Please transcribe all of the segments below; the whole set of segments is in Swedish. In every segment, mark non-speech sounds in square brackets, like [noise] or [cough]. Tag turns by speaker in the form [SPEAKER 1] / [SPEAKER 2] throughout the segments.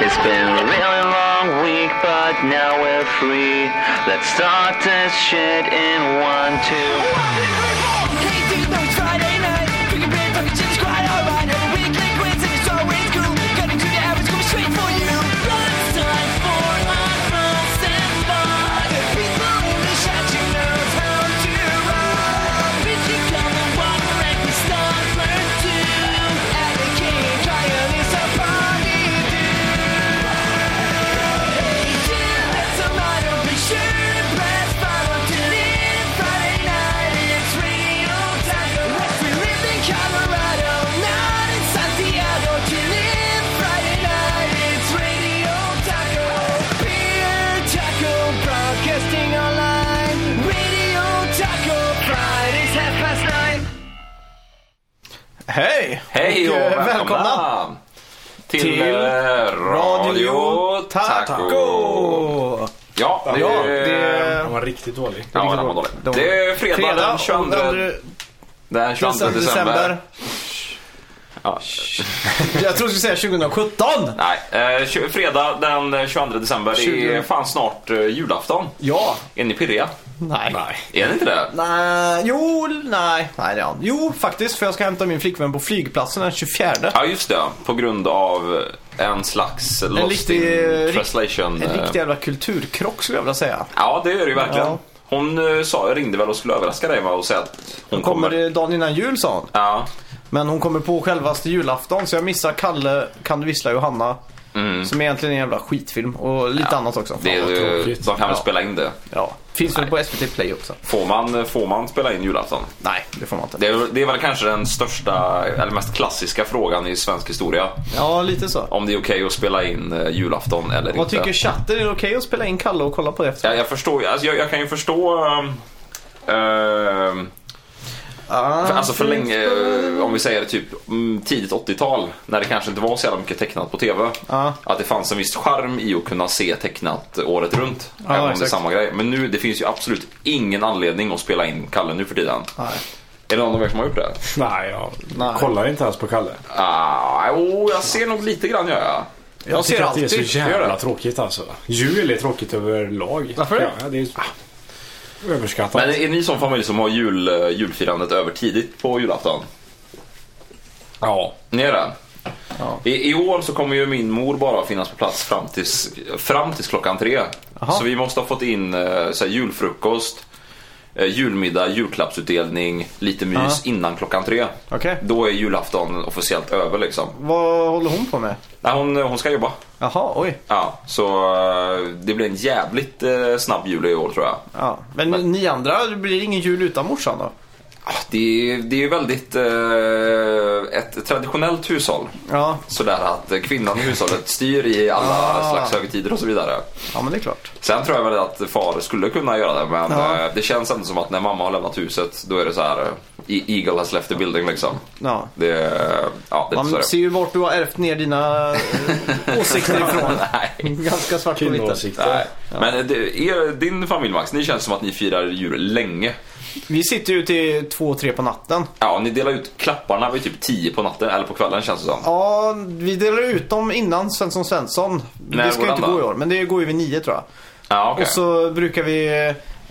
[SPEAKER 1] It's been a really long week, but now we're free. Let's start this shit in one, two.
[SPEAKER 2] Hej!
[SPEAKER 3] Hej och
[SPEAKER 2] eh,
[SPEAKER 3] välkomna, till,
[SPEAKER 2] till
[SPEAKER 3] eh, Radio Taco. Ja, det,
[SPEAKER 2] Ja,
[SPEAKER 3] är...
[SPEAKER 2] det
[SPEAKER 4] Han var riktigt dålig.
[SPEAKER 3] Ja, den var dålig.
[SPEAKER 2] De-
[SPEAKER 3] Det är fredag, den 22,
[SPEAKER 2] andra-
[SPEAKER 3] den 22
[SPEAKER 2] december.
[SPEAKER 3] december. Ja.
[SPEAKER 2] Jag tror du skulle säga 2017!
[SPEAKER 3] Nej, eh, tju- fredag den 22 december. Det är
[SPEAKER 2] 20.
[SPEAKER 3] fan snart eh, julafton.
[SPEAKER 2] Ja.
[SPEAKER 3] Är ni pirriga?
[SPEAKER 2] Nej. Nej.
[SPEAKER 3] Är ni inte det?
[SPEAKER 2] jo, nej. nej det är han. Jo, faktiskt. För jag ska hämta min flickvän på flygplatsen den 24.
[SPEAKER 3] Ja, just det. På grund av en eh, slags lost
[SPEAKER 2] riktig-
[SPEAKER 3] in
[SPEAKER 2] ri- En
[SPEAKER 3] translation. eh,
[SPEAKER 2] riktig jävla kulturkrock skulle jag vilja säga.
[SPEAKER 3] Ja, det gör det ju verkligen.
[SPEAKER 2] Ja.
[SPEAKER 3] Hon eh, sa, ringde väl och skulle överraska dig va, och säga att hon kommer.
[SPEAKER 2] Kommer eh, dagen innan jul sa hon.
[SPEAKER 3] Ja.
[SPEAKER 2] Men hon kommer på självaste julafton så jag missar Kalle, Kan du vissla Johanna. Som egentligen är en jävla skitfilm och lite annat också.
[SPEAKER 3] Mm. Det,
[SPEAKER 2] Fan, vad
[SPEAKER 3] är- de
[SPEAKER 4] tråkigt.
[SPEAKER 3] kan väl
[SPEAKER 2] Ja.
[SPEAKER 3] spela in det.
[SPEAKER 2] Ja, finns väl på SVT Play också?
[SPEAKER 3] Får man, får man spela in julafton?
[SPEAKER 2] Nej, det får man inte.
[SPEAKER 3] Det är, väl- det är väl kanske den största, eller mest klassiska frågan i svensk historia.
[SPEAKER 2] Ja, lite så.
[SPEAKER 3] Om det är okej att spela in eh, julafton eller
[SPEAKER 2] Vad
[SPEAKER 3] inte.
[SPEAKER 2] tycker chatten? Är det okej att spela in Kalle och kolla på det efter?
[SPEAKER 3] jag, jag förstår ju- alltså, jag, jag kan ju förstå... ehm, ehm,
[SPEAKER 2] Ah,
[SPEAKER 3] för, alltså för länge, eh, om vi säger typ mm, tidigt 80-tal, när det kanske inte var så jävla mycket tecknat på TV.
[SPEAKER 2] Ja.
[SPEAKER 3] Att det fanns en viss charm i att kunna se tecknat året runt. även om det är
[SPEAKER 2] exakt.
[SPEAKER 3] samma grej. Men nu, det finns ju absolut ingen anledning att spela in Kalle nu för tiden.
[SPEAKER 2] Nej.
[SPEAKER 3] Är det någon av er som har gjort det?
[SPEAKER 4] Nej, jag
[SPEAKER 2] Nej.
[SPEAKER 4] kollar inte ens på Kalle.
[SPEAKER 3] Ah, oh, jag ser nog lite grann gör jag.
[SPEAKER 2] Jag ser
[SPEAKER 4] att det är så
[SPEAKER 2] alltid.
[SPEAKER 3] Gör
[SPEAKER 4] jävla
[SPEAKER 3] det.
[SPEAKER 4] tråkigt alltså. Jul är tråkigt överlag.
[SPEAKER 2] Varför det?
[SPEAKER 4] Ja, det är ah, överskattat.
[SPEAKER 3] Men är ni som familj som har jul, eh, julfirandet över tidigt på julafton?
[SPEAKER 4] Ja.
[SPEAKER 3] Ni är det?
[SPEAKER 2] Ja.
[SPEAKER 3] I, I år så kommer ju min mor bara finnas på plats fram tills, fram tills klockan tre.
[SPEAKER 2] Jaha.
[SPEAKER 3] Så vi måste ha fått in eh, så här, julfrukost, eh, julmiddag, julklappsutdelning, lite mys
[SPEAKER 2] Ja.
[SPEAKER 3] innan klockan tre.
[SPEAKER 2] Okej.
[SPEAKER 3] Då är julafton officiellt över liksom.
[SPEAKER 2] Vad håller hon på med?
[SPEAKER 3] Nej, hon, hon ska jobba.
[SPEAKER 2] Jaha, oj.
[SPEAKER 3] Ja, så eh, det blir en jävligt eh, snabb jul i år tror jag.
[SPEAKER 2] Ja. Men, ni andra, det blir ingen jul utan morsan då?
[SPEAKER 3] Ah, Det är, det är ju väldigt eh, ett traditionellt hushåll.
[SPEAKER 2] Ja,
[SPEAKER 3] Sådär att eh, kvinnan i hushållet styr i alla
[SPEAKER 2] Ah.
[SPEAKER 3] slags högtider och så vidare.
[SPEAKER 2] ja men det är klart.
[SPEAKER 3] Sen tror jag väl att far skulle kunna göra det men
[SPEAKER 2] Ja.
[SPEAKER 3] eh, det känns ändå som att när mamma har lämnat huset då är det så här eh, "E- Eagle has left the building liksom.
[SPEAKER 2] Ja.
[SPEAKER 3] Det, är- ja, det är
[SPEAKER 2] Man
[SPEAKER 3] inte
[SPEAKER 2] ser
[SPEAKER 3] så det
[SPEAKER 2] ju vart du har ärvt ner dina
[SPEAKER 3] [laughs]
[SPEAKER 2] eh, åsikter ifrån.
[SPEAKER 3] Nej.
[SPEAKER 2] Ganska svart på vitt.
[SPEAKER 4] Kvinnoåsikter.
[SPEAKER 3] Nej. Men eh, det, er, din familj Max, ni känns som att ni firar jul länge.
[SPEAKER 2] Vi sitter ju till två, tre på natten.
[SPEAKER 3] Ja, ni delar ut klapparna vid typ 10 på natten eller på kvällen känns det som.
[SPEAKER 2] Ja, vi delar ut dem innan Svensson Svensson.
[SPEAKER 3] När
[SPEAKER 2] det ska
[SPEAKER 3] går
[SPEAKER 2] ju inte
[SPEAKER 3] den då?
[SPEAKER 2] gå i år, men det går ju vid nio tror jag.
[SPEAKER 3] Ja, okej.
[SPEAKER 2] Och så brukar vi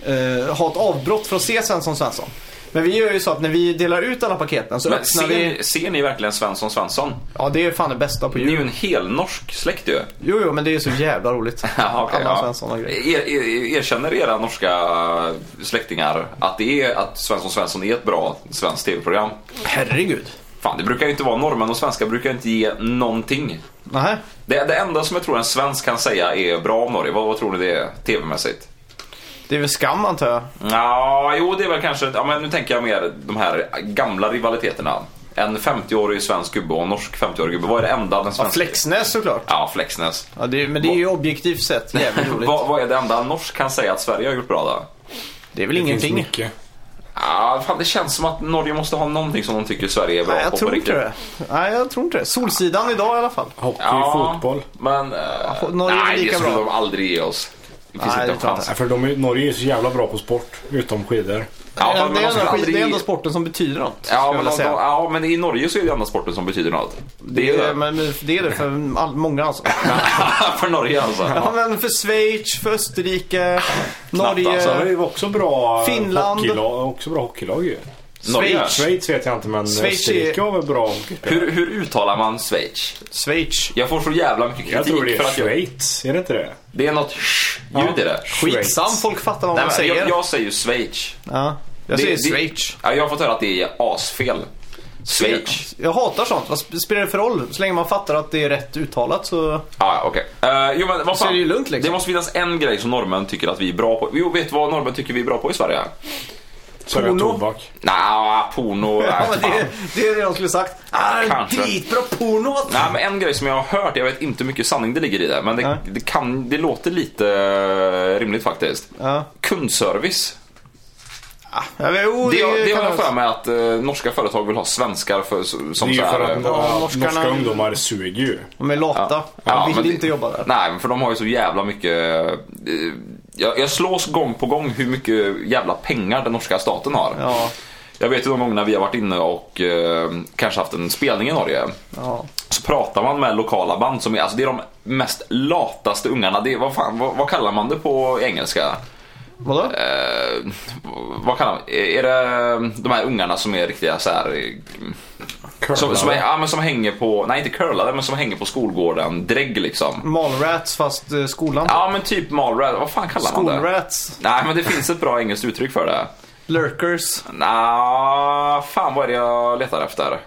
[SPEAKER 2] eh, ha ett avbrott för att se Svensson Svensson. Men vi gör ju så att när vi delar ut alla paketen så
[SPEAKER 3] Men
[SPEAKER 2] öppnar
[SPEAKER 3] ser,
[SPEAKER 2] vi...
[SPEAKER 3] ser ni verkligen Svensson Svensson?
[SPEAKER 2] Ja, det är fan det bästa på
[SPEAKER 3] Ni är ju
[SPEAKER 2] jul.
[SPEAKER 3] en helnorsk släkt ju.
[SPEAKER 2] Jo, jo, men det är ju så jävla
[SPEAKER 3] [laughs]
[SPEAKER 2] roligt.
[SPEAKER 3] okej,
[SPEAKER 2] alla Svensson och grejer.
[SPEAKER 3] Er, er, erkänner era norska släktingar att, det är, att Svensson Svensson är ett bra svenskt tv-program?
[SPEAKER 2] Herregud.
[SPEAKER 3] Fan, det brukar ju inte vara norrmän och svenskar brukar inte ge någonting.
[SPEAKER 2] Nej.
[SPEAKER 3] Det, det enda som jag tror en svensk kan säga är bra om Norge, vad, vad tror ni det är tv-mässigt?
[SPEAKER 2] Det är väl skam antar jag.
[SPEAKER 3] Ja, jo det är väl kanske, ja, men nu tänker jag mer de här gamla rivaliteterna. En 50-årig svensk gubbe och en norsk 50-årig gubbe, vad är det enda den
[SPEAKER 2] Ja,
[SPEAKER 3] svenska...
[SPEAKER 2] Flexnäs såklart.
[SPEAKER 3] Ja, Flexnäs.
[SPEAKER 2] Ja, det, är- men det är ju objektivt sett
[SPEAKER 3] [laughs]
[SPEAKER 2] jävligt roligt.
[SPEAKER 3] Vad, vad är det enda en norsk kan säga att Sverige har gjort bra då?
[SPEAKER 2] Det är väl
[SPEAKER 4] Det finns
[SPEAKER 2] ingenting.
[SPEAKER 4] mycket.
[SPEAKER 3] Ja, fan, det känns som att Norge måste ha någonting som de tycker Sverige är bra
[SPEAKER 2] Nej,
[SPEAKER 3] på
[SPEAKER 2] jag
[SPEAKER 3] på
[SPEAKER 2] tror
[SPEAKER 3] riktigt.
[SPEAKER 2] inte det. Nej, jag tror inte det. Solsidan idag i alla fall.
[SPEAKER 4] Hockey,
[SPEAKER 3] Ja,
[SPEAKER 4] fotboll.
[SPEAKER 3] Men... eh,
[SPEAKER 2] fo- Norge är
[SPEAKER 3] nej,
[SPEAKER 2] lika
[SPEAKER 3] det skulle
[SPEAKER 2] bra.
[SPEAKER 3] de aldrig ge oss. Det finns
[SPEAKER 2] Nej,
[SPEAKER 3] inte
[SPEAKER 2] det
[SPEAKER 3] en
[SPEAKER 2] tror jag
[SPEAKER 3] chans.
[SPEAKER 4] Nej, för de, är- Norge är så jävla bra på sport, utom skidor.
[SPEAKER 3] Ja,
[SPEAKER 2] det, är-
[SPEAKER 3] men
[SPEAKER 2] det,
[SPEAKER 3] de
[SPEAKER 2] är
[SPEAKER 3] skulle
[SPEAKER 2] enda, skit-
[SPEAKER 3] aldrig-
[SPEAKER 2] det är enda sporten som betyder något.
[SPEAKER 3] Ja
[SPEAKER 2] skulle jag
[SPEAKER 3] men, alltså,
[SPEAKER 2] vilja
[SPEAKER 3] de,
[SPEAKER 2] säga.
[SPEAKER 3] de, ja, men i Norge så är det andra sporten som betyder något. Det är
[SPEAKER 2] det, är,
[SPEAKER 3] det.
[SPEAKER 2] men det är det för all, många alltså.
[SPEAKER 3] [laughs] för Norge alltså.
[SPEAKER 2] Ja, men för Schweiz, för Österrike, Norge,
[SPEAKER 3] alltså.
[SPEAKER 4] Det är ju också bra
[SPEAKER 2] Finland.
[SPEAKER 4] hockeylag, också bra hockeylag ju.
[SPEAKER 3] Norge.
[SPEAKER 2] Schweiz.
[SPEAKER 4] Schweiz vet jag inte men
[SPEAKER 2] Schweiz
[SPEAKER 4] Österrike
[SPEAKER 2] är-
[SPEAKER 4] har väl bra hockeyspelare?
[SPEAKER 3] Hur, hur uttalar man Schweiz?
[SPEAKER 2] Schweiz.
[SPEAKER 3] Jag får så jävla mycket kritik.
[SPEAKER 4] Jag tror det
[SPEAKER 3] för
[SPEAKER 4] är
[SPEAKER 3] att jag,
[SPEAKER 4] Schweiz, är det inte det?
[SPEAKER 3] det är något sh-ljud i det.
[SPEAKER 2] Skitsam, folk fattar vad
[SPEAKER 3] Nej,
[SPEAKER 2] man
[SPEAKER 3] men,
[SPEAKER 2] säger.
[SPEAKER 3] jag, jag säger ju Schweiz.
[SPEAKER 2] ja, jag
[SPEAKER 3] Det-
[SPEAKER 2] säger
[SPEAKER 3] det-
[SPEAKER 2] Schweiz.
[SPEAKER 3] Ja, jag har fått höra att det är asfel. Schweiz.
[SPEAKER 2] Jag hatar sånt. Vad sp- spelar det för roll? Så länge man fattar att det är rätt uttalat så...
[SPEAKER 3] Ja, ja, okej. Eh, jo, men vad
[SPEAKER 2] Så
[SPEAKER 3] fan.
[SPEAKER 2] är det ju lugnt, liksom.
[SPEAKER 3] Det måste finnas en grej som norrmän tycker att vi är bra på. Jo, vet du vad norrmän tycker vi är bra på i Sverige?
[SPEAKER 4] Sälja
[SPEAKER 2] Porno.
[SPEAKER 4] tobak.
[SPEAKER 3] Nja,
[SPEAKER 2] [laughs]
[SPEAKER 3] porno.
[SPEAKER 2] Ja,
[SPEAKER 3] nej,
[SPEAKER 2] men det,
[SPEAKER 3] fan.
[SPEAKER 2] det är det de skulle sagt. Ah, en
[SPEAKER 3] Kanske.
[SPEAKER 2] dritbra porno! vad fan.
[SPEAKER 3] Nej, men en grej som jag har hört, jag vet inte hur mycket sanning det ligger i det, men det,
[SPEAKER 2] Nej.
[SPEAKER 3] det, kan, det låter lite eh, rimligt faktiskt.
[SPEAKER 2] Ja.
[SPEAKER 3] Kundservice.
[SPEAKER 2] Ja, men, jo,
[SPEAKER 3] Det, det,
[SPEAKER 2] kan
[SPEAKER 3] har jag
[SPEAKER 2] jag-
[SPEAKER 3] för mig att eh, norska företag vill ha svenskar för, som
[SPEAKER 4] Det är ju
[SPEAKER 3] så här,
[SPEAKER 4] för att
[SPEAKER 3] eh,
[SPEAKER 4] ja,
[SPEAKER 2] norskarna-
[SPEAKER 4] norska ungdomar suger ju.
[SPEAKER 2] De är lata.
[SPEAKER 3] ja,
[SPEAKER 2] de vill
[SPEAKER 3] men det-
[SPEAKER 2] inte jobba där.
[SPEAKER 3] Nej, men för de har ju så jävla mycket... eh, Jag, jag slås gång på gång hur mycket jävla pengar den norska staten har.
[SPEAKER 2] Ja.
[SPEAKER 3] Jag vet ju de gångerna vi har varit inne och eh, kanske haft en spelning i Norge.
[SPEAKER 2] Ja.
[SPEAKER 3] Så pratar man med lokala band som är, alltså det är de mest lataste ungarna. Det är, vad, fan, vad, vad kallar man det på engelska?
[SPEAKER 2] Vadå?
[SPEAKER 3] Eh, vad kallar man, är det de här ungarna som är riktiga så här... eh, Som, som, är, ja, men som hänger på, nej inte curlade, men som hänger på skolgården, drägg liksom.
[SPEAKER 2] Malrats fast eh, skolan.
[SPEAKER 3] Ja men typ malrat, vad fan kallar man det?
[SPEAKER 2] Skolrats.
[SPEAKER 3] Nej men det finns ett bra engelskt uttryck för det.
[SPEAKER 2] Lurkers.
[SPEAKER 3] Nja, fan vad är det jag letar efter?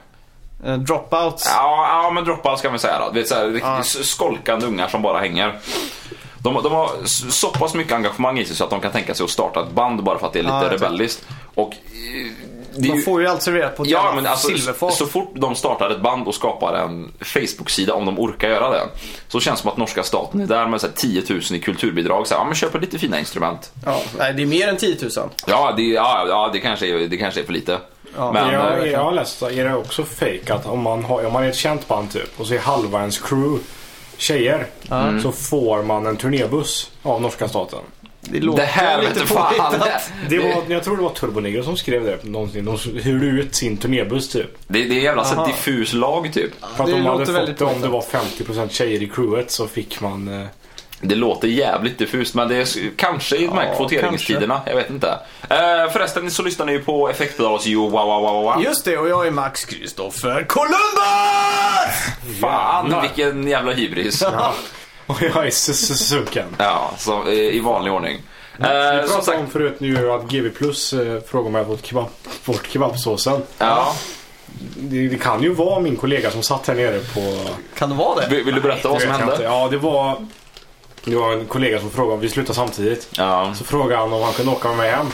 [SPEAKER 2] eh, Dropouts.
[SPEAKER 3] Ja, ja men dropout ska man säga då. Det är så här, riktigt skolkande ungar som bara hänger. De, de har s- så pass mycket engagemang i sig så att de kan tänka sig att starta ett band bara för att det är lite
[SPEAKER 2] Ja, jag vet.
[SPEAKER 3] rebelliskt. Och, eh, det är
[SPEAKER 2] De
[SPEAKER 3] ju,
[SPEAKER 2] får ju allt serverat på ett
[SPEAKER 3] ja,
[SPEAKER 2] jävla
[SPEAKER 3] men alltså, så,
[SPEAKER 2] silverfat.
[SPEAKER 3] så fort de startar ett band och skapar en Facebook-sida om de orkar göra det. Så känns det som att norska staten är där med så här 10 000 i kulturbidrag. Så här, ja, men köper lite fina instrument.
[SPEAKER 2] ja. Nej, det är mer än 10 000.
[SPEAKER 3] Ja, det, ja, ja, det, kanske, är, det kanske är för lite. men, eh,
[SPEAKER 4] Jag, jag har läst att är det också fake att om man, har, om man är ett känt band typ och så är halva ens crew tjejer så får man en turnébuss av norska staten.
[SPEAKER 2] Det låter
[SPEAKER 3] det här
[SPEAKER 2] lite
[SPEAKER 3] vete fan.
[SPEAKER 2] påhittat.
[SPEAKER 4] Det var, jag tror det var Turbo Negro som skrev det någonsin. De hyrde ut sin turnébuss typ.
[SPEAKER 3] [laughs] Det, det är jävla så här
[SPEAKER 2] Aha.
[SPEAKER 3] diffus lag typ.
[SPEAKER 4] För att
[SPEAKER 2] Det
[SPEAKER 4] de hade
[SPEAKER 2] låter
[SPEAKER 4] fått
[SPEAKER 2] väldigt
[SPEAKER 4] det om
[SPEAKER 2] påhittat.
[SPEAKER 4] det var 50% tjejer i crewet så fick man... eh,
[SPEAKER 3] Det låter jävligt diffust men det är s- kanske i de här
[SPEAKER 2] Ja,
[SPEAKER 3] kvoteringstiderna. Jag vet inte. Eh, förresten så lyssnar ni ju på effektpedalens Jo wow wow wow wow.
[SPEAKER 2] Just det, och jag är Max Kristoffer Columbus!
[SPEAKER 3] Fan
[SPEAKER 4] jävlar.
[SPEAKER 3] vilken jävla hybris.
[SPEAKER 4] Ja. [laughs] Och jag är s- s- sucken.
[SPEAKER 3] ja, så, eh, i vanlig ordning. Eh,
[SPEAKER 4] Vi
[SPEAKER 3] som
[SPEAKER 4] pratade
[SPEAKER 3] sagt,
[SPEAKER 4] om förut nu att GB Plus eh, frågade om jag fått kebab, bort kebabsåsen.
[SPEAKER 3] ja.
[SPEAKER 4] Det, det kan ju vara min kollega som satt här nere på
[SPEAKER 2] Kan det vara det?
[SPEAKER 3] Vill, vill du berätta vad
[SPEAKER 4] Det
[SPEAKER 3] som
[SPEAKER 4] vet jag inte.
[SPEAKER 3] hände?
[SPEAKER 4] Ja, det var... Det var en kollega som frågade om vi slutade samtidigt.
[SPEAKER 3] Ja. Mm.
[SPEAKER 4] Så frågade han om han kunde åka med mig hem.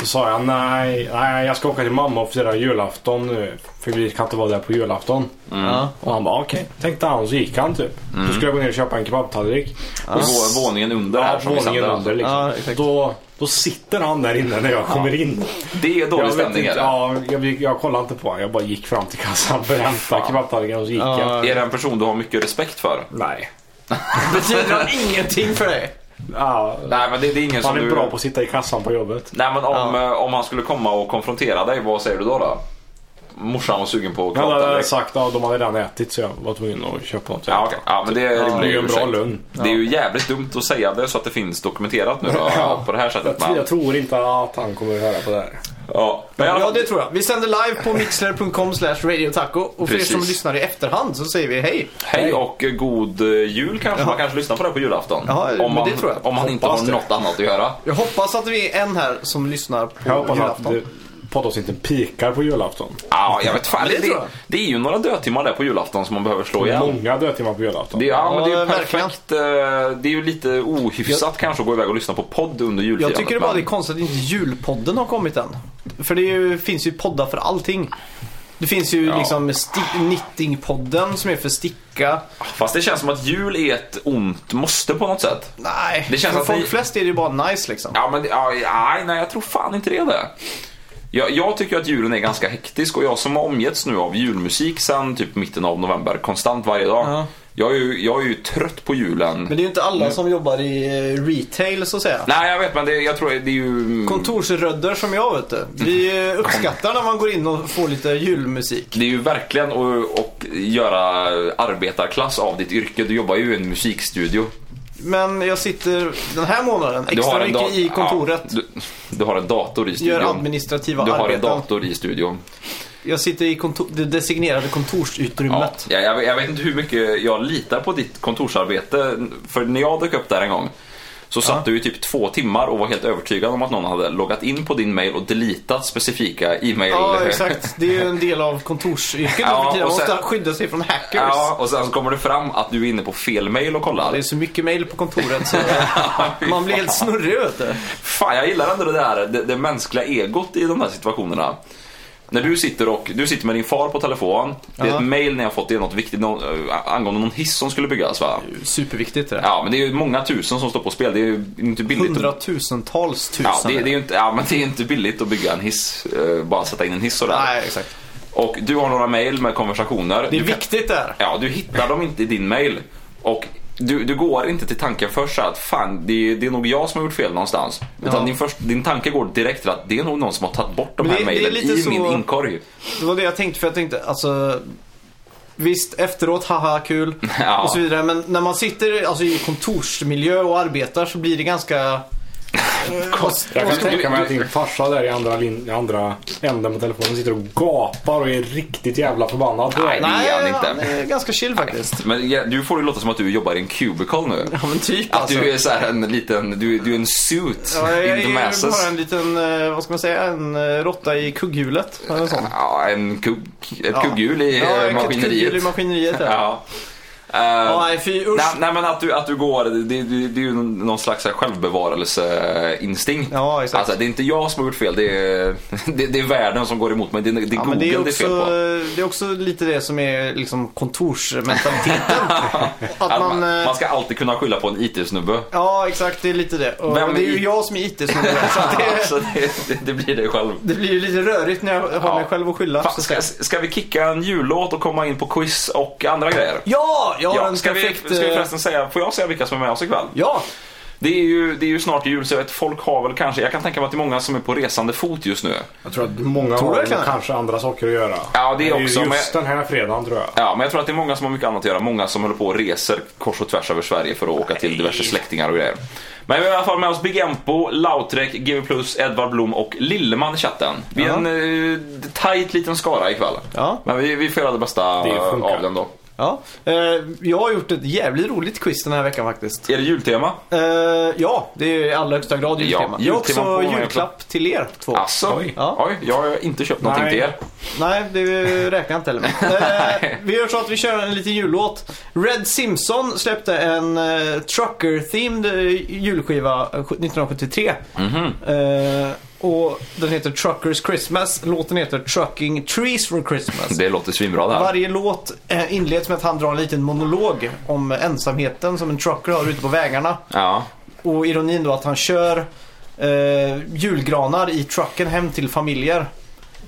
[SPEAKER 4] Så sa jag nej, nej, jag ska åka till mamma och fira julafton nu. För vi kan inte vara där på julafton.
[SPEAKER 3] Mm.
[SPEAKER 2] Ja.
[SPEAKER 4] Och han bara okej. Tänkte han och så gick han typ. Så skulle jag gå ner och köpa en kebabtallrik.
[SPEAKER 3] Och vå- våningen under här
[SPEAKER 4] Ja,
[SPEAKER 3] som vi
[SPEAKER 4] våningen
[SPEAKER 3] sänder.
[SPEAKER 4] under liksom.
[SPEAKER 2] Ja, exakt.
[SPEAKER 4] då, då sitter han där inne när jag kommer in.
[SPEAKER 3] Det är dålig
[SPEAKER 4] Jag, vet
[SPEAKER 3] stämning
[SPEAKER 4] inte,
[SPEAKER 3] är det.
[SPEAKER 4] ja, jag, gick- jag kollade inte på honom. Jag bara gick fram till kassan för att hämta kebabtallriken och så gick jag.
[SPEAKER 3] Är det en person du har mycket respekt för?
[SPEAKER 4] Nej.
[SPEAKER 2] Betyder han ingenting för dig?
[SPEAKER 4] Ja,
[SPEAKER 3] Nej men det, det är ingen som
[SPEAKER 4] han är
[SPEAKER 3] du...
[SPEAKER 4] bra på att sitta i kassan på jobbet.
[SPEAKER 3] Nej men om, eh, om han skulle komma och konfrontera dig, vad säger du då? då? Morsan var sugen på
[SPEAKER 4] Han
[SPEAKER 3] kebabtallrik.
[SPEAKER 4] hade sagt att de hade redan ätit så jag var tvungen att köpa något.
[SPEAKER 3] Ja, okej. ja men det är
[SPEAKER 4] Det är
[SPEAKER 3] rimlig
[SPEAKER 4] ju en bra
[SPEAKER 3] ursäkt.
[SPEAKER 4] lön.
[SPEAKER 3] Det är ju jävligt dumt att säga det så att det finns dokumenterat nu
[SPEAKER 4] [laughs]
[SPEAKER 3] då, på det här
[SPEAKER 4] Jag,
[SPEAKER 3] sättet.
[SPEAKER 4] tror-
[SPEAKER 3] Men,
[SPEAKER 4] jag tror inte att han kommer att höra på det här.
[SPEAKER 3] ja. men i alla
[SPEAKER 2] Ja,
[SPEAKER 3] fall,
[SPEAKER 2] det tror jag. Vi sänder live på mixler.com slash radiotaco. Och för
[SPEAKER 3] Precis.
[SPEAKER 2] er som lyssnar i efterhand så säger vi hej.
[SPEAKER 3] hej och eh, god eh, jul kanske. Man kanske lyssnar på det här på julafton.
[SPEAKER 2] Ja, men
[SPEAKER 3] om man,
[SPEAKER 2] det tror jag.
[SPEAKER 3] Om man inte
[SPEAKER 4] Hoppas
[SPEAKER 3] har
[SPEAKER 4] det.
[SPEAKER 3] något annat att göra.
[SPEAKER 2] Jag hoppas att vi är en här som lyssnar på
[SPEAKER 4] Jag hoppas att
[SPEAKER 2] julafton.
[SPEAKER 4] det- poddavsnitten pikar på julafton.
[SPEAKER 3] Ja, jag vet fan.
[SPEAKER 2] Men det
[SPEAKER 3] Det, det,
[SPEAKER 2] tror jag.
[SPEAKER 3] det är ju några dödtimmar där på julafton som man behöver slå igen.
[SPEAKER 4] Många dödtimmar på julafton.
[SPEAKER 3] Det, är- ja, men det är ju
[SPEAKER 2] Ja, verkligen.
[SPEAKER 3] perfekt. eh, Det är ju lite ohyfsat kanske att gå iväg och lyssna på podd under
[SPEAKER 2] Jag
[SPEAKER 3] julfirandet.
[SPEAKER 2] tycker det bara det är
[SPEAKER 3] men-
[SPEAKER 2] konstigt att inte julpodden har kommit än. För det är ju, finns ju poddar för allting. Det finns ju
[SPEAKER 3] Ja.
[SPEAKER 2] liksom sti- knittingpodden som är för sticka.
[SPEAKER 3] Fast det känns som att jul är ett ont måste på något sätt.
[SPEAKER 2] Nej,
[SPEAKER 3] Det känns
[SPEAKER 2] för
[SPEAKER 3] att
[SPEAKER 2] folk
[SPEAKER 3] det-
[SPEAKER 2] flest är det ju bara nice liksom.
[SPEAKER 3] Ja, men det- ja, nej, nej, jag tror fan inte det. det. Jag, jag tycker att julen är ganska hektisk och jag som har omgetts nu av julmusik sen typ mitten av november konstant varje dag.
[SPEAKER 2] Ja.
[SPEAKER 3] Jag är ju, jag är ju trött på julen.
[SPEAKER 2] Men det är ju inte alla som jobbar i eh, retail så att säga.
[SPEAKER 3] Mm. Nej, jag vet, men det, jag tror det är ju...
[SPEAKER 2] Kontorsrödder som jag vet du. Vi
[SPEAKER 3] Mm.
[SPEAKER 2] eh, uppskattar när man går in och får lite julmusik.
[SPEAKER 3] Det är ju verkligen att att göra arbetarklass av ditt yrke. Du jobbar ju i en musikstudio.
[SPEAKER 2] Men jag sitter den här månaden
[SPEAKER 3] Du
[SPEAKER 2] extra
[SPEAKER 3] en
[SPEAKER 2] mycket
[SPEAKER 3] da-
[SPEAKER 2] i kontoret.
[SPEAKER 3] Ja, du, du har en dator i studion.
[SPEAKER 2] Gör administrativa
[SPEAKER 3] du har en
[SPEAKER 2] arbeten.
[SPEAKER 3] dator i studion.
[SPEAKER 2] Jag sitter i kontor, det designerade
[SPEAKER 3] Ja,
[SPEAKER 2] kontorsutrymmet.
[SPEAKER 3] jag, jag, jag vet inte hur mycket jag litar på ditt kontorsarbete. För när jag dök upp där en gång så satt du i typ två timmar och var helt övertygad om att någon hade loggat in på din mail och deletat specifika e-mail.
[SPEAKER 2] Ja, exakt. Det är ju en del av kontorsyrket nu
[SPEAKER 3] Ja,
[SPEAKER 2] för tiden. Man
[SPEAKER 3] och sen-
[SPEAKER 2] måste skydda sig från hackers.
[SPEAKER 3] Ja, och sen så kommer det fram att du är inne på fel mail och kollar.
[SPEAKER 2] Det är så mycket mail på kontoret
[SPEAKER 3] [laughs]
[SPEAKER 2] så
[SPEAKER 3] fy
[SPEAKER 2] man blir helt
[SPEAKER 3] fan.
[SPEAKER 2] snurrig vet du.
[SPEAKER 3] Fan, jag gillar ändå det där det, det mänskliga egot i de här situationerna. När du sitter och du sitter med din far på telefon. Det är
[SPEAKER 2] Ja.
[SPEAKER 3] ett mail ni har fått, det är något viktigt någon, äh, angående någon hiss som skulle byggas va?
[SPEAKER 2] Superviktigt det där.
[SPEAKER 3] Ja, men det är ju många tusen som står på spel. Det är ju inte billigt. att-
[SPEAKER 2] Hundratusentals tusen.
[SPEAKER 3] Ja, det, det är ju inte, ja, men det är ju inte billigt att bygga en hiss. eh, Bara sätta in en hiss sådär.
[SPEAKER 2] Nej, exakt.
[SPEAKER 3] Och du har några mail med konversationer.
[SPEAKER 2] Det är
[SPEAKER 3] du kan-
[SPEAKER 2] viktigt där.
[SPEAKER 3] Ja, du hittar dem inte i din mail. Och du, du går inte till tanken först så här att fan, det är, det är nog jag som har gjort fel någonstans. Utan
[SPEAKER 2] Ja.
[SPEAKER 3] din, först, din tanke går direkt till att det är nog någon som har tagit bort de
[SPEAKER 2] Men
[SPEAKER 3] här
[SPEAKER 2] det- det är
[SPEAKER 3] mailen
[SPEAKER 2] lite
[SPEAKER 3] i
[SPEAKER 2] så-
[SPEAKER 3] min inkorg.
[SPEAKER 2] Det var det jag tänkte för jag tänkte alltså Visst, efteråt, haha, kul
[SPEAKER 3] [laughs] Ja.
[SPEAKER 2] och så vidare. Men när man sitter alltså, i kontorsmiljö och arbetar så blir det
[SPEAKER 3] [laughs]
[SPEAKER 2] ganska... eh,
[SPEAKER 4] Jag kan tänka mig att din farsa där i andra, lin- i andra änden på telefonen sitter och gapar och är riktigt jävla förbannad på dig.
[SPEAKER 3] Nej. är han inte.
[SPEAKER 2] han är ganska chill faktiskt.
[SPEAKER 3] Men ja, du får ju låta som att du jobbar i en cubicle nu.
[SPEAKER 2] Ja men typ
[SPEAKER 3] Att
[SPEAKER 2] alltså.
[SPEAKER 3] du är så här en liten, du, du är en suit
[SPEAKER 2] Ja, jag
[SPEAKER 3] in the
[SPEAKER 2] är ju
[SPEAKER 3] masses.
[SPEAKER 2] bara en liten, eh, vad ska man säga, en eh, råtta i kugghjulet. Eller sånt.
[SPEAKER 3] Ja, en kugg, ett
[SPEAKER 2] Ja.
[SPEAKER 3] kugghjul i
[SPEAKER 2] Ja, ett
[SPEAKER 3] eh,
[SPEAKER 2] kugghjul i
[SPEAKER 3] maskineriet.
[SPEAKER 2] maskineriet ja.
[SPEAKER 3] Ja. Eh,
[SPEAKER 2] Ja, nej fy usch.
[SPEAKER 3] Nej, nej men att du, att du går, det, det, det är ju någon slags så här självbevarelseinstinkt.
[SPEAKER 2] Ja, exakt.
[SPEAKER 3] Alltså det är inte jag som har gjort fel, det är, [laughs] det, det är världen som går emot mig. Det, är- det är
[SPEAKER 2] Ja, men
[SPEAKER 3] Google
[SPEAKER 2] det, är
[SPEAKER 3] det är
[SPEAKER 2] också,
[SPEAKER 3] fel på.
[SPEAKER 2] det är också lite det som är liksom kontorsmentaliteten.
[SPEAKER 3] [laughs]
[SPEAKER 2] att
[SPEAKER 3] Att
[SPEAKER 2] man,
[SPEAKER 3] man,
[SPEAKER 2] eh,
[SPEAKER 3] man ska alltid kunna skylla på en
[SPEAKER 2] [laughs]
[SPEAKER 3] IT-snubbe.
[SPEAKER 2] Ja, exakt. Det är lite det. Och
[SPEAKER 3] Vem
[SPEAKER 2] det är ju
[SPEAKER 3] i-
[SPEAKER 2] jag som är IT-snubbe.
[SPEAKER 3] [laughs]
[SPEAKER 2] så att det,
[SPEAKER 3] Alltså, det, det, det blir det själv.
[SPEAKER 2] det blir ju lite rörigt när jag har
[SPEAKER 3] Ja.
[SPEAKER 2] mig själv att skylla.
[SPEAKER 3] Fan,
[SPEAKER 2] så att
[SPEAKER 3] Ska,
[SPEAKER 2] säga.
[SPEAKER 3] ska vi kicka en jullåt och komma in på quiz och andra grejer?
[SPEAKER 2] Ja, jag har en
[SPEAKER 3] ska, vi,
[SPEAKER 2] perfekt...
[SPEAKER 3] ska vi
[SPEAKER 2] eh,
[SPEAKER 3] förresten säga, får jag säga vilka som är med oss ikväll?
[SPEAKER 2] Ja,
[SPEAKER 3] Det är ju, det är ju snart jul så jag vet, folk har väl kanske, jag kan tänka mig att det är många som är på resande fot just nu.
[SPEAKER 4] Jag tror att många
[SPEAKER 2] du
[SPEAKER 4] har
[SPEAKER 2] verkligen?
[SPEAKER 4] kanske andra saker att göra.
[SPEAKER 3] Ja, det är
[SPEAKER 4] ju
[SPEAKER 3] också,
[SPEAKER 4] just den här fredagen tror jag.
[SPEAKER 3] Ja, men jag tror att det är många som har mycket annat att göra. Många som håller på och reser kors och tvärs över Sverige för att åka till diverse släktingar och grejer. Men vi har i alla fall med oss Big Empo, Lautrec, GV+, Edvard Blom och Lilleman i chatten. Vi är en eh, tajt liten skara ikväll.
[SPEAKER 2] Ja.
[SPEAKER 3] Men vi, vi får göra det bästa
[SPEAKER 4] Det funkar.
[SPEAKER 3] av den då.
[SPEAKER 2] ja. Eh, jag har gjort ett jävligt roligt quiz den här veckan faktiskt.
[SPEAKER 3] Är det jultema?
[SPEAKER 2] Eh, ja, det är i allra högsta grad jultema. jag har
[SPEAKER 3] jultema
[SPEAKER 2] också
[SPEAKER 3] på mig
[SPEAKER 2] julklapp till er två.
[SPEAKER 3] Alltså, oj.
[SPEAKER 4] Oj.
[SPEAKER 2] Ja.
[SPEAKER 3] jag har inte köpt någonting
[SPEAKER 4] Nej.
[SPEAKER 3] till er.
[SPEAKER 2] Nej, det räknar jag inte heller
[SPEAKER 3] [laughs]
[SPEAKER 2] med. Eh,
[SPEAKER 3] Nej.
[SPEAKER 2] vi gör så att vi kör en liten jullåt. Red Simpson släppte en eh, trucker-themed eh, julskiva eh, 1973.
[SPEAKER 3] Mhm.
[SPEAKER 2] Eh, och den heter Truckers Christmas. Låten heter Trucking Trees for Christmas.
[SPEAKER 3] Det låter svinbra det här.
[SPEAKER 2] Varje låt eh, inleds med att han drar en liten monolog om ensamheten som en trucker har ute på vägarna.
[SPEAKER 3] Ja.
[SPEAKER 2] Och ironin då att han kör eh, julgranar i trucken hem till familjer.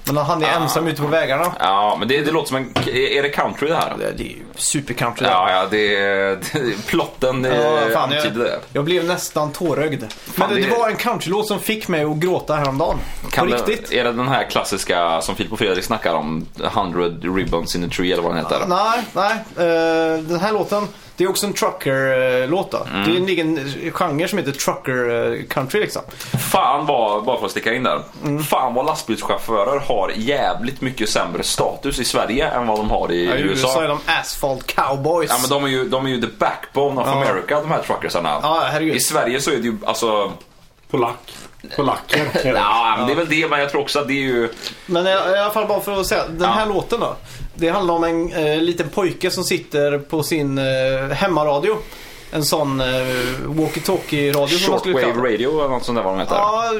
[SPEAKER 2] Men han är ensam ute på vägarna.
[SPEAKER 3] ja, men det, det låter som en... Är det country det här?
[SPEAKER 2] Det är ju supercountry.
[SPEAKER 3] Ja, ja, det... det [laughs] plotten
[SPEAKER 2] Ja,
[SPEAKER 3] eh,
[SPEAKER 2] fan,
[SPEAKER 3] antyder det.
[SPEAKER 2] jag, jag blev nästan tårögd. Men det,
[SPEAKER 3] det-
[SPEAKER 2] det var en countrylåt som fick mig att gråta häromdagen.
[SPEAKER 3] Kan
[SPEAKER 2] På
[SPEAKER 3] det-
[SPEAKER 2] riktigt.
[SPEAKER 3] Är det den här klassiska som Filip och Fredrik snackar om? 100 ribbons in a tree eller vad den heter?
[SPEAKER 2] Nej, nej. Eh, den här låten, det är också en trucker-låt då.
[SPEAKER 3] Mm.
[SPEAKER 2] Det är en egen genre som heter trucker-country liksom.
[SPEAKER 3] Fan vad, bara för att sticka in där.
[SPEAKER 2] Mm.
[SPEAKER 3] Fan vad lastbilschaufförer har jävligt mycket sämre status i Sverige än vad de har i
[SPEAKER 2] I
[SPEAKER 3] USA.
[SPEAKER 2] USA är de asphalt cowboys.
[SPEAKER 3] Ja, men de, är ju, de är ju the backbone of
[SPEAKER 2] Ja.
[SPEAKER 3] America de här truckersarna.
[SPEAKER 2] Ja, herregud.
[SPEAKER 3] I Sverige så är det ju alltså...
[SPEAKER 4] Polack.
[SPEAKER 3] [laughs]
[SPEAKER 4] Polacker. är det.
[SPEAKER 3] Ja, men det är väl det men jag tror också att det är ju...
[SPEAKER 2] Men i, i alla fall bara för att säga, den här
[SPEAKER 3] Ja.
[SPEAKER 2] låten då. Det handlar om en eh, liten pojke som sitter på sin eh, hemmaradio. En sån eh, walkie-talkie-radio som man skulle kalla det.
[SPEAKER 3] Shortwave radio eller något sånt där vad de heter.
[SPEAKER 2] Ja,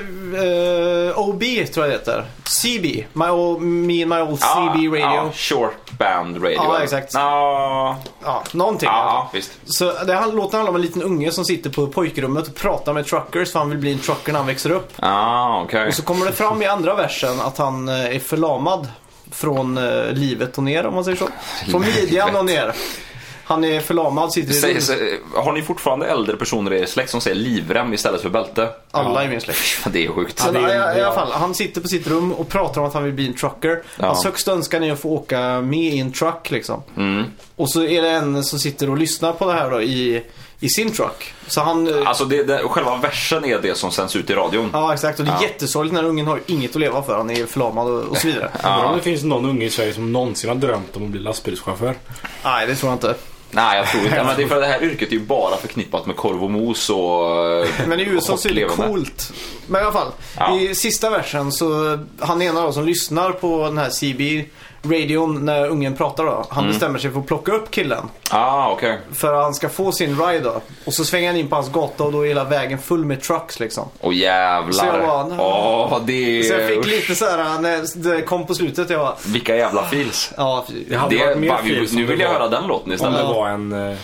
[SPEAKER 2] eh, OB tror jag det heter. CB. My old, me and my old CB radio.
[SPEAKER 3] Ja, short band radio.
[SPEAKER 2] Ja, exakt.
[SPEAKER 3] Ja,
[SPEAKER 2] Ja, någonting. i alla fall.
[SPEAKER 3] ja, visst.
[SPEAKER 2] Så det här låten handlar om en liten unge som sitter på pojkrummet och pratar med truckers för han vill bli en trucker när han växer upp.
[SPEAKER 3] Ja, okej.
[SPEAKER 2] Och så kommer det fram i andra versen att han eh, är förlamad från eh, livet och ner om man säger så. Från midjan och ner. Han är förlamad, sitter i
[SPEAKER 3] Säg,
[SPEAKER 2] rullstol.
[SPEAKER 3] säg, har ni fortfarande äldre personer i er släkt som säger livrem istället för bälte?
[SPEAKER 2] Alla i min släkt.
[SPEAKER 3] [laughs] Det är sjukt.
[SPEAKER 2] Så,
[SPEAKER 4] det är
[SPEAKER 2] i,
[SPEAKER 4] ju-
[SPEAKER 2] I alla fall, han sitter på sitt rum och pratar om att han vill bli en trucker.
[SPEAKER 3] Ja.
[SPEAKER 2] Hans högsta önskan är att få åka med i en truck liksom.
[SPEAKER 3] Mm.
[SPEAKER 2] Och så är det en som sitter och lyssnar på det här då i, i sin truck. Så han... eh,
[SPEAKER 3] Alltså det, det, själva versen är det som sänds ut i radion.
[SPEAKER 2] Ja exakt och det är
[SPEAKER 3] Ja. jättesorgligt
[SPEAKER 2] jättesorgligt när ungen har inget att leva för. Han är förlamad och, så vidare.
[SPEAKER 3] [laughs]
[SPEAKER 4] Undrar om det finns någon unge i Sverige som någonsin har drömt om att bli lastbilschaufför.
[SPEAKER 2] Nej det tror jag inte.
[SPEAKER 3] Nej, jag tror
[SPEAKER 2] [laughs]
[SPEAKER 3] inte Men det. Är för att det här yrket är ju bara förknippat med korv och mos och... eh,
[SPEAKER 2] [laughs] Men i USA
[SPEAKER 3] och
[SPEAKER 2] så är det
[SPEAKER 3] levande.
[SPEAKER 2] coolt. Men i alla fall.
[SPEAKER 3] Ja.
[SPEAKER 2] I sista versen så, han ena då som lyssnar på den här CB radion när ungen pratar då. Han
[SPEAKER 3] Mm.
[SPEAKER 2] bestämmer sig för att plocka upp killen.
[SPEAKER 3] Ah, okej.
[SPEAKER 2] För att han ska få sin ride då. Och så svänger han in på hans gata och då är hela vägen full med trucks liksom.
[SPEAKER 3] Åh jävlar.
[SPEAKER 2] Så jag bara,
[SPEAKER 3] Åh, det...
[SPEAKER 2] Så jag fick
[SPEAKER 3] usch,
[SPEAKER 2] lite så här när det kom på slutet jag bara,
[SPEAKER 3] Vilka jävla feels.
[SPEAKER 2] ja fy.
[SPEAKER 4] Det hade varit
[SPEAKER 3] Det,
[SPEAKER 4] mer
[SPEAKER 3] bara, vi,
[SPEAKER 4] feels om
[SPEAKER 3] nu
[SPEAKER 4] det
[SPEAKER 3] vill jag
[SPEAKER 4] var-
[SPEAKER 3] höra den låten
[SPEAKER 4] Om
[SPEAKER 3] istället.
[SPEAKER 4] det var en, eh,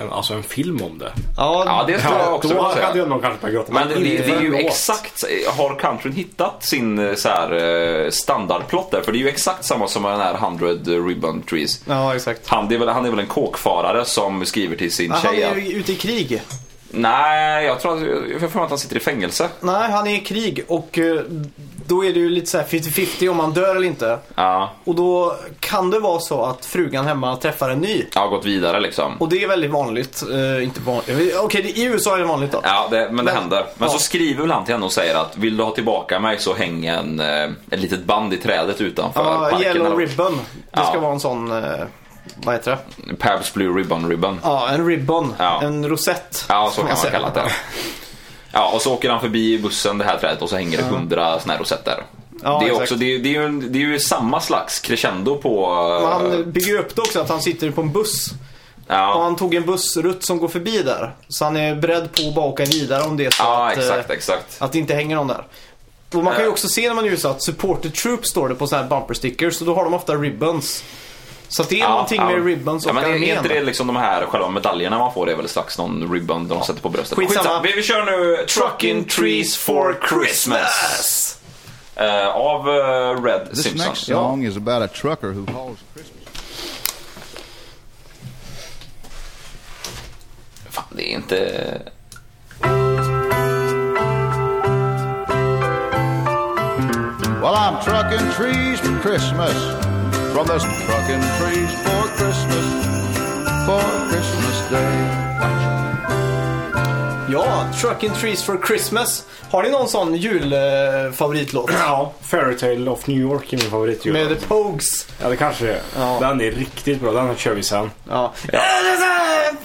[SPEAKER 4] en, alltså en film om det.
[SPEAKER 3] Ja, det tror jag också.
[SPEAKER 4] då
[SPEAKER 3] jag vill säga.
[SPEAKER 4] hade jag nog kanske börjat gråta.
[SPEAKER 3] Men det, det,
[SPEAKER 4] inte
[SPEAKER 3] det är
[SPEAKER 4] en
[SPEAKER 3] ju
[SPEAKER 4] låt.
[SPEAKER 3] exakt, har countryn hittat sin eh, så här, eh, standardplott där? För det är ju exakt samma som med den här 100 Ribbon Trees.
[SPEAKER 2] Ja exakt.
[SPEAKER 3] Han, det är väl, han är väl en kåkfarare som skriver till sin
[SPEAKER 2] Ja, Han
[SPEAKER 3] tjej
[SPEAKER 2] är
[SPEAKER 3] att,
[SPEAKER 2] ju ute i krig.
[SPEAKER 3] Nej, jag tror att, jag får för mig att han sitter i fängelse.
[SPEAKER 2] Nej, han är i krig och eh, då är det ju lite så här 50-50 om han dör eller inte.
[SPEAKER 3] Ja,
[SPEAKER 2] Och då kan det vara så att frugan hemma träffar en ny.
[SPEAKER 3] jag har gått vidare liksom.
[SPEAKER 2] Och det är väldigt vanligt. Eh, inte vanligt. jag vet- Okej, det- i USA är det vanligt då.
[SPEAKER 3] Ja, det, men det
[SPEAKER 2] Men-
[SPEAKER 3] händer. Men
[SPEAKER 2] ja.
[SPEAKER 3] så skriver väl han till henne och säger att vill du ha tillbaka mig så häng en, eh, ett litet band i trädet utanför
[SPEAKER 2] Ja,
[SPEAKER 3] parken.
[SPEAKER 2] yellow
[SPEAKER 3] eller-
[SPEAKER 2] ribbon. Det ska
[SPEAKER 3] Ja.
[SPEAKER 2] vara en sån, eh, vad heter det?
[SPEAKER 3] Pabs Blue Ribbon Ribbon.
[SPEAKER 2] Ja, en ribbon.
[SPEAKER 3] Ja.
[SPEAKER 2] En rosett.
[SPEAKER 3] Ja, så kan man
[SPEAKER 2] säga.
[SPEAKER 3] kalla det. Ja, och så åker han förbi i bussen det här trädet och så hänger det hundra såna här rosetter.
[SPEAKER 2] Ja,
[SPEAKER 3] det, är
[SPEAKER 2] exakt.
[SPEAKER 3] också, det, är, det, är ju, en- det är ju samma slags crescendo på... eh,
[SPEAKER 2] Och Han bygger upp det också att han sitter på en buss. Och
[SPEAKER 3] ja,
[SPEAKER 2] han tog en bussrutt som går förbi där. Så han är beredd på att bara åka vidare om det är så
[SPEAKER 3] ja
[SPEAKER 2] att, eh,
[SPEAKER 3] exakt, exakt.
[SPEAKER 2] Att det inte hänger någon där. Och man kan ju
[SPEAKER 3] Eh.
[SPEAKER 2] också se när man är i USA att supporter troops står det på sådana här bumper stickers. Så då har de ofta ribbons. Så att det är någonting med ribbons och
[SPEAKER 3] ja, men är, är
[SPEAKER 2] armén.
[SPEAKER 3] inte det liksom de här själva medaljerna man får? Det är väl strax någon ribbon de sätter på bröstet.
[SPEAKER 2] Skitsamma.
[SPEAKER 3] Vi, vi kör nu Trucking Trees for Christmas. Eh, av eh, Red
[SPEAKER 5] This
[SPEAKER 3] Simpson.
[SPEAKER 5] next song is about a trucker who hauls Christmas.
[SPEAKER 3] Fan, det är inte...
[SPEAKER 5] Well, I'm trucking trees for Christmas. From this trucking trees for Christmas. For Christmas Day.
[SPEAKER 2] Ja, Trucking Trees for Christmas. Har ni någon sån julfavoritlåt?
[SPEAKER 4] Ja, Fairytale of New York är min favoritjul.
[SPEAKER 2] Med The Pogues.
[SPEAKER 4] Ja, det kanske det är.
[SPEAKER 2] Ja.
[SPEAKER 4] Den är riktigt bra. Den kör vi sen.
[SPEAKER 2] Ja.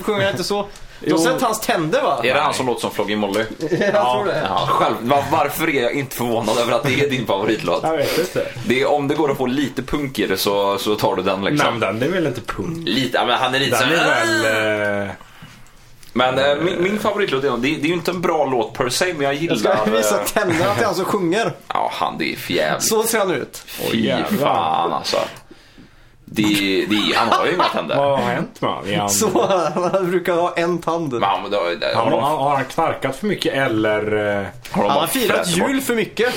[SPEAKER 2] Sjunger jag inte så? Du har
[SPEAKER 4] Jo.
[SPEAKER 2] sett hans tänder va?
[SPEAKER 3] Är det han som låter som Flogging Molly?
[SPEAKER 2] [laughs] Jag tror det.
[SPEAKER 3] Ja, själv, va- varför är jag inte förvånad över att det är din favoritlåt?
[SPEAKER 4] Jag vet inte.
[SPEAKER 3] Det är, om det går att få lite punk i det så, så tar du den
[SPEAKER 4] Nej,
[SPEAKER 3] liksom.
[SPEAKER 4] men den är väl inte punk?
[SPEAKER 3] Lite, ja, men han är lite
[SPEAKER 4] Den är
[SPEAKER 3] såhär, "Ah!"
[SPEAKER 4] väl... eh,
[SPEAKER 3] Men eh, min, min favoritlåt är det, det är ju inte en bra låt per se men jag
[SPEAKER 2] Jag
[SPEAKER 3] gillar...
[SPEAKER 2] ska visa
[SPEAKER 3] eh,
[SPEAKER 2] tänderna till han som sjunger.
[SPEAKER 3] Ja han det är för jävligt.
[SPEAKER 2] Så ser han ut.
[SPEAKER 3] Fy
[SPEAKER 4] jävlar.
[SPEAKER 3] fan alltså. Det, det, han har ju inga tänder.
[SPEAKER 4] Vad har hänt med han? Är han-
[SPEAKER 2] Så [laughs] han brukar ha en tand.
[SPEAKER 3] Men han, det, det,
[SPEAKER 4] Han,
[SPEAKER 3] har de,
[SPEAKER 4] har,
[SPEAKER 3] har
[SPEAKER 4] har han knarkat för mycket eller? eh,
[SPEAKER 3] de
[SPEAKER 2] Han
[SPEAKER 3] bara
[SPEAKER 2] har firat
[SPEAKER 3] fräser bort?
[SPEAKER 2] jul för mycket.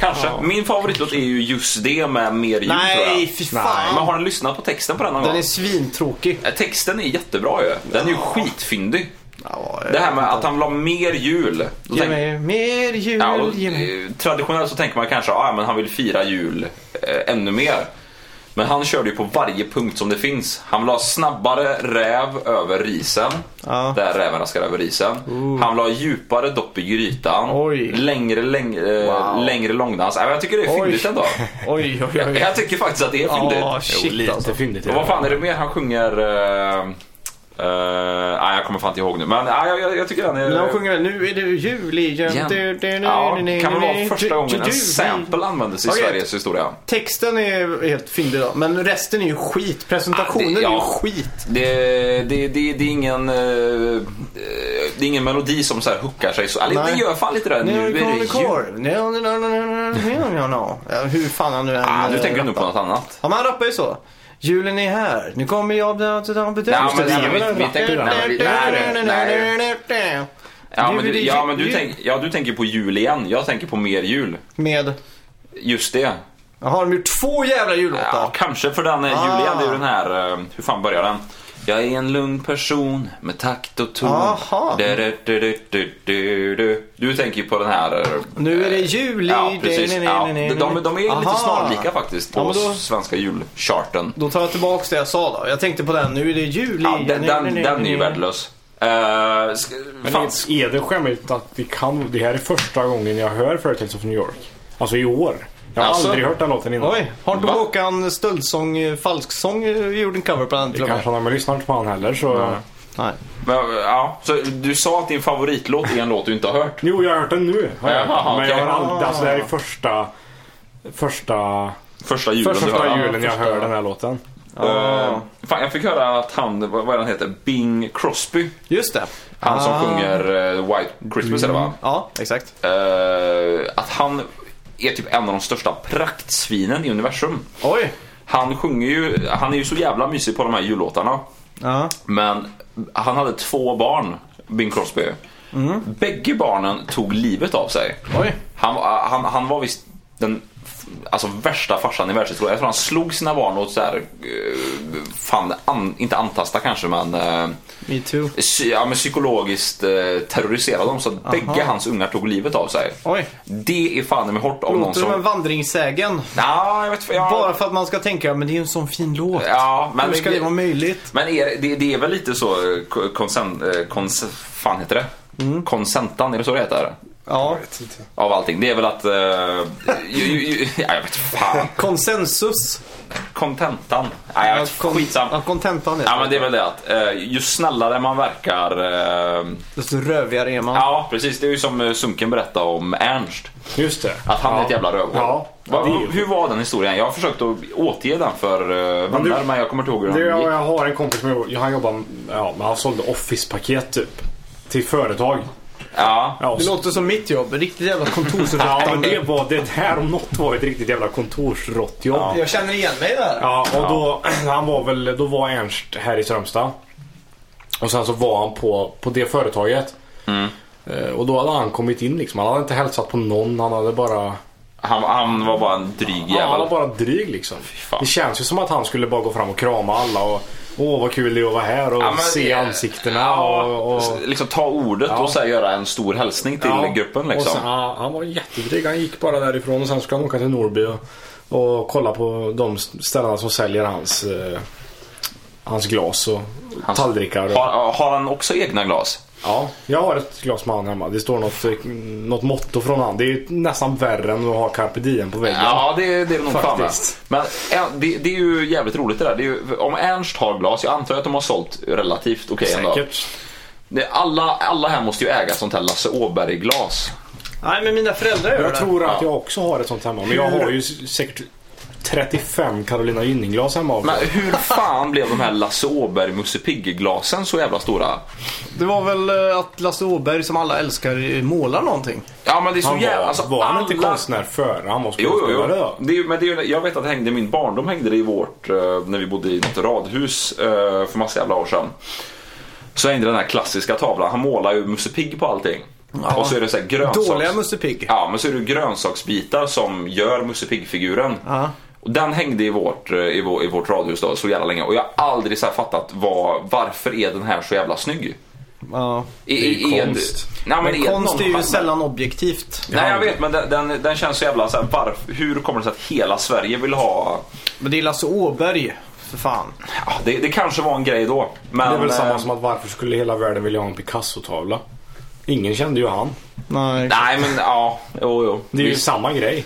[SPEAKER 3] Kanske. Min favoritlåt är ju just det med mer jul tror jag.
[SPEAKER 2] Nej, fy fan.
[SPEAKER 3] Men har ni lyssnat på texten på den någon
[SPEAKER 2] Den
[SPEAKER 3] gång?
[SPEAKER 2] är svintråkig.
[SPEAKER 3] Eh, Texten är jättebra ju. Den är ju skitfyndig.
[SPEAKER 2] Ja,
[SPEAKER 3] Det här med att han vill ha mer jul. Då
[SPEAKER 2] Ge
[SPEAKER 3] tänk-
[SPEAKER 2] mig mer jul,
[SPEAKER 3] Ja, och,
[SPEAKER 2] ge mig...
[SPEAKER 3] eh, traditionellt så tänker man kanske att ah, men han vill fira jul eh, ännu mer. Men han körde ju på varje punkt som det finns. Han vill ha snabbare räv över risen.
[SPEAKER 2] Ja.
[SPEAKER 3] Där räven raskar över risen. Han vill ha djupare dopp i grytan.
[SPEAKER 2] Oj.
[SPEAKER 3] Längre, längre, eh,
[SPEAKER 2] Wow.
[SPEAKER 3] längre långdans. Äh, men jag tycker det är
[SPEAKER 2] Oj. [laughs]
[SPEAKER 3] fyndigt ändå.
[SPEAKER 2] Oj, oj,
[SPEAKER 3] Jag,
[SPEAKER 2] oj.
[SPEAKER 3] jag tycker faktiskt att det är fyndigt.
[SPEAKER 2] Ja,
[SPEAKER 4] jo,
[SPEAKER 2] shit
[SPEAKER 4] lite
[SPEAKER 2] alltså.
[SPEAKER 4] fyndigt.
[SPEAKER 3] Och vad fan är det mer han sjunger? eh, eh, nej, jag kommer fan inte ihåg nu. Men nej, jag, jag, jag tycker den är...
[SPEAKER 2] När de sjunger den, nu är det jul igen.
[SPEAKER 3] Igen.
[SPEAKER 2] Du, du, du,
[SPEAKER 3] Ja,
[SPEAKER 2] du, du,
[SPEAKER 3] kan väl
[SPEAKER 2] du,
[SPEAKER 3] vara
[SPEAKER 2] du,
[SPEAKER 3] första
[SPEAKER 2] du,
[SPEAKER 3] gången
[SPEAKER 2] du.
[SPEAKER 3] en sample användes i
[SPEAKER 2] Okej.
[SPEAKER 3] Sveriges historia.
[SPEAKER 2] Texten är helt fyndig då, men resten är ju skit. Presentationen
[SPEAKER 3] Ah, det-
[SPEAKER 2] är ju
[SPEAKER 3] ja.
[SPEAKER 2] skit.
[SPEAKER 3] Det, det, det, det, är ingen, eh, eh, det är ingen melodi som så här hookar sig. Så, eller, det
[SPEAKER 2] Nej.
[SPEAKER 3] gör fan lite det. Nu är det
[SPEAKER 2] kommer
[SPEAKER 3] jul.
[SPEAKER 2] korv. Nu, nu, nu, nu, nu, nu, nu, nu. Ja, Hur fan han nu än...
[SPEAKER 3] Ah, nu
[SPEAKER 2] eh,
[SPEAKER 3] tänker du nog
[SPEAKER 2] rappar.
[SPEAKER 3] på något annat.
[SPEAKER 2] Ja, men han rappar ju så. Julen är här, nu kommer jag...
[SPEAKER 3] Ja, men-
[SPEAKER 4] det är
[SPEAKER 3] nej,
[SPEAKER 4] väl
[SPEAKER 3] men vi-
[SPEAKER 4] en
[SPEAKER 3] vi
[SPEAKER 4] rapp i
[SPEAKER 3] tänker-
[SPEAKER 4] den.
[SPEAKER 3] nej, men vi- nej, nej, nej. Ja, men du, ja, men du, tänk, ja, du tänker på jul igen. Jag tänker på mer jul.
[SPEAKER 2] Med...
[SPEAKER 3] Just det.
[SPEAKER 2] Jaha, de har gjort två jävla
[SPEAKER 3] Ja,
[SPEAKER 2] jullåtar.
[SPEAKER 3] kanske för den är
[SPEAKER 2] Ah.
[SPEAKER 3] Julian. Det är ju den här, eh, hur fan börjar den? Jag är en lugn person med takt och ton.
[SPEAKER 2] Aha.
[SPEAKER 3] Du, du, du, du, du, du, du. du tänker ju på den här... eh,
[SPEAKER 2] Nu är det
[SPEAKER 3] eh,
[SPEAKER 2] juli,
[SPEAKER 3] Ja,
[SPEAKER 2] det-
[SPEAKER 3] precis.
[SPEAKER 2] nej, nej,
[SPEAKER 3] Ja,
[SPEAKER 2] nej, nej,
[SPEAKER 3] de, de, de är
[SPEAKER 2] nej.
[SPEAKER 3] lite
[SPEAKER 2] Aha.
[SPEAKER 3] snarlika faktiskt på
[SPEAKER 2] Ja, men då-
[SPEAKER 3] svenska julcharten.
[SPEAKER 2] Då tar jag tillbaka det jag sa då. Jag tänkte på den, nu är det jul
[SPEAKER 3] Ja,
[SPEAKER 2] igen.
[SPEAKER 3] den, den,
[SPEAKER 2] Nu-
[SPEAKER 3] den är ju
[SPEAKER 2] nu-
[SPEAKER 3] värdelös. Eh, ska-
[SPEAKER 4] Men
[SPEAKER 3] fan,
[SPEAKER 4] är- är det skämmigt att vi kan... Det här är första gången jag hör Företeelser från New York. Alltså i år. Jag har
[SPEAKER 3] Alltså?
[SPEAKER 4] aldrig hört den låten innan.
[SPEAKER 2] Oj, har inte
[SPEAKER 3] Va?
[SPEAKER 2] Håkan Stöldsång, eh, falsksång, eh, gjort en cover på den till och
[SPEAKER 4] Kanske
[SPEAKER 2] med?
[SPEAKER 4] när man lyssnar inte på han heller så...
[SPEAKER 2] Nej.
[SPEAKER 3] Men, ja, så du sa att din favoritlåt är en låt du inte har hört.
[SPEAKER 4] Jo, jag har hört den nu. Har jag.
[SPEAKER 3] Jaha,
[SPEAKER 4] men jag har
[SPEAKER 3] okej. Ah.
[SPEAKER 4] aldrig... Alltså det här är första... Första...
[SPEAKER 3] Första julen du hörde.
[SPEAKER 4] Första
[SPEAKER 2] jul.
[SPEAKER 4] julen jag
[SPEAKER 2] första.
[SPEAKER 4] hör den här låten.
[SPEAKER 3] Eh, fan, jag fick höra att han, vad vad är han heter, Bing Crosby.
[SPEAKER 2] Just det.
[SPEAKER 3] Han som
[SPEAKER 2] Ah. Mm.
[SPEAKER 3] sjunger eh, White Christmas eller vad?
[SPEAKER 2] Ja, exakt.
[SPEAKER 3] Eh, att han är typ en av de största praktsvinen i universum.
[SPEAKER 2] Oj.
[SPEAKER 3] Han sjunger ju, han är ju så jävla mysig på de här jullåtarna.
[SPEAKER 2] Ja.
[SPEAKER 3] Men han hade två barn, Bing Crosby. Bägge barnen tog livet av sig.
[SPEAKER 2] Mm. Oj.
[SPEAKER 3] Han, han, han var visst den f- alltså, värsta farsan i världshistorien. Jag tror han slog sina barn och så här, eh, fan, an, inte antasta kanske men, eh,
[SPEAKER 2] Me too.
[SPEAKER 3] psy, ja, men psykologiskt eh, terroriserade dem så att bägge hans ungar tog livet av sig.
[SPEAKER 2] Oj.
[SPEAKER 3] Det är fan i mig hårt om någon
[SPEAKER 2] Låter som en
[SPEAKER 3] som...
[SPEAKER 2] vandringssägen.
[SPEAKER 3] Ja, jag vet jag...
[SPEAKER 2] Bara för att man ska tänka, men det är ju en sån fin låt.
[SPEAKER 3] Ja, men
[SPEAKER 2] Hur ska det vara möjligt?
[SPEAKER 3] Men är, det, det är väl lite så eh, ko- konsen, eh, kons, fan heter det?
[SPEAKER 2] Mm.
[SPEAKER 3] Konsentan, är det så det heter?
[SPEAKER 2] Ja.
[SPEAKER 3] Av allting. Det är väl att... Eh, ju, ju, ju, ja, jag vet fan.
[SPEAKER 2] Konsensus.
[SPEAKER 3] Kontentan. Nej, jag vet,
[SPEAKER 2] kon-
[SPEAKER 3] skitsam.
[SPEAKER 2] Ja, kontentan är
[SPEAKER 3] Ja men det är väl det att eh, ju snällare man verkar... Eh,
[SPEAKER 2] Desto rövigare är man.
[SPEAKER 3] ja precis, det är ju som eh, Sunken berättade om Ernst.
[SPEAKER 4] Just det.
[SPEAKER 3] Att han är ett jävla rövhål.
[SPEAKER 4] Ja.
[SPEAKER 3] Va,
[SPEAKER 4] Det är ju-
[SPEAKER 3] hur var den historien? Jag har försökt att återge den för uh,
[SPEAKER 4] Men du-
[SPEAKER 3] vänner men jag kommer inte ihåg hur
[SPEAKER 4] Det,
[SPEAKER 3] den
[SPEAKER 4] jag,
[SPEAKER 3] gick.
[SPEAKER 4] jag har en kompis som jag- han jobbar... Ja, men han sålde office-paket typ. Till företag.
[SPEAKER 3] Ja.
[SPEAKER 4] Ja, och
[SPEAKER 2] Det
[SPEAKER 4] så-
[SPEAKER 2] låter som mitt jobb. Riktigt jävla
[SPEAKER 4] Ja, men
[SPEAKER 2] kontorsrättande.
[SPEAKER 4] det var det här om något var ett riktigt jävla kontorsråttjobb. Ja.
[SPEAKER 2] Jag känner igen mig där.
[SPEAKER 4] och då, [clears throat] han var väl, då var Ernst här i Strömstad. Och sen så var han på, på det företaget.
[SPEAKER 3] Mm.
[SPEAKER 4] Eh, Och då hade han kommit in liksom. Han hade inte hälsat på någon. Han hade bara...
[SPEAKER 3] Han, han var bara en dryg
[SPEAKER 4] Ja, han
[SPEAKER 3] jävel.
[SPEAKER 4] var bara dryg liksom.
[SPEAKER 3] fan.
[SPEAKER 4] Det känns ju som att han skulle bara gå fram och krama alla och Åh vad kul det är att vara här och
[SPEAKER 3] Ja, men-
[SPEAKER 4] se ansiktena
[SPEAKER 3] Ja,
[SPEAKER 4] och... och...
[SPEAKER 3] Liksom ta ordet och så här göra en stor hälsning till
[SPEAKER 4] Ja.
[SPEAKER 3] gruppen
[SPEAKER 4] Och
[SPEAKER 3] liksom.
[SPEAKER 4] sen, ja, han var jättedryg. Han gick bara därifrån och sen skulle han åka till Norrby och, och kolla på de ställena som säljer hans, eh, hans glas och
[SPEAKER 3] Hans-
[SPEAKER 4] tallrikar. Och,
[SPEAKER 3] Har, har han också egna glas?
[SPEAKER 4] ja, jag har ett glas med han hemma. Det står något, eh, något motto från han. Det är nästan värre än att ha carpe diem på väggen.
[SPEAKER 3] Ja, det, det är det nog fan med.
[SPEAKER 4] Faktiskt.
[SPEAKER 3] Men ja, det, det är ju jävligt roligt det där. Det är ju, om Ernst har glas, jag antar att de har sålt relativt okej ändå.
[SPEAKER 4] Säkert.
[SPEAKER 3] Det- Alla, alla här måste ju äga sånt här Lasse Åberg-glas.
[SPEAKER 2] Nej, men mina föräldrar gör
[SPEAKER 4] Jag
[SPEAKER 2] det.
[SPEAKER 4] tror
[SPEAKER 3] Ja.
[SPEAKER 4] att jag också har ett sånt hemma. Men jag
[SPEAKER 2] Hur-
[SPEAKER 4] har ju s- säkert 35 Carolina Gynning-glas hemma också.
[SPEAKER 3] Men hur fan blev de här Lasse Åberg Musse Pigg-glasen så jävla stora?
[SPEAKER 2] Det var väl eh, att Lasse Åberg, som alla älskar, eh, målar någonting.
[SPEAKER 3] Ja men det är så
[SPEAKER 4] Han var,
[SPEAKER 3] jävla... Alltså,
[SPEAKER 4] var han
[SPEAKER 3] alla...
[SPEAKER 4] inte konstnär före han var
[SPEAKER 3] Jo, jo, jo.
[SPEAKER 4] skådespelare då?
[SPEAKER 3] Det är, ju- men det är, ju- jag vet att det hängde i min barndom hängde det i vårt, eh, när vi bodde i ett radhus eh, för massa jävla år sedan. Så hängde den här klassiska tavlan. Han målar ju Musse Pigg på allting. Och så är det så här grönsaks...
[SPEAKER 2] Dåliga Musse Pigg.
[SPEAKER 3] Ja, men så är det grönsaksbitar som gör Musse Pigg-figuren.
[SPEAKER 2] Ja.
[SPEAKER 3] Och Den hängde i vårt, eh, i, vår, i vårt radhus då, så jävla länge och jag har aldrig så här fattat vad, varför är den här så jävla snygg?
[SPEAKER 2] Ja.
[SPEAKER 3] I, det
[SPEAKER 4] är
[SPEAKER 3] är
[SPEAKER 4] konst.
[SPEAKER 3] Nej, men
[SPEAKER 2] Men
[SPEAKER 3] det
[SPEAKER 2] konst
[SPEAKER 3] någon
[SPEAKER 2] är ju
[SPEAKER 3] charm?
[SPEAKER 2] sällan objektivt.
[SPEAKER 3] Nej jag vet men den, den, den känns så jävla så här, varf- hur kommer det sig att hela Sverige vill ha
[SPEAKER 2] Men det är Lasse Åberg, för fan.
[SPEAKER 3] Ja, det, det kanske var en grej då. Men,
[SPEAKER 4] Det är väl
[SPEAKER 3] eh,
[SPEAKER 4] samma som att varför skulle hela världen vilja ha en Picasso-tavla? Ingen kände ju han.
[SPEAKER 2] Nej,
[SPEAKER 3] Nej men ja, jo jo.
[SPEAKER 4] Det är ju
[SPEAKER 3] Visst.
[SPEAKER 4] samma grej.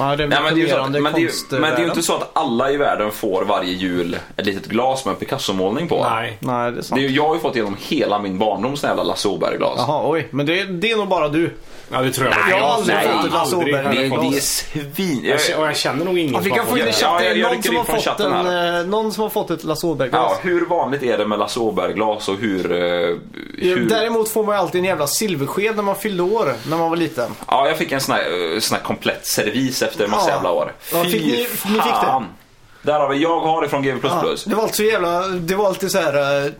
[SPEAKER 2] Nej det är
[SPEAKER 3] Nej, men, det är ju så att,
[SPEAKER 2] revolutionerande
[SPEAKER 3] men, det är,
[SPEAKER 2] konst. eh,
[SPEAKER 3] ju- men det är ju inte så att alla i världen får varje jul ett litet glas med en Picasso-målning på.
[SPEAKER 4] Nej.
[SPEAKER 2] Nej, det är
[SPEAKER 3] Det
[SPEAKER 2] sant.
[SPEAKER 3] är, ju- jag har ju fått igenom hela min barndom såna jävla Lasse Åberg-glas.
[SPEAKER 2] Jaha, oj. Men det är, det är nog bara du.
[SPEAKER 4] Ja, det tror jag
[SPEAKER 2] Nej, jag har aldrig
[SPEAKER 3] fått ett
[SPEAKER 2] Lasse
[SPEAKER 4] aldrig.
[SPEAKER 2] Åberg.
[SPEAKER 3] Det,
[SPEAKER 2] Nej,
[SPEAKER 3] det är
[SPEAKER 2] glas.
[SPEAKER 3] svin...
[SPEAKER 4] Jag, k- och jag känner nog ingen
[SPEAKER 2] vi
[SPEAKER 4] som
[SPEAKER 2] kan
[SPEAKER 4] har
[SPEAKER 2] få in i
[SPEAKER 4] fått-
[SPEAKER 3] chatten.
[SPEAKER 2] chatten.
[SPEAKER 3] jag- jag
[SPEAKER 2] någon,
[SPEAKER 3] rycker
[SPEAKER 2] som
[SPEAKER 3] in
[SPEAKER 2] har
[SPEAKER 3] från
[SPEAKER 2] fått
[SPEAKER 3] chatten
[SPEAKER 2] en,
[SPEAKER 3] här.
[SPEAKER 2] eh, någon som har fått ett Lasse Åberg-glas.
[SPEAKER 3] Ja, hur vanligt är det med Lasse Åberg-glas och hur... eh, hur...
[SPEAKER 2] Däremot får man ju alltid en jävla silversked när man fyllde år, när man var liten.
[SPEAKER 3] Ja, jag fick en sån här, eh, sån här komplett servis efter en massa
[SPEAKER 2] Ja.
[SPEAKER 3] jävla år.
[SPEAKER 2] Ja, fick ni- ni fick det?
[SPEAKER 3] Där har vi, jag har det från GV++.
[SPEAKER 2] Ja, det var alltid så jävla, det var alltid så här eh,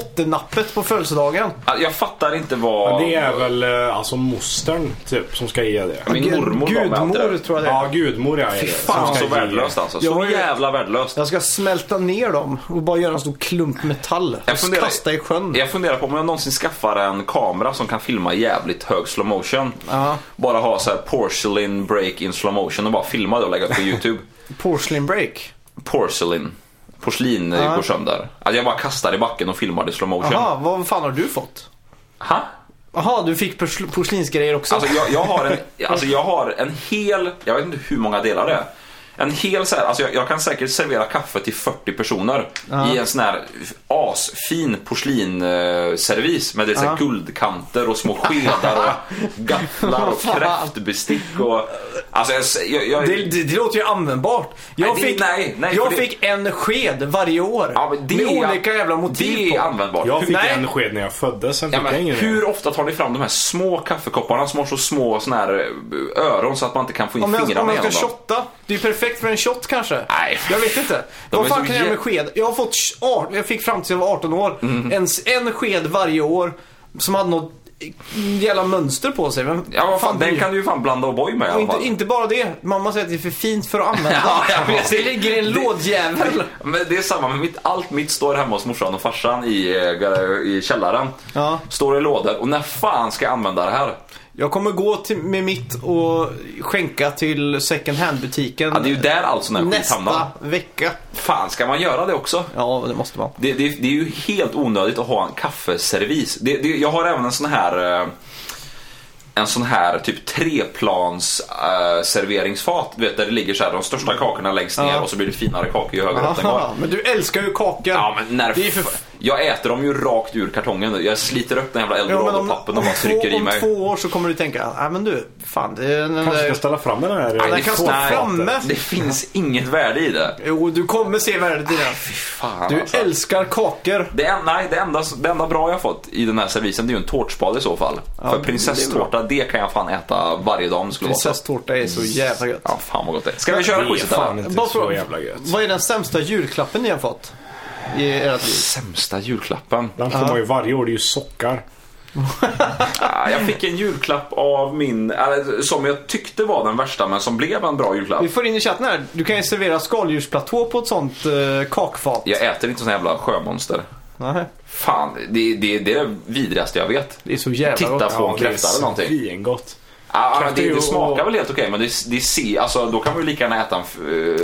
[SPEAKER 2] bottennappet på födelsedagen.
[SPEAKER 3] Alltså, Jag fattar inte vad...
[SPEAKER 4] Det är väl eh, alltså mostern typ som ska ge det.
[SPEAKER 3] Min mormor var med allt det
[SPEAKER 2] Gudmor
[SPEAKER 3] där.
[SPEAKER 2] tror jag det är.
[SPEAKER 4] Ja, gudmor ja. är det
[SPEAKER 3] Fan
[SPEAKER 4] som
[SPEAKER 3] så
[SPEAKER 4] ska ge det.
[SPEAKER 3] värdelöst alltså.
[SPEAKER 2] Jag
[SPEAKER 3] Så
[SPEAKER 2] har ju-
[SPEAKER 3] jävla värdelöst.
[SPEAKER 2] Jag ska smälta ner dem och bara göra en stor klump metall.
[SPEAKER 3] Jag
[SPEAKER 2] Och
[SPEAKER 3] funderar-
[SPEAKER 2] kasta i sjön.
[SPEAKER 3] Jag funderar på om jag någonsin skaffar en kamera som kan filma jävligt hög slow motion.
[SPEAKER 2] Ja.
[SPEAKER 3] Bara ha så här porcelain break in slow motion och bara filma det och lägga upp på [laughs] YouTube.
[SPEAKER 2] Porcelain break.
[SPEAKER 3] porcelain. Porslin eh, går sönder. Att jag bara kastar i backen och filmar det i slow motion.
[SPEAKER 2] Jaha, vad fan har du fått?
[SPEAKER 3] Ha?
[SPEAKER 2] Jaha, du fick porsl- porslinsgrejer också?
[SPEAKER 3] Alltså, jag, jag, har
[SPEAKER 2] [laughs]
[SPEAKER 3] en, alltså jag har en hel, jag vet inte hur många delar det är. En hel så här, alltså jag, jag kan säkert servera kaffe till 40 personer i en sån här asfin porslinservis med det är så här guldkanter och små
[SPEAKER 2] [laughs]
[SPEAKER 3] skedar och gafflar och kräftbestick och... Alltså jag... jag, jag
[SPEAKER 2] det, det, det låter ju användbart. Jag
[SPEAKER 3] Nej, det-
[SPEAKER 2] fick,
[SPEAKER 3] nej, nej,
[SPEAKER 2] jag
[SPEAKER 3] för det-
[SPEAKER 2] fick en sked varje år.
[SPEAKER 3] ja, men det
[SPEAKER 2] med
[SPEAKER 3] är-
[SPEAKER 2] olika jävla motiv
[SPEAKER 3] Det är
[SPEAKER 2] på.
[SPEAKER 3] användbart.
[SPEAKER 4] Jag fick
[SPEAKER 2] Nej.
[SPEAKER 4] en sked när jag föddes, sen
[SPEAKER 3] Ja,
[SPEAKER 4] fick jag
[SPEAKER 3] men
[SPEAKER 4] ingen mer.
[SPEAKER 3] hur ofta tar ni fram de här små kaffekopparna som har så små såna här eh, öron så att man inte kan få in
[SPEAKER 2] Om jag, om
[SPEAKER 3] fingrarna
[SPEAKER 2] jag ska
[SPEAKER 3] igenom dem?
[SPEAKER 2] shotta. Det är perfekt för en shot kanske.
[SPEAKER 3] Nej.
[SPEAKER 2] Jag vet inte.
[SPEAKER 3] De
[SPEAKER 2] Vad
[SPEAKER 3] är
[SPEAKER 2] fan
[SPEAKER 3] så
[SPEAKER 2] kan jag göra med
[SPEAKER 3] jä- Mhm.
[SPEAKER 2] sked? Jag har fått, sh- art- jag fick fram tills jag var 18 år. En, s- en sked varje år som hade något jävla mönster på sig. Men,
[SPEAKER 3] Ja, vad fan, den
[SPEAKER 2] bryr-
[SPEAKER 3] kan du ju fan blanda O'boy med i
[SPEAKER 2] och
[SPEAKER 3] alla fall.
[SPEAKER 2] inte, inte bara det. Mamma säger att det är för fint för att använda.
[SPEAKER 3] [laughs] Ja, jag vet.
[SPEAKER 2] det ligger i en
[SPEAKER 3] Det-
[SPEAKER 2] lådjävel.
[SPEAKER 3] [laughs] Men det är samma med mitt, allt mitt står hemma hos morsan och farsan i, eh, gar- i källaren.
[SPEAKER 2] Ja.
[SPEAKER 3] Står i lådor och när fan ska jag använda det här?
[SPEAKER 2] Jag kommer gå till, med mitt och skänka till second hand-butiken
[SPEAKER 3] Ja, det är ju där all sån här skit hamnar.
[SPEAKER 2] nästa vecka.
[SPEAKER 3] Fan, ska man göra det också?
[SPEAKER 2] Ja, det måste man.
[SPEAKER 3] Det, det, det är ju helt onödigt att ha en kaffeservis. Det, det, jag har även en sån här eh, en sån här typ treplans eh, serveringsfat. Du vet där det ligger så här, de största kakorna längst ner
[SPEAKER 2] Mm. Ja.
[SPEAKER 3] och så blir det finare kakor ju högre upp
[SPEAKER 2] [laughs]
[SPEAKER 3] den går.
[SPEAKER 2] Aha, men du älskar ju kaka.
[SPEAKER 3] Ja, men när
[SPEAKER 2] det är för...
[SPEAKER 3] f- jag äter dem ju rakt ur kartongen. Jag sliter upp den jävla
[SPEAKER 2] Ja, men om,
[SPEAKER 3] eldorado-pappen och
[SPEAKER 2] om
[SPEAKER 3] bara trycker
[SPEAKER 2] två,
[SPEAKER 3] i
[SPEAKER 2] om
[SPEAKER 3] mig.
[SPEAKER 2] två år så kommer du tänka, nej men du, fan det är den
[SPEAKER 4] Kanske
[SPEAKER 2] där...
[SPEAKER 4] ska ställa fram den här.
[SPEAKER 2] den
[SPEAKER 4] eh,
[SPEAKER 3] det
[SPEAKER 2] kan stå
[SPEAKER 3] finns-
[SPEAKER 2] framme.
[SPEAKER 3] Det finns inget värde i det.
[SPEAKER 2] Jo, du kommer se värdet i den.
[SPEAKER 3] Ah, Fy fan
[SPEAKER 2] Du
[SPEAKER 3] alltså.
[SPEAKER 2] älskar kakor.
[SPEAKER 3] Det, en, nej, det, enda, det enda bra jag fått i den här servisen det är ju en tårtspade i så fall. För prinsesstårta, det, kan jag fan äta varje dag om det skulle vara så.
[SPEAKER 2] Prinsesstårta är så jävla gött.
[SPEAKER 3] Ja, fan vad gott det är. Ska vi
[SPEAKER 4] Det
[SPEAKER 3] köra
[SPEAKER 4] är
[SPEAKER 3] quizet eller?
[SPEAKER 4] fan inte
[SPEAKER 2] Bara
[SPEAKER 4] så
[SPEAKER 2] fråga,
[SPEAKER 4] jävla gött.
[SPEAKER 2] Vad är den sämsta julklappen ni har fått? I ert liv?
[SPEAKER 3] Sämsta julklappen.
[SPEAKER 4] Den får man ju varje år, det är ju sockar.
[SPEAKER 3] Ah, jag fick en julklapp av min, eller, som jag tyckte var den värsta men som blev en bra julklapp.
[SPEAKER 2] Vi får in i chatten här. Du kan ju servera skaldjursplatå på ett sånt eh, kakfat.
[SPEAKER 3] Jag äter inte såna jävla sjömonster.
[SPEAKER 2] Nej,
[SPEAKER 3] Fan, det, det, det är det vidrigaste jag vet.
[SPEAKER 2] det är så jävla
[SPEAKER 3] Titta
[SPEAKER 2] gott.
[SPEAKER 3] på en kräfta eller någonting.
[SPEAKER 4] Svingott.
[SPEAKER 3] Ah, men det,
[SPEAKER 4] Kräftor
[SPEAKER 3] det
[SPEAKER 4] och-
[SPEAKER 3] smakar väl helt okej men det, det ser, alltså då kan man ju lika gärna äta en f-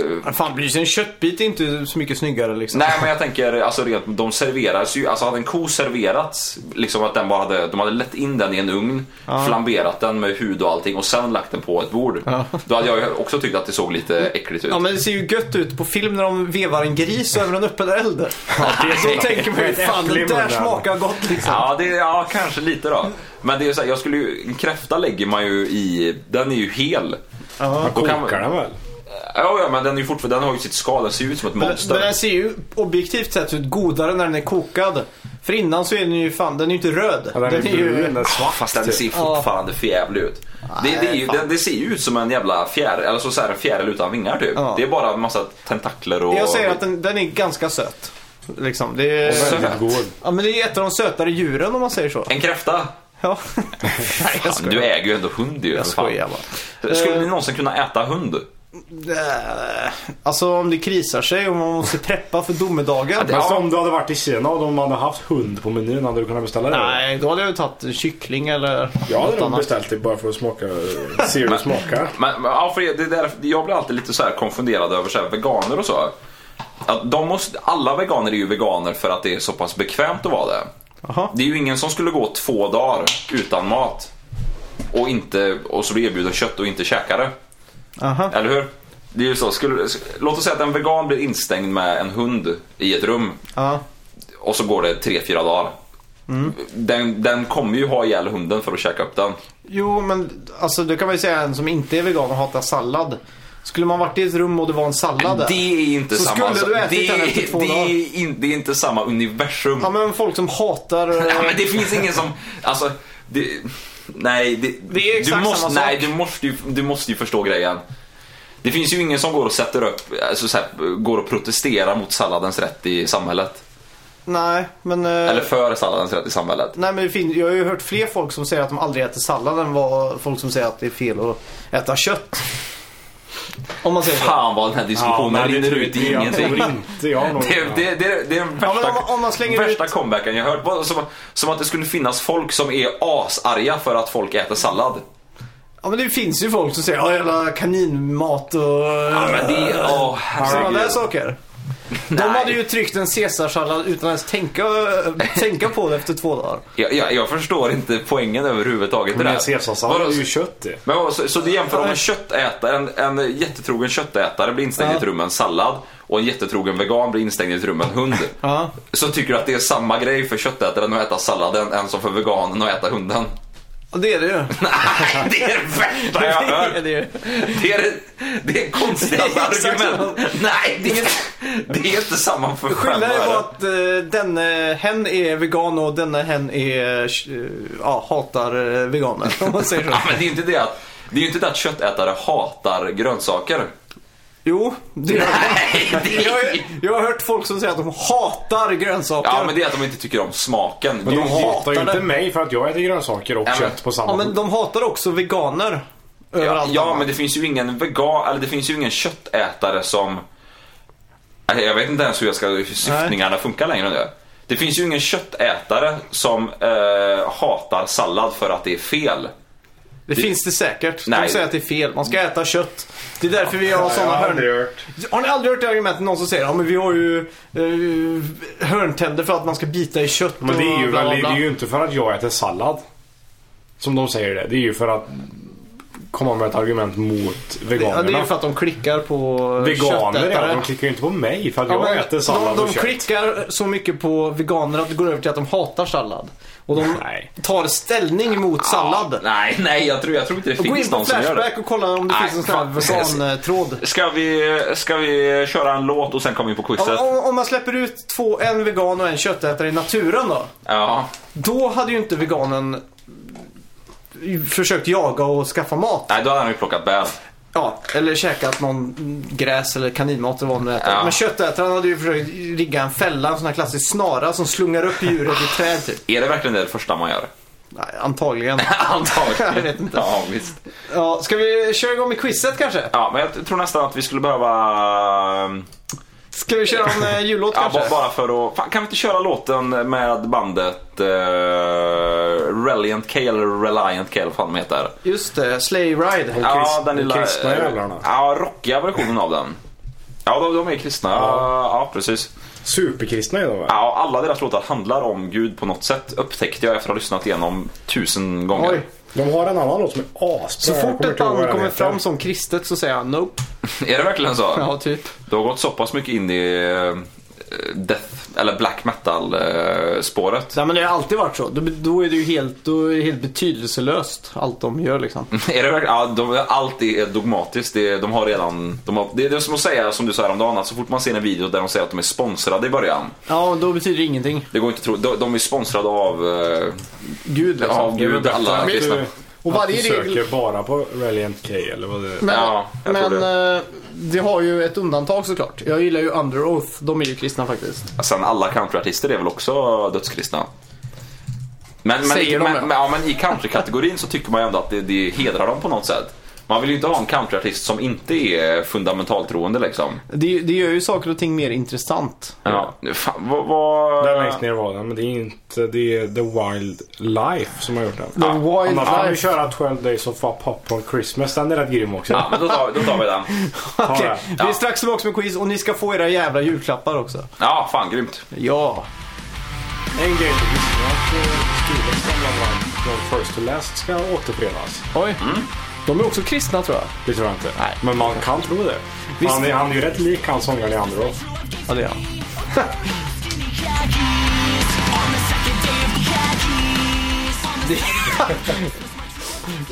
[SPEAKER 3] eh,
[SPEAKER 2] Men Fan, blir sig en köttbit är inte så mycket snyggare liksom.
[SPEAKER 3] Nej men jag tänker, alltså rent, de serveras ju, alltså hade en ko serverats, liksom att den bara hade, de hade lett in den i en ugn, flamberat den med hud och allting och sen lagt den på ett bord. Då hade jag ju också tyckt att det såg lite äckligt ut.
[SPEAKER 2] Ja men det ser ju gött ut på film när de vevar en gris över en öppen eld. Då tänker man ju
[SPEAKER 4] Ett
[SPEAKER 2] fan
[SPEAKER 4] äpple i
[SPEAKER 2] det där
[SPEAKER 4] munnen.
[SPEAKER 2] smakar gott liksom.
[SPEAKER 3] Ja, det, ja, kanske lite då. Men det är ju så här, jag skulle ju, en kräfta lägger man ju i, den är ju hel.
[SPEAKER 4] Man
[SPEAKER 3] Då kan man-
[SPEAKER 4] kokar den väl?
[SPEAKER 3] Ja, ja men den är ju fortfarande, den har ju sitt skal, den ser ju ut som ett
[SPEAKER 2] Men, men
[SPEAKER 3] monster.
[SPEAKER 2] den ser ju objektivt sett ut godare när den är kokad. För innan så är den ju fan, den är ju inte röd.
[SPEAKER 4] Ja, Den är Typ. brun, den är svart.
[SPEAKER 3] Fast den ser fortfarande för jävlig ut. Det, det, är ju,
[SPEAKER 2] Typ. fan.
[SPEAKER 3] det, det ser ju ut som en jävla fjäril, alltså så här en fjäril utan vingar typ.
[SPEAKER 2] Ja.
[SPEAKER 3] Det är bara en massa tentakler och...
[SPEAKER 2] Jag säger att
[SPEAKER 3] [laughs]
[SPEAKER 2] den, den är ganska söt. Liksom, det är,
[SPEAKER 3] söt.
[SPEAKER 4] Väldigt god.
[SPEAKER 2] ja, men det är ett av de sötare djuren om man säger så.
[SPEAKER 3] En kräfta?
[SPEAKER 2] Ja. Nej, jag
[SPEAKER 3] Fan, du
[SPEAKER 2] skojar.
[SPEAKER 3] äger ju ändå hund ju.
[SPEAKER 2] Jag
[SPEAKER 3] fan.
[SPEAKER 2] skojar bara.
[SPEAKER 3] Skulle ni
[SPEAKER 2] Eh.
[SPEAKER 3] någonsin kunna äta hund?
[SPEAKER 2] Eh, Alltså om det krisar sig och man måste preppa för domedagen.
[SPEAKER 4] Men
[SPEAKER 3] Ja.
[SPEAKER 4] så om du hade varit i Kina och de hade haft hund på menyn, hade du kunnat beställa det?
[SPEAKER 2] Nej, då hade jag ju tagit en kyckling eller
[SPEAKER 4] Jag hade
[SPEAKER 2] något
[SPEAKER 4] nog
[SPEAKER 2] annat.
[SPEAKER 4] beställt det bara för att smaka, se hur det smakar.
[SPEAKER 3] Men, men, ja, för det är där, jag blir alltid lite så här konfunderad över så här, veganer och så. Att de måste, alla veganer är ju veganer för att det är så pass bekvämt att vara det.
[SPEAKER 2] Jaha.
[SPEAKER 3] Det är ju ingen som skulle gå två dagar utan mat och, inte, och så blir erbjuden kött och inte käka det.
[SPEAKER 2] Aha.
[SPEAKER 3] Eller hur? Det är ju så. Skulle, låt oss säga att en vegan blir instängd med en hund i ett rum
[SPEAKER 2] Ja.
[SPEAKER 3] och så går det tre fyra dagar.
[SPEAKER 2] Mm.
[SPEAKER 3] Den, den kommer ju ha ihjäl hunden för att käka upp den.
[SPEAKER 2] Jo, men alltså då kan man ju säga en som inte är vegan och hatar sallad. Skulle man varit i ett rum och det var en sallad där.
[SPEAKER 3] Det är inte
[SPEAKER 2] Så
[SPEAKER 3] samma.
[SPEAKER 2] skulle du ätit
[SPEAKER 3] det,
[SPEAKER 2] den efter två
[SPEAKER 3] det,
[SPEAKER 2] dagar?
[SPEAKER 3] är in, det är inte samma universum.
[SPEAKER 2] Ja, men folk som hatar... eh,
[SPEAKER 3] [laughs] Ja, men det finns ingen som... Alltså, det, nej, det,
[SPEAKER 2] Det är exakt
[SPEAKER 3] du måste,
[SPEAKER 2] samma sak.
[SPEAKER 3] Nej, du måste, ju, du måste ju förstå grejen. Det finns ju ingen som går och sätter upp, alltså, så här, går och protesterar mot salladens rätt i samhället.
[SPEAKER 2] Nej, men... eh,
[SPEAKER 3] Eller för salladens rätt i samhället.
[SPEAKER 2] Nej, men det fin- jag har ju hört fler folk som säger att de aldrig äter sallad än vad folk som säger att det är fel att äta kött. Om man säger så.
[SPEAKER 3] Fan vad den här diskussionen
[SPEAKER 4] men det
[SPEAKER 3] rinner
[SPEAKER 4] tror
[SPEAKER 3] ut
[SPEAKER 4] inte
[SPEAKER 3] i
[SPEAKER 4] jag.
[SPEAKER 3] ingenting.
[SPEAKER 4] tror inte jag nog.
[SPEAKER 3] [laughs] Det, det, det, det är den
[SPEAKER 2] Ja, men
[SPEAKER 3] värsta,
[SPEAKER 2] om- om man slänger ut-
[SPEAKER 3] värsta comebacken jag hört. Bara Som, som att det skulle finnas folk som är asarga för att folk äter sallad.
[SPEAKER 2] Ja, men det finns ju folk som säger ja, jävla kaninmat och... eh,
[SPEAKER 3] Ja, men det, åh,
[SPEAKER 2] Sådana där
[SPEAKER 3] herregud.
[SPEAKER 2] saker. De
[SPEAKER 3] Nej.
[SPEAKER 2] hade ju tryckt en caesarsallad utan ens tänka, eh, tänka på det efter två dagar.
[SPEAKER 3] jag, jag, jag förstår inte poängen överhuvudtaget. i
[SPEAKER 4] Men
[SPEAKER 3] det här.
[SPEAKER 4] caesarsallad
[SPEAKER 3] Vadå,
[SPEAKER 4] är ju kött det.
[SPEAKER 3] Men vad- så, så du jämför om en köttätare, en, en jättetrogen köttätare blir instängd i ett rum med en sallad och en jättetrogen vegan blir instängd i ett rum med en hund.
[SPEAKER 2] Ja.
[SPEAKER 3] Så tycker du att det är samma grej för köttätaren att äta salladen än som för veganen att äta hunden?
[SPEAKER 2] Och det är det ju.
[SPEAKER 3] [laughs] Nej, det är det värsta jag har
[SPEAKER 2] [laughs]
[SPEAKER 3] hört!
[SPEAKER 2] Det är det ju.
[SPEAKER 3] Det är det är konstigaste
[SPEAKER 2] Det är exakt
[SPEAKER 3] argument. Nej, det är, inte, det är inte samma för
[SPEAKER 2] Skillnaden är bara
[SPEAKER 3] skämmare.
[SPEAKER 2] att uh, denne hen är vegan och denna hen är, eh, ja, hatar eh, veganer. Om man säger så.
[SPEAKER 3] Ja, men det är ju inte det att, det är ju inte det att köttätare hatar grönsaker.
[SPEAKER 2] Jo, det gör
[SPEAKER 3] Nej,
[SPEAKER 2] de.
[SPEAKER 3] det
[SPEAKER 2] jag,
[SPEAKER 3] är...
[SPEAKER 2] har- jag har hört folk som säger att de hatar grönsaker.
[SPEAKER 3] [laughs] Ja, men det är att de inte tycker om smaken.
[SPEAKER 4] Men
[SPEAKER 3] Det är
[SPEAKER 4] de
[SPEAKER 3] ju-
[SPEAKER 4] hatar ju
[SPEAKER 2] hatar
[SPEAKER 4] inte
[SPEAKER 2] det.
[SPEAKER 4] mig för att jag äter grönsaker och
[SPEAKER 3] Ja, men-
[SPEAKER 4] kött på samma
[SPEAKER 2] Ja, men
[SPEAKER 4] gång.
[SPEAKER 2] de hatar också veganer.
[SPEAKER 3] Ja,
[SPEAKER 2] Överallt.
[SPEAKER 3] ja, men det finns ju ingen vegan, eller det finns ju ingen köttätare som... Nej, Jag vet inte ens hur jag ska, hur syftningarna funkar längre nu. Det finns ju ingen köttätare som eh, hatar sallad för att det är fel.
[SPEAKER 2] det, finns det säkert.
[SPEAKER 3] Nej.
[SPEAKER 2] De säger att det är fel. Man ska äta kött. Det är därför vi har sådana
[SPEAKER 4] Jag har
[SPEAKER 2] hörn...
[SPEAKER 4] aldrig hört.
[SPEAKER 2] Har ni aldrig hört det argumentet någon som säger ja, men vi har ju eh, hörntänder för att man ska bita i kött
[SPEAKER 4] Men det är, ju
[SPEAKER 2] och bla,
[SPEAKER 4] väl,
[SPEAKER 2] bla,
[SPEAKER 4] det
[SPEAKER 2] bla.
[SPEAKER 4] är ju inte för att jag äter sallad. Som de säger det. Det är ju för att komma med ett argument mot veganerna.
[SPEAKER 2] Ja, det är ju för att de klickar på
[SPEAKER 4] Veganer ja,
[SPEAKER 2] köttätare.
[SPEAKER 4] de klickar ju inte på mig för att
[SPEAKER 2] Ja,
[SPEAKER 4] jag
[SPEAKER 2] men
[SPEAKER 4] äter sallad
[SPEAKER 2] de,
[SPEAKER 4] och
[SPEAKER 2] de
[SPEAKER 4] kött.
[SPEAKER 2] klickar så mycket på veganer att det går över till att de hatar sallad. Och de
[SPEAKER 4] Nej.
[SPEAKER 2] tar ställning mot sallad.
[SPEAKER 3] Nej, nej, jag tror, jag tror inte det
[SPEAKER 2] Gå
[SPEAKER 3] finns
[SPEAKER 2] in på
[SPEAKER 3] någon som gör det.
[SPEAKER 2] Flashback och kolla om det
[SPEAKER 3] Nej,
[SPEAKER 2] finns en sån här
[SPEAKER 3] fan. [laughs]
[SPEAKER 2] vegantråd.
[SPEAKER 3] Ska vi, ska vi köra en låt och sen komma in på
[SPEAKER 2] Om,
[SPEAKER 3] quizet?
[SPEAKER 2] om, om man släpper ut två, en vegan och en köttätare i naturen då.
[SPEAKER 3] Ja.
[SPEAKER 2] Då hade ju inte veganen försökt jaga och skaffa mat.
[SPEAKER 3] Nej, då hade han ju plockat bär.
[SPEAKER 2] Ja, eller käkat någon gräs eller kaninmat eller vad man nu äter.
[SPEAKER 3] Ja.
[SPEAKER 2] Men köttätaren hade ju försökt rigga en fälla, en sån här klassisk snara som slungar upp djuret i träd typ.
[SPEAKER 3] Är det verkligen det första man gör?
[SPEAKER 2] Nej, [laughs] antagligen.
[SPEAKER 3] Antagligen.
[SPEAKER 2] Jag vet inte.
[SPEAKER 3] Ja, visst.
[SPEAKER 2] Ja, ska vi köra igång med quizet kanske?
[SPEAKER 3] Ja, men jag tror nästan att vi skulle behöva...
[SPEAKER 2] Ska vi köra en eh, jullåt
[SPEAKER 3] Ja,
[SPEAKER 2] kanske?
[SPEAKER 3] ba- bara för att... Fan, kan vi inte köra låten med bandet eh, Reliant K eller Reliant K eller vad fan de heter?
[SPEAKER 2] Just det, Slay Ride.
[SPEAKER 4] Ja.
[SPEAKER 3] Ja, den
[SPEAKER 4] de
[SPEAKER 3] lilla...
[SPEAKER 4] kristna
[SPEAKER 3] eh,
[SPEAKER 4] jävlarna.
[SPEAKER 3] Ja, rockiga versionen av den. Ja, de, de är kristna. Ja, ja precis.
[SPEAKER 4] Superkristna är de va?
[SPEAKER 3] Ja, alla deras låtar handlar om Gud på något sätt upptäckte jag efter att ha lyssnat igenom tusen gånger.
[SPEAKER 2] Oj.
[SPEAKER 4] De har en annan låt som är asbra.
[SPEAKER 2] Så
[SPEAKER 4] Jag
[SPEAKER 2] fort
[SPEAKER 4] kommer
[SPEAKER 2] ett
[SPEAKER 4] inte ihåg vad
[SPEAKER 2] band
[SPEAKER 4] den
[SPEAKER 2] kommer
[SPEAKER 4] heter.
[SPEAKER 2] fram som kristet så säger jag nope.
[SPEAKER 3] [laughs] Är det verkligen så?
[SPEAKER 2] Ja, typ.
[SPEAKER 3] Du har gått så pass mycket in i eh, death, eller black metal eh, spåret. [laughs]
[SPEAKER 2] Nej, men det har alltid varit så. Då, då är det ju helt, då är det helt betydelselöst allt de gör liksom.
[SPEAKER 3] Är det verkligen? Ja, de, allt är dogmatiskt. Det, de har redan, de har, det är det som att säga, som du sa häromdagen, att så fort man ser en video där de säger att de är sponsrade i början.
[SPEAKER 2] Ja, då betyder det ingenting.
[SPEAKER 3] Det går inte att tro. De, de är sponsrade av... eh,
[SPEAKER 2] Gud liksom.
[SPEAKER 3] Ja, Gud,
[SPEAKER 4] Det är
[SPEAKER 3] alla
[SPEAKER 4] att
[SPEAKER 3] kristna.
[SPEAKER 4] du-
[SPEAKER 2] Och
[SPEAKER 4] att
[SPEAKER 2] varje
[SPEAKER 4] du
[SPEAKER 2] regel-
[SPEAKER 4] söker bara på Reliant K eller vad det är.
[SPEAKER 2] Men,
[SPEAKER 3] Ja, jag tror
[SPEAKER 2] men det. det har ju ett undantag såklart. Jag gillar ju Under Oath. De är ju kristna faktiskt.
[SPEAKER 3] Sen alla countryartister är väl också dödskristna? Men, men, i,
[SPEAKER 2] Säger de,
[SPEAKER 3] men,
[SPEAKER 2] ja.
[SPEAKER 3] men, ja, men i countrykategorin så tycker man ju ändå att det, det hedrar dem på något sätt. Man vill ju inte ha en countryartist som inte är fundamentaltroende liksom.
[SPEAKER 2] Det, det gör ju saker och ting mer intressant.
[SPEAKER 3] Ja. Fan, vad... vad...
[SPEAKER 4] Där längst ner var den, men det är inte det är The Wild Life som har gjort den.
[SPEAKER 2] The Wild
[SPEAKER 4] Annars kan vi
[SPEAKER 2] Life.
[SPEAKER 4] köra 12 Days of Popcorn Christmas. Den är rätt grym också.
[SPEAKER 3] Ja, men då tar, då tar vi den.
[SPEAKER 2] Okej,
[SPEAKER 4] det.
[SPEAKER 2] Vi är strax tillbaka med quiz och ni ska få era jävla julklappar också.
[SPEAKER 3] Ja, fan grymt.
[SPEAKER 2] Ja.
[SPEAKER 4] En grej som visste jag att skrivelsen från First to Last ska återförenas.
[SPEAKER 2] Oj. De är också kristna tror jag.
[SPEAKER 4] Det tror jag inte. Men man kan tro det.
[SPEAKER 2] Visst.
[SPEAKER 4] Han är, han är ju rätt lik han sångaren i andra Oath.
[SPEAKER 2] Ja, det är han.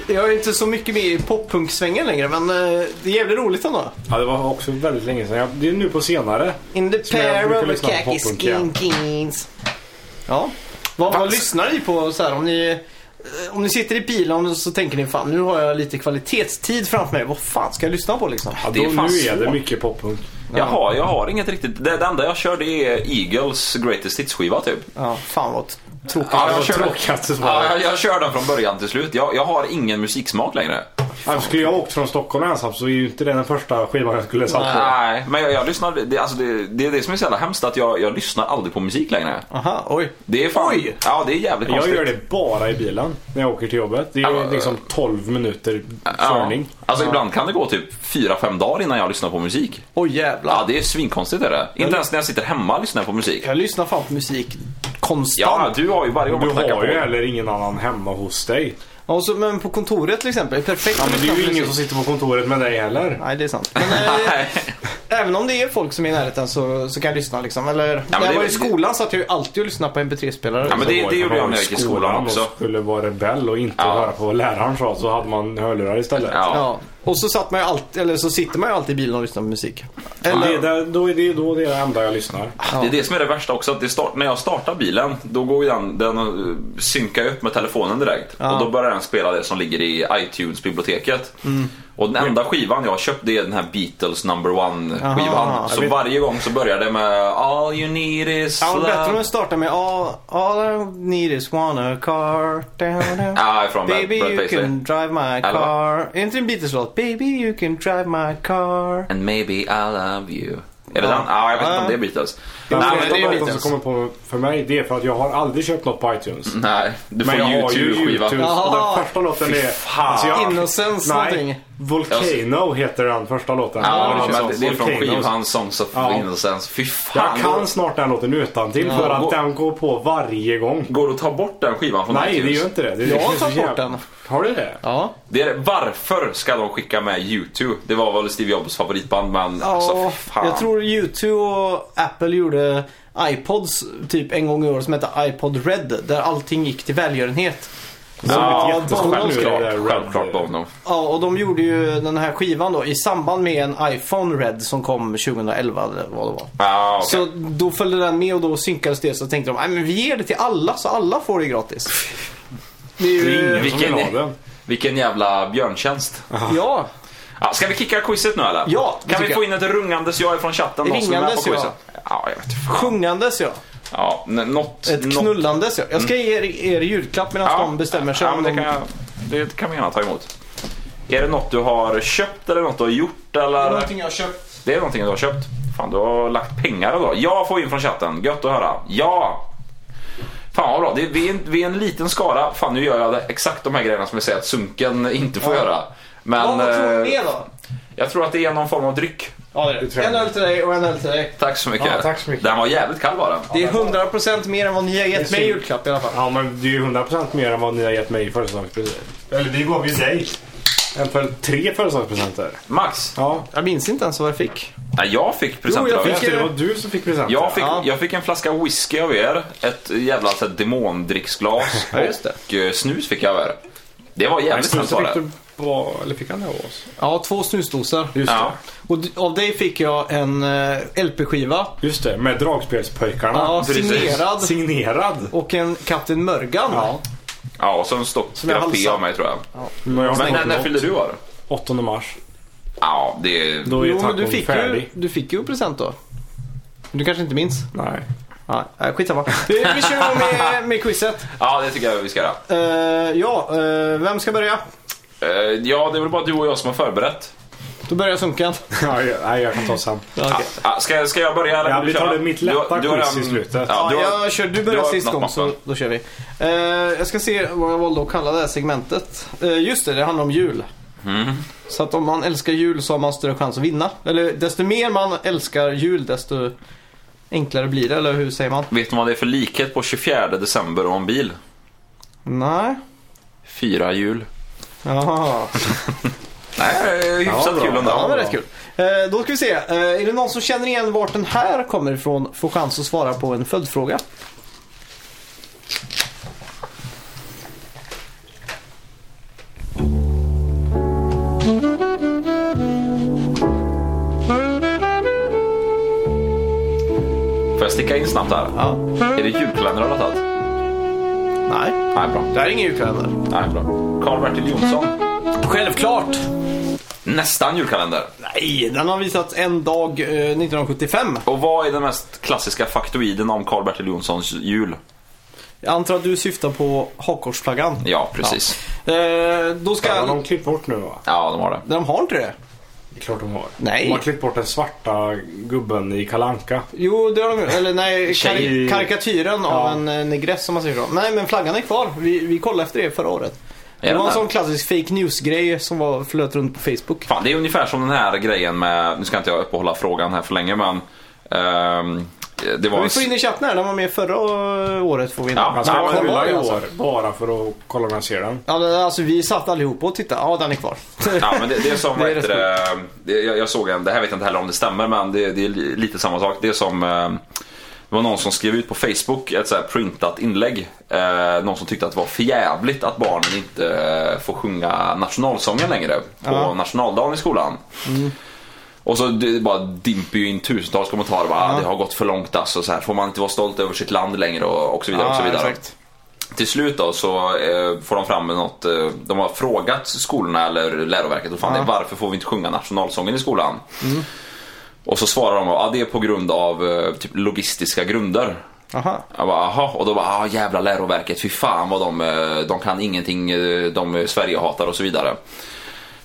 [SPEAKER 2] Jag är inte så mycket med i poppunksvängen längre, men eh, det är jävligt roligt ändå.
[SPEAKER 4] Ja, det var också väldigt länge sedan. Jag, det är nu på senare.
[SPEAKER 2] In the
[SPEAKER 4] Som jag brukar
[SPEAKER 2] pair of
[SPEAKER 4] lyssna på
[SPEAKER 2] khaki
[SPEAKER 4] poppunk,
[SPEAKER 2] skin jeans. Ja. Vad, vad lyssnar ni på så här om ni... eh, Om ni sitter i bilen så tänker ni fan nu har jag lite kvalitetstid framför mig. Vad fan ska jag lyssna på liksom?
[SPEAKER 4] Ja,
[SPEAKER 3] Det är
[SPEAKER 4] då,
[SPEAKER 3] fan
[SPEAKER 4] nu är det
[SPEAKER 3] svårt.
[SPEAKER 4] mycket poppunk.
[SPEAKER 3] Jag, har, jag har inget riktigt. Det, det enda jag kör det är Eagles Greatest Hits-skiva typ.
[SPEAKER 2] Ja, fan vad tråkigt.
[SPEAKER 3] Ja,
[SPEAKER 4] det
[SPEAKER 3] jag
[SPEAKER 4] var
[SPEAKER 3] kör-
[SPEAKER 4] tråkigaste
[SPEAKER 3] Ja,
[SPEAKER 4] svaret.
[SPEAKER 3] jag, jag kör den från början till slut. Jag, jag har ingen musiksmak längre.
[SPEAKER 4] Ja, Alltså, Skulle jag åkt från Stockholm ensam så är ju inte det den första skivan jag skulle satt på.
[SPEAKER 3] Nej, men jag, jag lyssnar. Det, alltså det, det är det som är så jävla hemskt att jag, jag lyssnar aldrig på musik längre.
[SPEAKER 2] Aha, oj.
[SPEAKER 3] Det är fan,
[SPEAKER 2] Oj!
[SPEAKER 3] Ja, det är jävligt
[SPEAKER 4] Jag
[SPEAKER 3] konstigt.
[SPEAKER 4] gör det bara i bilen när jag åker till jobbet. Det är
[SPEAKER 3] Ja,
[SPEAKER 4] ju liksom 12 minuter
[SPEAKER 3] Ja.
[SPEAKER 4] körning.
[SPEAKER 3] Alltså ibland kan det gå typ 4-5 dagar innan jag lyssnar på musik.
[SPEAKER 2] Oj
[SPEAKER 3] Ja,
[SPEAKER 2] jävlar.
[SPEAKER 3] det är svinkonstigt är det. Inte ens när jag sitter hemma lyssnar jag på musik.
[SPEAKER 2] Jag lyssnar fan på musik
[SPEAKER 3] Ja,
[SPEAKER 2] konstant.
[SPEAKER 3] du har ju varje gång
[SPEAKER 4] Du
[SPEAKER 3] man knackar
[SPEAKER 4] har
[SPEAKER 3] på.
[SPEAKER 4] ju heller ingen annan hemma hos dig.
[SPEAKER 2] Och så, men på kontoret till exempel. Perfekt.
[SPEAKER 4] Ja, men det är ju ingen som sitter på kontoret med dig heller.
[SPEAKER 2] Nej, det är sant. Men, eh,
[SPEAKER 3] [laughs] Nej.
[SPEAKER 2] även om det är folk som är i närheten så, så kan jag lyssna liksom. Eller, när
[SPEAKER 3] det-
[SPEAKER 2] jag var i skolan satt jag ju alltid och lyssnade på MP3-spelare.
[SPEAKER 3] Ja, men det, det gjorde jag när jag gick i skolan
[SPEAKER 4] och
[SPEAKER 3] också.
[SPEAKER 4] skulle vara rebell och inte
[SPEAKER 3] Ja.
[SPEAKER 4] höra på vad läraren sa så hade man hörlurar istället.
[SPEAKER 3] Ja.
[SPEAKER 2] Ja. Och så, satt man ju alltid, eller så sitter man ju alltid i bilen och lyssnar på musik.
[SPEAKER 4] Det, är där, då är det då det är det enda jag lyssnar.
[SPEAKER 3] Det är det som är det värsta också. Att det start, när jag startar bilen, då går ju den, den eh, synkar ju upp med telefonen direkt. Och då börjar den spela det som ligger i iTunes-biblioteket.
[SPEAKER 2] Mm.
[SPEAKER 3] Och den enda skivan jag har köpt det är den här Beatles number one-skivan.
[SPEAKER 2] Aha,
[SPEAKER 3] Så
[SPEAKER 2] jag vet-
[SPEAKER 3] varje gång så börjar det med All you need is
[SPEAKER 2] Ja, men bättre om
[SPEAKER 3] love.
[SPEAKER 2] den startar med All, all I need is wanna car. Da, da.
[SPEAKER 3] Ja, från Brad-
[SPEAKER 2] Baby
[SPEAKER 3] Brad
[SPEAKER 2] you
[SPEAKER 3] Paisley.
[SPEAKER 2] can drive my
[SPEAKER 3] Eller vad?
[SPEAKER 2] car. Är inte det en Beatles-låt? Baby you can drive my car.
[SPEAKER 3] And maybe I love you. Är det
[SPEAKER 2] Ja.
[SPEAKER 3] den? Ja, jag vet inte om
[SPEAKER 2] Ja.
[SPEAKER 3] det är Beatles.
[SPEAKER 4] Den
[SPEAKER 3] Nej, men
[SPEAKER 4] enda
[SPEAKER 3] det är ju
[SPEAKER 4] låten som
[SPEAKER 3] Beatles.
[SPEAKER 4] kommer på för mig det är för att jag har aldrig köpt något på iTunes.
[SPEAKER 3] Nej, du får
[SPEAKER 4] Men jag har ju
[SPEAKER 3] YouTube-skiva.
[SPEAKER 4] YouTube. Och
[SPEAKER 2] Jaha.
[SPEAKER 4] den första låten är... Alltså jag,
[SPEAKER 2] Innocence någonting.
[SPEAKER 4] nej, Volcano heter den första låten.
[SPEAKER 3] Ja,
[SPEAKER 4] det,
[SPEAKER 3] men det, det är från
[SPEAKER 4] Volcano.
[SPEAKER 3] skivan Songs of
[SPEAKER 4] Ja.
[SPEAKER 3] Innocence. Fy fan.
[SPEAKER 4] Jag kan snart den låten utan till för att
[SPEAKER 3] Gå-
[SPEAKER 4] den går på varje gång.
[SPEAKER 3] Går det att ta bort den skivan från
[SPEAKER 4] Nej, det
[SPEAKER 3] iTunes?
[SPEAKER 4] gör inte det. det
[SPEAKER 2] Jag
[SPEAKER 4] det är
[SPEAKER 2] har
[SPEAKER 4] så
[SPEAKER 2] tagit bort
[SPEAKER 4] jävla-
[SPEAKER 2] den.
[SPEAKER 4] Har du det?
[SPEAKER 2] Ja.
[SPEAKER 3] Det är, varför ska de skicka med U2? Det var väl Steve Jobs favoritband men
[SPEAKER 2] Ja,
[SPEAKER 3] alltså fy fan.
[SPEAKER 2] jag tror U2 och Apple gjorde iPods typ en gång i år som hette iPod Red. Där allting gick till välgörenhet.
[SPEAKER 4] Det
[SPEAKER 3] Ja,
[SPEAKER 4] är ett jätteskämt nu det där
[SPEAKER 3] Självklart,
[SPEAKER 4] Red.
[SPEAKER 3] självklart Bono.
[SPEAKER 2] Ja, och de gjorde ju den här skivan då i samband med en iPhone Red som kom 2011 eller vad det var.
[SPEAKER 3] Ja, okej.
[SPEAKER 2] Så då följde den med och då synkades det så tänkte de "Nej, men vi ger det till alla så alla får det gratis. Det är
[SPEAKER 4] Det är
[SPEAKER 2] ju...
[SPEAKER 4] ingen som vill ha den.
[SPEAKER 3] Vilken jävla björntjänst.
[SPEAKER 2] Ja,
[SPEAKER 3] Ja, ska vi kicka quizet nu eller?
[SPEAKER 2] Ja, det
[SPEAKER 3] Kan vi
[SPEAKER 2] tycker
[SPEAKER 3] få
[SPEAKER 2] jag.
[SPEAKER 3] in ett rungandes jag från chatten? någon som är med på
[SPEAKER 2] Ringandes ja.
[SPEAKER 3] quizet? Ja, jag vet inte.
[SPEAKER 2] sjungandes ja.
[SPEAKER 3] Ja, n- något...
[SPEAKER 2] Ett
[SPEAKER 3] något-
[SPEAKER 2] knullandes ja. Jag ska ge er, er julklapp medan
[SPEAKER 3] Ja.
[SPEAKER 2] de bestämmer sig
[SPEAKER 3] ja, men
[SPEAKER 2] om
[SPEAKER 3] det
[SPEAKER 2] de
[SPEAKER 3] kan, jag, det kan vi gärna ta emot. Är det något du har köpt eller något du har gjort eller?
[SPEAKER 2] Någonting jag har köpt.
[SPEAKER 3] Det är någonting du har köpt. Fan, du har lagt pengar idag. Jag får in från chatten. Gött att höra. Ja! Fan vad bra. Det, vi, är en, vi är en liten skara. Fan, nu gör jag det, exakt de här grejerna som jag säger att Sunken inte får göra.
[SPEAKER 2] Ja,
[SPEAKER 3] Men
[SPEAKER 2] vad tror du
[SPEAKER 3] eh,
[SPEAKER 2] det är då?
[SPEAKER 3] jag tror att det är någon form av dryck.
[SPEAKER 2] Ja, det är
[SPEAKER 4] tror
[SPEAKER 2] det.
[SPEAKER 4] jag.
[SPEAKER 2] En öl till dig och en öl till dig.
[SPEAKER 3] Tack så mycket.
[SPEAKER 4] Ja, tack så mycket.
[SPEAKER 3] Den var jävligt kall var den.
[SPEAKER 2] Det är 100% mer än vad ni har gett
[SPEAKER 4] Det är
[SPEAKER 2] mig i
[SPEAKER 4] synd.
[SPEAKER 2] julklapp i alla fall.
[SPEAKER 4] Ja, men det är ju 100% mer än vad ni har gett mig i födelsedagspresent. Eller det gav ju dig. En för tre födelsedagspresenter.
[SPEAKER 3] Max,
[SPEAKER 4] Ja.
[SPEAKER 2] Jag minns inte ens vad jag fick.
[SPEAKER 3] nej, jag fick presenter
[SPEAKER 2] jag
[SPEAKER 3] av
[SPEAKER 2] fick
[SPEAKER 3] er.
[SPEAKER 4] Just det, det var du som fick presenter.
[SPEAKER 3] Jag fick,
[SPEAKER 2] Ja.
[SPEAKER 3] jag fick en flaska whisky av er, ett jävla så här, demondricksglas
[SPEAKER 2] [laughs] Ja, just det.
[SPEAKER 3] och eh, snus fick jag av er. Det var
[SPEAKER 4] Nej,
[SPEAKER 3] jävligt
[SPEAKER 4] snus
[SPEAKER 3] snällt var
[SPEAKER 4] fick
[SPEAKER 3] det.
[SPEAKER 4] du på, eller fick han det av oss?
[SPEAKER 2] Ja, två snusdosor.
[SPEAKER 4] Just
[SPEAKER 3] Ja.
[SPEAKER 2] Och d- av dig fick jag en eh, LP-skiva.
[SPEAKER 4] det. Just det, med dragspelspojkarna.
[SPEAKER 2] Ja,
[SPEAKER 3] precis.
[SPEAKER 2] signerad.
[SPEAKER 4] Signerad.
[SPEAKER 2] Och en Kapten Mörgan.
[SPEAKER 4] Ja.
[SPEAKER 3] Ja, och så en
[SPEAKER 2] jag
[SPEAKER 3] stoppgraffé
[SPEAKER 2] halsade.
[SPEAKER 3] av mig tror jag.
[SPEAKER 4] Men jag har
[SPEAKER 3] Men när,
[SPEAKER 4] inte
[SPEAKER 3] när
[SPEAKER 4] fått
[SPEAKER 3] fyllde du år?
[SPEAKER 4] 8 mars.
[SPEAKER 3] Ja, det...
[SPEAKER 4] Då är
[SPEAKER 2] Jo, men
[SPEAKER 4] tacon
[SPEAKER 2] du fick, ju,
[SPEAKER 4] färdig.
[SPEAKER 2] du fick ju present då. Du kanske inte minns?
[SPEAKER 4] Nej.
[SPEAKER 2] Nej, äh, [laughs] skitsamma. Vi, vi kör igång med, med quizet.
[SPEAKER 3] Ja, det tycker jag vi ska göra.
[SPEAKER 2] Eh, ja, eh, vem ska börja?
[SPEAKER 3] Eh, Ja, det är väl bara du och jag som har förberett.
[SPEAKER 2] Då börjar Sunkan.
[SPEAKER 4] Ja, jag- Nej, jag kan ta sen.
[SPEAKER 2] Ja, okej.
[SPEAKER 3] Ja, ska, ska jag börja? eller
[SPEAKER 4] Ja,
[SPEAKER 3] vill
[SPEAKER 4] vi
[SPEAKER 3] du köra?
[SPEAKER 4] tar det mitt lätta quiz i slutet.
[SPEAKER 2] Ja,
[SPEAKER 3] Ja, du har,
[SPEAKER 2] jag kör, du börjar
[SPEAKER 3] du har
[SPEAKER 2] sist
[SPEAKER 3] öppnat
[SPEAKER 2] gång så
[SPEAKER 3] mappen.
[SPEAKER 2] då kör vi. Eh, jag ska se vad jag valde att kalla det här segmentet. Eh, just det, det handlar om jul.
[SPEAKER 3] Mm.
[SPEAKER 2] Så att om man älskar jul så har man större chans att vinna. Eller desto mer man älskar jul desto enklare blir det, eller hur säger man?
[SPEAKER 3] Vet du vad det är för likhet på 24 december och en bil?
[SPEAKER 2] Nej.
[SPEAKER 3] Fyra hjul.
[SPEAKER 2] Jaha.
[SPEAKER 3] Nej, eh, hyfsat
[SPEAKER 4] bra.
[SPEAKER 3] kul ändå.
[SPEAKER 2] Ja, det var rätt kul. Eh, då ska vi se. Eh, är det någon som känner igen vart den här kommer ifrån får chans att svara på en följdfråga.
[SPEAKER 3] Får jag sticka in snabbt här?
[SPEAKER 2] Ja.
[SPEAKER 3] Är det julkalender du har tagit?
[SPEAKER 2] Nej.
[SPEAKER 3] Nej, bra.
[SPEAKER 2] Det här är ingen julkalender.
[SPEAKER 3] Nej, bra. Karl-Bertil Jonsson.
[SPEAKER 2] Självklart!
[SPEAKER 3] Nästan julkalender.
[SPEAKER 2] Nej, den har visats en dag eh, 1975.
[SPEAKER 3] Och vad är den mest klassiska faktoiden om Karl-Bertil Jonssons jul?
[SPEAKER 2] Jag antar att du syftar på hakkorsflaggan.
[SPEAKER 3] Ja, precis.
[SPEAKER 2] Eh, då ska...
[SPEAKER 4] Den har de klippt bort nu va?
[SPEAKER 3] Ja, de har det.
[SPEAKER 2] De har inte det?
[SPEAKER 4] Det är klart de har.
[SPEAKER 2] Nej.
[SPEAKER 4] De har klippt bort den svarta gubben i Kalanka.
[SPEAKER 2] Jo, det har de ju. Eller nej, kar-
[SPEAKER 4] Tjej.
[SPEAKER 2] karikatyren
[SPEAKER 4] Ja.
[SPEAKER 2] av en eh, negress som man säger så. Nej, men flaggan är kvar. Vi, vi kollade efter det förra året.
[SPEAKER 3] Är
[SPEAKER 2] det var
[SPEAKER 3] den
[SPEAKER 2] en
[SPEAKER 3] där?
[SPEAKER 2] sån klassisk fake news-grej som var flöt runt på Facebook.
[SPEAKER 3] Fan, det är ungefär som den här grejen med, nu ska inte jag uppehålla frågan här för länge men. ehm, det var
[SPEAKER 2] Men
[SPEAKER 3] en
[SPEAKER 2] vi får in i chatten här, den var med förra eh, året får vi in.
[SPEAKER 3] Ja,
[SPEAKER 4] Han ska
[SPEAKER 2] Nej,
[SPEAKER 4] vara
[SPEAKER 2] den var
[SPEAKER 4] hylla i
[SPEAKER 2] det,
[SPEAKER 4] år
[SPEAKER 2] alltså.
[SPEAKER 4] bara för att kolla om jag ser den.
[SPEAKER 2] Ja, men alltså vi satt allihopa och tittade. Ja, den är
[SPEAKER 3] [laughs]
[SPEAKER 2] kvar.
[SPEAKER 3] Ja, men det, det är som,
[SPEAKER 2] Det
[SPEAKER 3] vad
[SPEAKER 2] är
[SPEAKER 3] heter det, det, jag, jag såg en, det här vet jag inte heller om det stämmer men det, det är li- lite samma sak. Det är som, eh, det var någon som skrev ut på Facebook ett så här printat inlägg. Eh, någon som tyckte att det var förjävligt att barnen inte eh, får sjunga nationalsången längre på
[SPEAKER 2] Ja. Mm.
[SPEAKER 3] nationaldagen i skolan. Och så det bara dimper ju in tusentals kommentarer bara, "Ah, det har gått för långt alltså, så här, får man inte vara stolt över sitt land längre och, och så vidare. och så
[SPEAKER 2] Ja,
[SPEAKER 3] vidare.
[SPEAKER 2] exakt.
[SPEAKER 3] Till slut då så eh, får de fram med något, eh, de har frågat skolorna eller läroverket och fan, det är, varför får vi inte sjunga nationalsången i skolan? Och så svarar de att ah, det är på grund av eh, typ logistiska grunder.
[SPEAKER 2] Aha.
[SPEAKER 3] Jag bara, aha. Och då bara, ah, jävla läroverket, fy fan vad de, eh, de kan ingenting, eh, de är Sverigehatar och så vidare.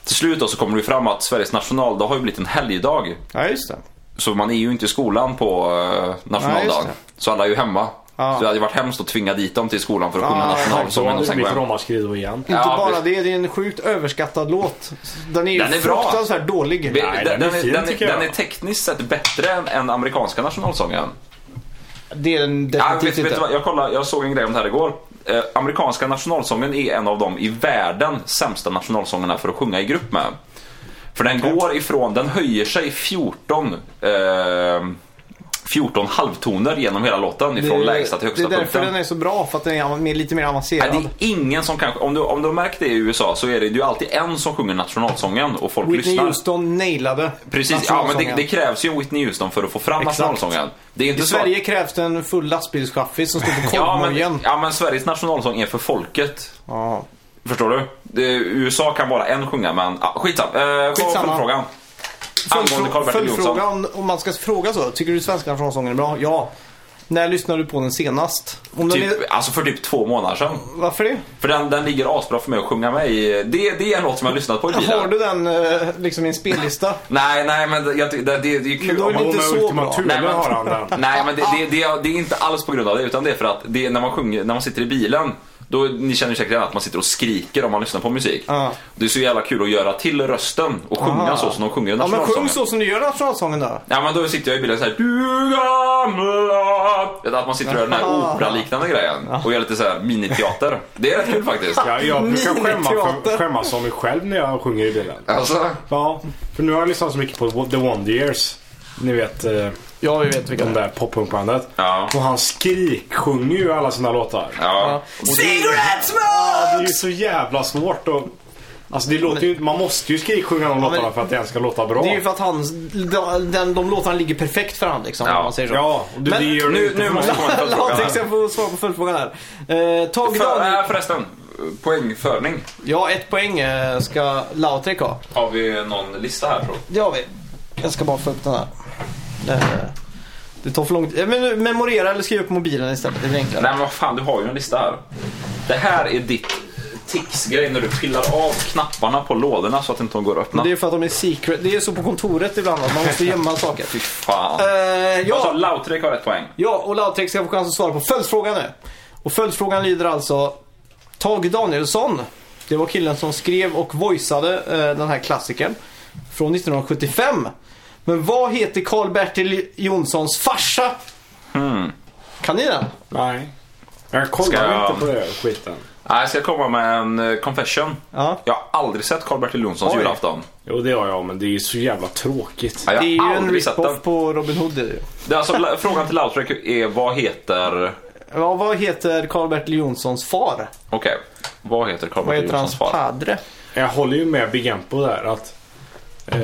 [SPEAKER 3] Till slut då så kommer det ju fram att Sveriges nationaldag har ju blivit en helgdag.
[SPEAKER 2] Ja, just det.
[SPEAKER 3] Så man är ju inte i skolan på eh,
[SPEAKER 2] Nej, just
[SPEAKER 3] nationaldagen.
[SPEAKER 2] det.
[SPEAKER 3] så alla är ju hemma.
[SPEAKER 2] Ja.
[SPEAKER 3] Så det hade ju varit hemskt att tvinga dit dem till skolan för att sjunga
[SPEAKER 2] Ja,
[SPEAKER 4] Då
[SPEAKER 3] nationalsången
[SPEAKER 4] hade
[SPEAKER 3] och
[SPEAKER 4] det
[SPEAKER 3] sen gå
[SPEAKER 4] blivit
[SPEAKER 3] hem.
[SPEAKER 4] ramaskrido igen.
[SPEAKER 2] Inte
[SPEAKER 3] Ja,
[SPEAKER 2] bara
[SPEAKER 3] precis.
[SPEAKER 2] det, det är en sjukt överskattad låt. Den är ju
[SPEAKER 3] Den är bra.
[SPEAKER 2] fruktansvärt dålig.
[SPEAKER 3] Vi- den,
[SPEAKER 4] Nej, den är
[SPEAKER 3] den, är-
[SPEAKER 4] fin,
[SPEAKER 3] den, är-
[SPEAKER 4] tycker jag.
[SPEAKER 3] den är tekniskt sett bättre än, än amerikanska nationalsången.
[SPEAKER 2] Det är den
[SPEAKER 3] Ja, vet,
[SPEAKER 2] definitivt
[SPEAKER 3] vet du
[SPEAKER 2] inte.
[SPEAKER 3] vad, jag, kollade, jag såg en grej om det här igår. Eh, amerikanska nationalsången är en av de i världen sämsta nationalsångerna för att sjunga i grupp med. För den går ifrån, den höjer sig 14 eh, 14 halvtoner genom hela låten ifrån lägsta till högsta
[SPEAKER 2] Det är därför
[SPEAKER 3] punkten.
[SPEAKER 2] den är så bra, för att den är av- mer, lite mer
[SPEAKER 3] Nej,
[SPEAKER 2] avancerad.
[SPEAKER 3] det är ingen som kanske, om du, om du har märkt det i USA så är det ju alltid en som sjunger nationalsången och folk
[SPEAKER 2] Whitney
[SPEAKER 3] lyssnar.
[SPEAKER 2] Houston nailade
[SPEAKER 3] Precis, ja, men det,
[SPEAKER 2] nationalsången.
[SPEAKER 3] det krävs ju en Whitney Houston för att få fram
[SPEAKER 2] Exakt.
[SPEAKER 3] nationalsången. Det är inte
[SPEAKER 2] I
[SPEAKER 3] så att-
[SPEAKER 2] Sverige krävs det en full lastbilschaffis som står på
[SPEAKER 3] [laughs] ja men,
[SPEAKER 2] korvmojen.
[SPEAKER 3] ja, men Sveriges nationalsång är för folket.
[SPEAKER 2] Ja.
[SPEAKER 3] Förstår du? Det, USA kan bara en sjunga, men ah, skitsam. Eh,
[SPEAKER 2] Skitsamma.
[SPEAKER 3] skitsamma. frågan. Angående
[SPEAKER 2] Följdfrå-
[SPEAKER 3] Karl-Bertil Jonsson.
[SPEAKER 2] Följdfråga om, om man ska fråga så. Tycker du svenska nationalsången är bra? Ja. När lyssnade du på den senast? Om den är,
[SPEAKER 3] Typ, alltså för typ två månader sedan.
[SPEAKER 2] varför det?
[SPEAKER 3] För den, den ligger asbra för mig att sjunga med i. Det, det är en låt som jag har lyssnat på i bilen.
[SPEAKER 2] Har du den eh, liksom i en spellista?
[SPEAKER 3] Nej, nej men det- jag, ty- det, det, det är ju kul.
[SPEAKER 2] Men då är
[SPEAKER 3] om
[SPEAKER 2] det
[SPEAKER 3] man-
[SPEAKER 2] inte så bra.
[SPEAKER 3] Nej,
[SPEAKER 4] Nej,
[SPEAKER 3] men-
[SPEAKER 4] har han
[SPEAKER 3] [laughs]
[SPEAKER 4] den.
[SPEAKER 3] Nej men det, det, det, det är inte alls på grund av det utan det är för att det, när, man sjunger, när man sitter i bilen då, ni känner ju säkert igen att man sitter och skriker om man lyssnar på musik.
[SPEAKER 2] Ja.
[SPEAKER 3] Det är så jävla kul att göra till rösten och sjunga
[SPEAKER 2] Aha.
[SPEAKER 3] så som de sjunger i
[SPEAKER 2] Ja men sjung
[SPEAKER 3] nationalsången.
[SPEAKER 2] så som du gör nationalsången då.
[SPEAKER 3] Ja men då sitter jag i bilen såhär Du gamla Vet du, Att man sitter och gör den här
[SPEAKER 2] Aha.
[SPEAKER 3] operaliknande grejen och gör lite såhär miniteater. Det är rätt kul faktiskt.
[SPEAKER 4] Jag, jag brukar skämma
[SPEAKER 2] Miniteater.
[SPEAKER 4] för, skämmas om mig själv när jag sjunger i bilen.
[SPEAKER 3] Alltså,
[SPEAKER 4] Ja, för nu har jag lyssnat så mycket på The Wonder Years. Ni vet, eh,
[SPEAKER 2] Ja, vi vet vilka
[SPEAKER 4] de där poppunkbandet.
[SPEAKER 3] Ja.
[SPEAKER 4] Och han skriksjunger ju alla sina låtar.
[SPEAKER 3] ja.
[SPEAKER 2] Cigarette
[SPEAKER 4] Det
[SPEAKER 2] smoke!
[SPEAKER 4] är ju så jävla svårt att... Alltså det låter ju inte... Man måste ju skriksjunga de
[SPEAKER 2] men-
[SPEAKER 4] låtarna för att det ens ska låta bra.
[SPEAKER 2] Det är ju för att hans, de, den, de låtarna ligger perfekt för han liksom.
[SPEAKER 3] Ja.
[SPEAKER 2] Om man säger så.
[SPEAKER 4] Ja, och det,
[SPEAKER 2] Men [laughs]
[SPEAKER 4] det gör det
[SPEAKER 3] Nu,
[SPEAKER 4] inte
[SPEAKER 3] nu
[SPEAKER 4] för
[SPEAKER 3] måste jag
[SPEAKER 4] mig.
[SPEAKER 3] komma till
[SPEAKER 2] Latex,
[SPEAKER 3] frågan.
[SPEAKER 2] jag får svara på följdfrågan här. Eh, Tage
[SPEAKER 3] För,
[SPEAKER 2] Danielsson.
[SPEAKER 3] äh, förresten, poängförning.
[SPEAKER 2] Ja, ett poäng eh, ska Lautrec ha.
[SPEAKER 3] Har vi någon lista här tror jag?
[SPEAKER 2] Det har vi. Jag ska bara få upp den här. Eh, Det tar för lång tid. Eh, Men memorera eller skriv upp mobilen istället. Det blir enklare.
[SPEAKER 3] Nej men vad fan, du har ju en lista här. Det här är ditt tics-grej när du pillar av knapparna på lådorna så att inte de går att öppna.
[SPEAKER 2] Det är för att de är secret. Det är så på kontoret ibland att man måste gömma saker.
[SPEAKER 3] Fy fan.
[SPEAKER 2] Eh,
[SPEAKER 3] Alltså,
[SPEAKER 2] ja,
[SPEAKER 3] Lautrec har ett poäng.
[SPEAKER 2] ja, och Lautrec ska få chans att svara på följdfrågan nu. Och följdfrågan lyder alltså Tage Danielsson. Det var killen som skrev och voiceade eh, den här klassikern. Från 1975. Men vad heter Karl-Bertil Jonssons farsa? Hmm. Kan ni den?
[SPEAKER 4] Nej. Jag
[SPEAKER 3] Ska
[SPEAKER 4] kollar
[SPEAKER 3] jag-
[SPEAKER 4] inte på det här skiten.
[SPEAKER 3] Nej, Jag ska komma med en eh, confession.
[SPEAKER 2] Ja.
[SPEAKER 3] Jag har aldrig sett Karl-Bertil Jonssons
[SPEAKER 2] Oj.
[SPEAKER 3] julafton.
[SPEAKER 4] Jo, det har jag, men det är ju så jävla tråkigt.
[SPEAKER 3] Ja, jag
[SPEAKER 2] Det är
[SPEAKER 3] har
[SPEAKER 2] ju en
[SPEAKER 3] aldrig sett den.
[SPEAKER 2] rip-off på Robin Hood. det är det ju.
[SPEAKER 3] Det är
[SPEAKER 2] [laughs]
[SPEAKER 3] alltså, la- frågan till Lautrec är vad heter...
[SPEAKER 2] Ja, vad heter Karl-Bertil Jonssons far?
[SPEAKER 3] Okej, vad heter
[SPEAKER 2] Vad
[SPEAKER 3] Karl-Bertil
[SPEAKER 2] heter hans
[SPEAKER 3] Jonssons far?
[SPEAKER 2] padre?
[SPEAKER 4] Jag håller ju med Bigempo där att eh,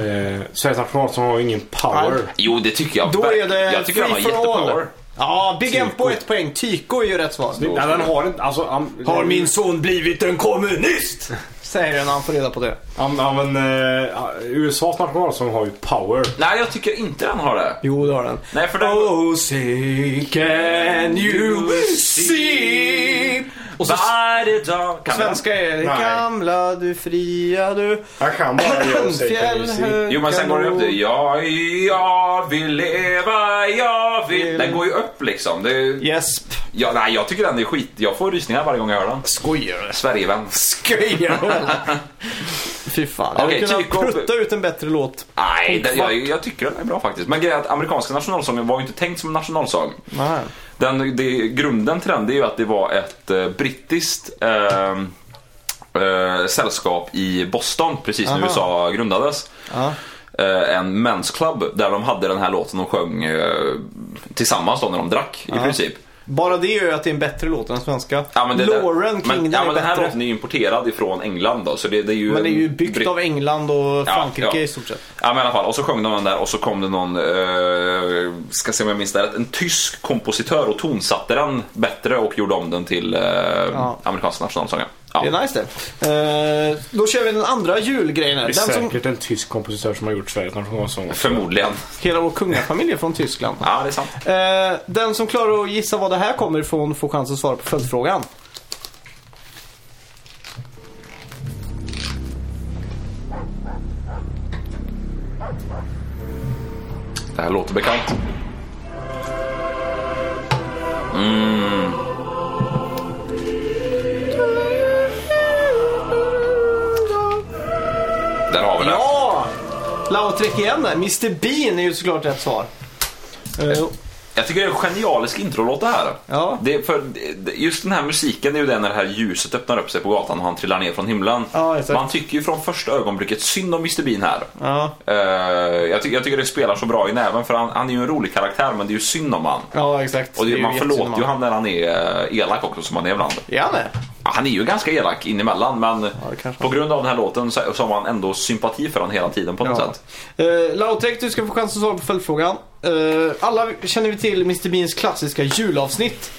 [SPEAKER 4] Sveriges nationalsång har ju ingen power.
[SPEAKER 2] Nej.
[SPEAKER 3] Jo, det tycker jag.
[SPEAKER 2] Då
[SPEAKER 3] verk-
[SPEAKER 2] är det
[SPEAKER 3] jag tycker han har
[SPEAKER 2] free for all.
[SPEAKER 3] jättepower.
[SPEAKER 2] Ja, Big
[SPEAKER 4] Tyko.
[SPEAKER 2] Empo ett poäng. Tyko är ju rätt svar.
[SPEAKER 4] Nej, den har inte... Alltså, am-
[SPEAKER 2] Har min son blivit en kommunist? Säger den när han får reda på det.
[SPEAKER 4] am- am- men, eh, USAs nationalsång har ju power.
[SPEAKER 3] Nej, jag tycker inte den har det.
[SPEAKER 2] Jo, det har den.
[SPEAKER 3] Nej, för den-
[SPEAKER 2] Oh, say can you see?
[SPEAKER 3] Och så... Varje dag. Kan
[SPEAKER 2] Svenska är det
[SPEAKER 4] Nej.
[SPEAKER 2] gamla du fria du.
[SPEAKER 4] Jag
[SPEAKER 3] [clears throat]
[SPEAKER 4] kan bara göra
[SPEAKER 2] Fjäll,
[SPEAKER 4] säkert
[SPEAKER 3] den? Jo, men sen går det upp. till, Ja, jag vill leva, jag vill... Den går ju upp liksom. Det är...
[SPEAKER 2] Jesp.
[SPEAKER 3] ja, nej, jag tycker den är skit. Jag får rysningar varje gång jag hör den.
[SPEAKER 2] Skojar
[SPEAKER 3] Sverigevän.
[SPEAKER 2] Skojar [laughs] Fy fan.
[SPEAKER 3] Okej,
[SPEAKER 2] jag hade
[SPEAKER 3] Tyko-
[SPEAKER 2] kunnat prutta ut en bättre låt.
[SPEAKER 3] Nej, den, jag, jag tycker den är bra faktiskt. Men grejen är att amerikanska nationalsången var ju inte tänkt som en nationalsång.
[SPEAKER 2] Nej.
[SPEAKER 3] Den, det, grunden till den det är ju att det var ett eh, brittiskt eh, eh, sällskap i Boston precis när
[SPEAKER 2] Aha.
[SPEAKER 3] USA grundades.
[SPEAKER 2] Ja.
[SPEAKER 3] Eh, en men's club där de hade den här låten och sjöng eh, tillsammans då när de drack i princip.
[SPEAKER 2] Bara det gör ju att det är en bättre låt än svenska.
[SPEAKER 3] Ja, men det, det-
[SPEAKER 2] Lauren kring
[SPEAKER 3] men,
[SPEAKER 2] den
[SPEAKER 3] ja,
[SPEAKER 2] är
[SPEAKER 3] men Den här
[SPEAKER 2] bättre.
[SPEAKER 3] låten är ju importerad ifrån England då. Så det, det är ju
[SPEAKER 2] Men det är ju
[SPEAKER 3] en
[SPEAKER 2] byggt
[SPEAKER 3] britt-
[SPEAKER 2] av England och Frankrike
[SPEAKER 3] ja.
[SPEAKER 2] i stort sett.
[SPEAKER 3] Ja men i alla fall, och så sjöng de den där och så kom det någon, eh, ska se om jag minns det rätt, en tysk kompositör och tonsatte den bättre och gjorde om den till eh, amerikanska nationalsången. Ja.
[SPEAKER 2] Det är nice det. Eh, då kör vi den andra julgrejen här. Den som
[SPEAKER 4] en tysk kompositör som har gjort Sveriges nationalsång.
[SPEAKER 3] Förmodligen.
[SPEAKER 2] hela vår kungafamilj är från Tyskland.
[SPEAKER 3] Ja, det är sant.
[SPEAKER 2] Eh, den som klarar att gissa vad det här kommer ifrån får chans att svara på följdfrågan.
[SPEAKER 3] Det här låter bekant. Mm. Mm. Där har vi det.
[SPEAKER 2] Ja! Lautrec igen där. Mr Bean är ju såklart rätt svar. Eh,
[SPEAKER 3] Jag tycker det är en genialisk introlåt det här.
[SPEAKER 2] Ja.
[SPEAKER 3] Det, för, det- just den här musiken det är ju den när det här ljuset öppnar upp sig på gatan och han trillar ner från himlen.
[SPEAKER 2] Ja, exakt.
[SPEAKER 3] Man tycker ju från första ögonblicket synd om Mr Bean här.
[SPEAKER 2] ja.
[SPEAKER 3] Eh, jag, ty- jag tycker det spelar så bra i näven för han, han är ju en rolig karaktär men det är ju synd om han.
[SPEAKER 2] ja, exakt.
[SPEAKER 3] Och det,
[SPEAKER 2] är
[SPEAKER 3] man förlåter
[SPEAKER 2] jättesynd
[SPEAKER 3] ju
[SPEAKER 2] om
[SPEAKER 3] han när han är eh, elak också som han är ibland.
[SPEAKER 2] Är han det?
[SPEAKER 3] Ja, Han är ju ganska elak inemellan men
[SPEAKER 2] det kanske
[SPEAKER 3] på grund av den här låten så så har man ändå sympati för honom hela tiden på något
[SPEAKER 2] Ja.
[SPEAKER 3] sätt.
[SPEAKER 2] Eh, Lautrec, du ska få chans att svara på följdfrågan. Eh, alla känner vi till Mr Beans klassiska julavsnitt.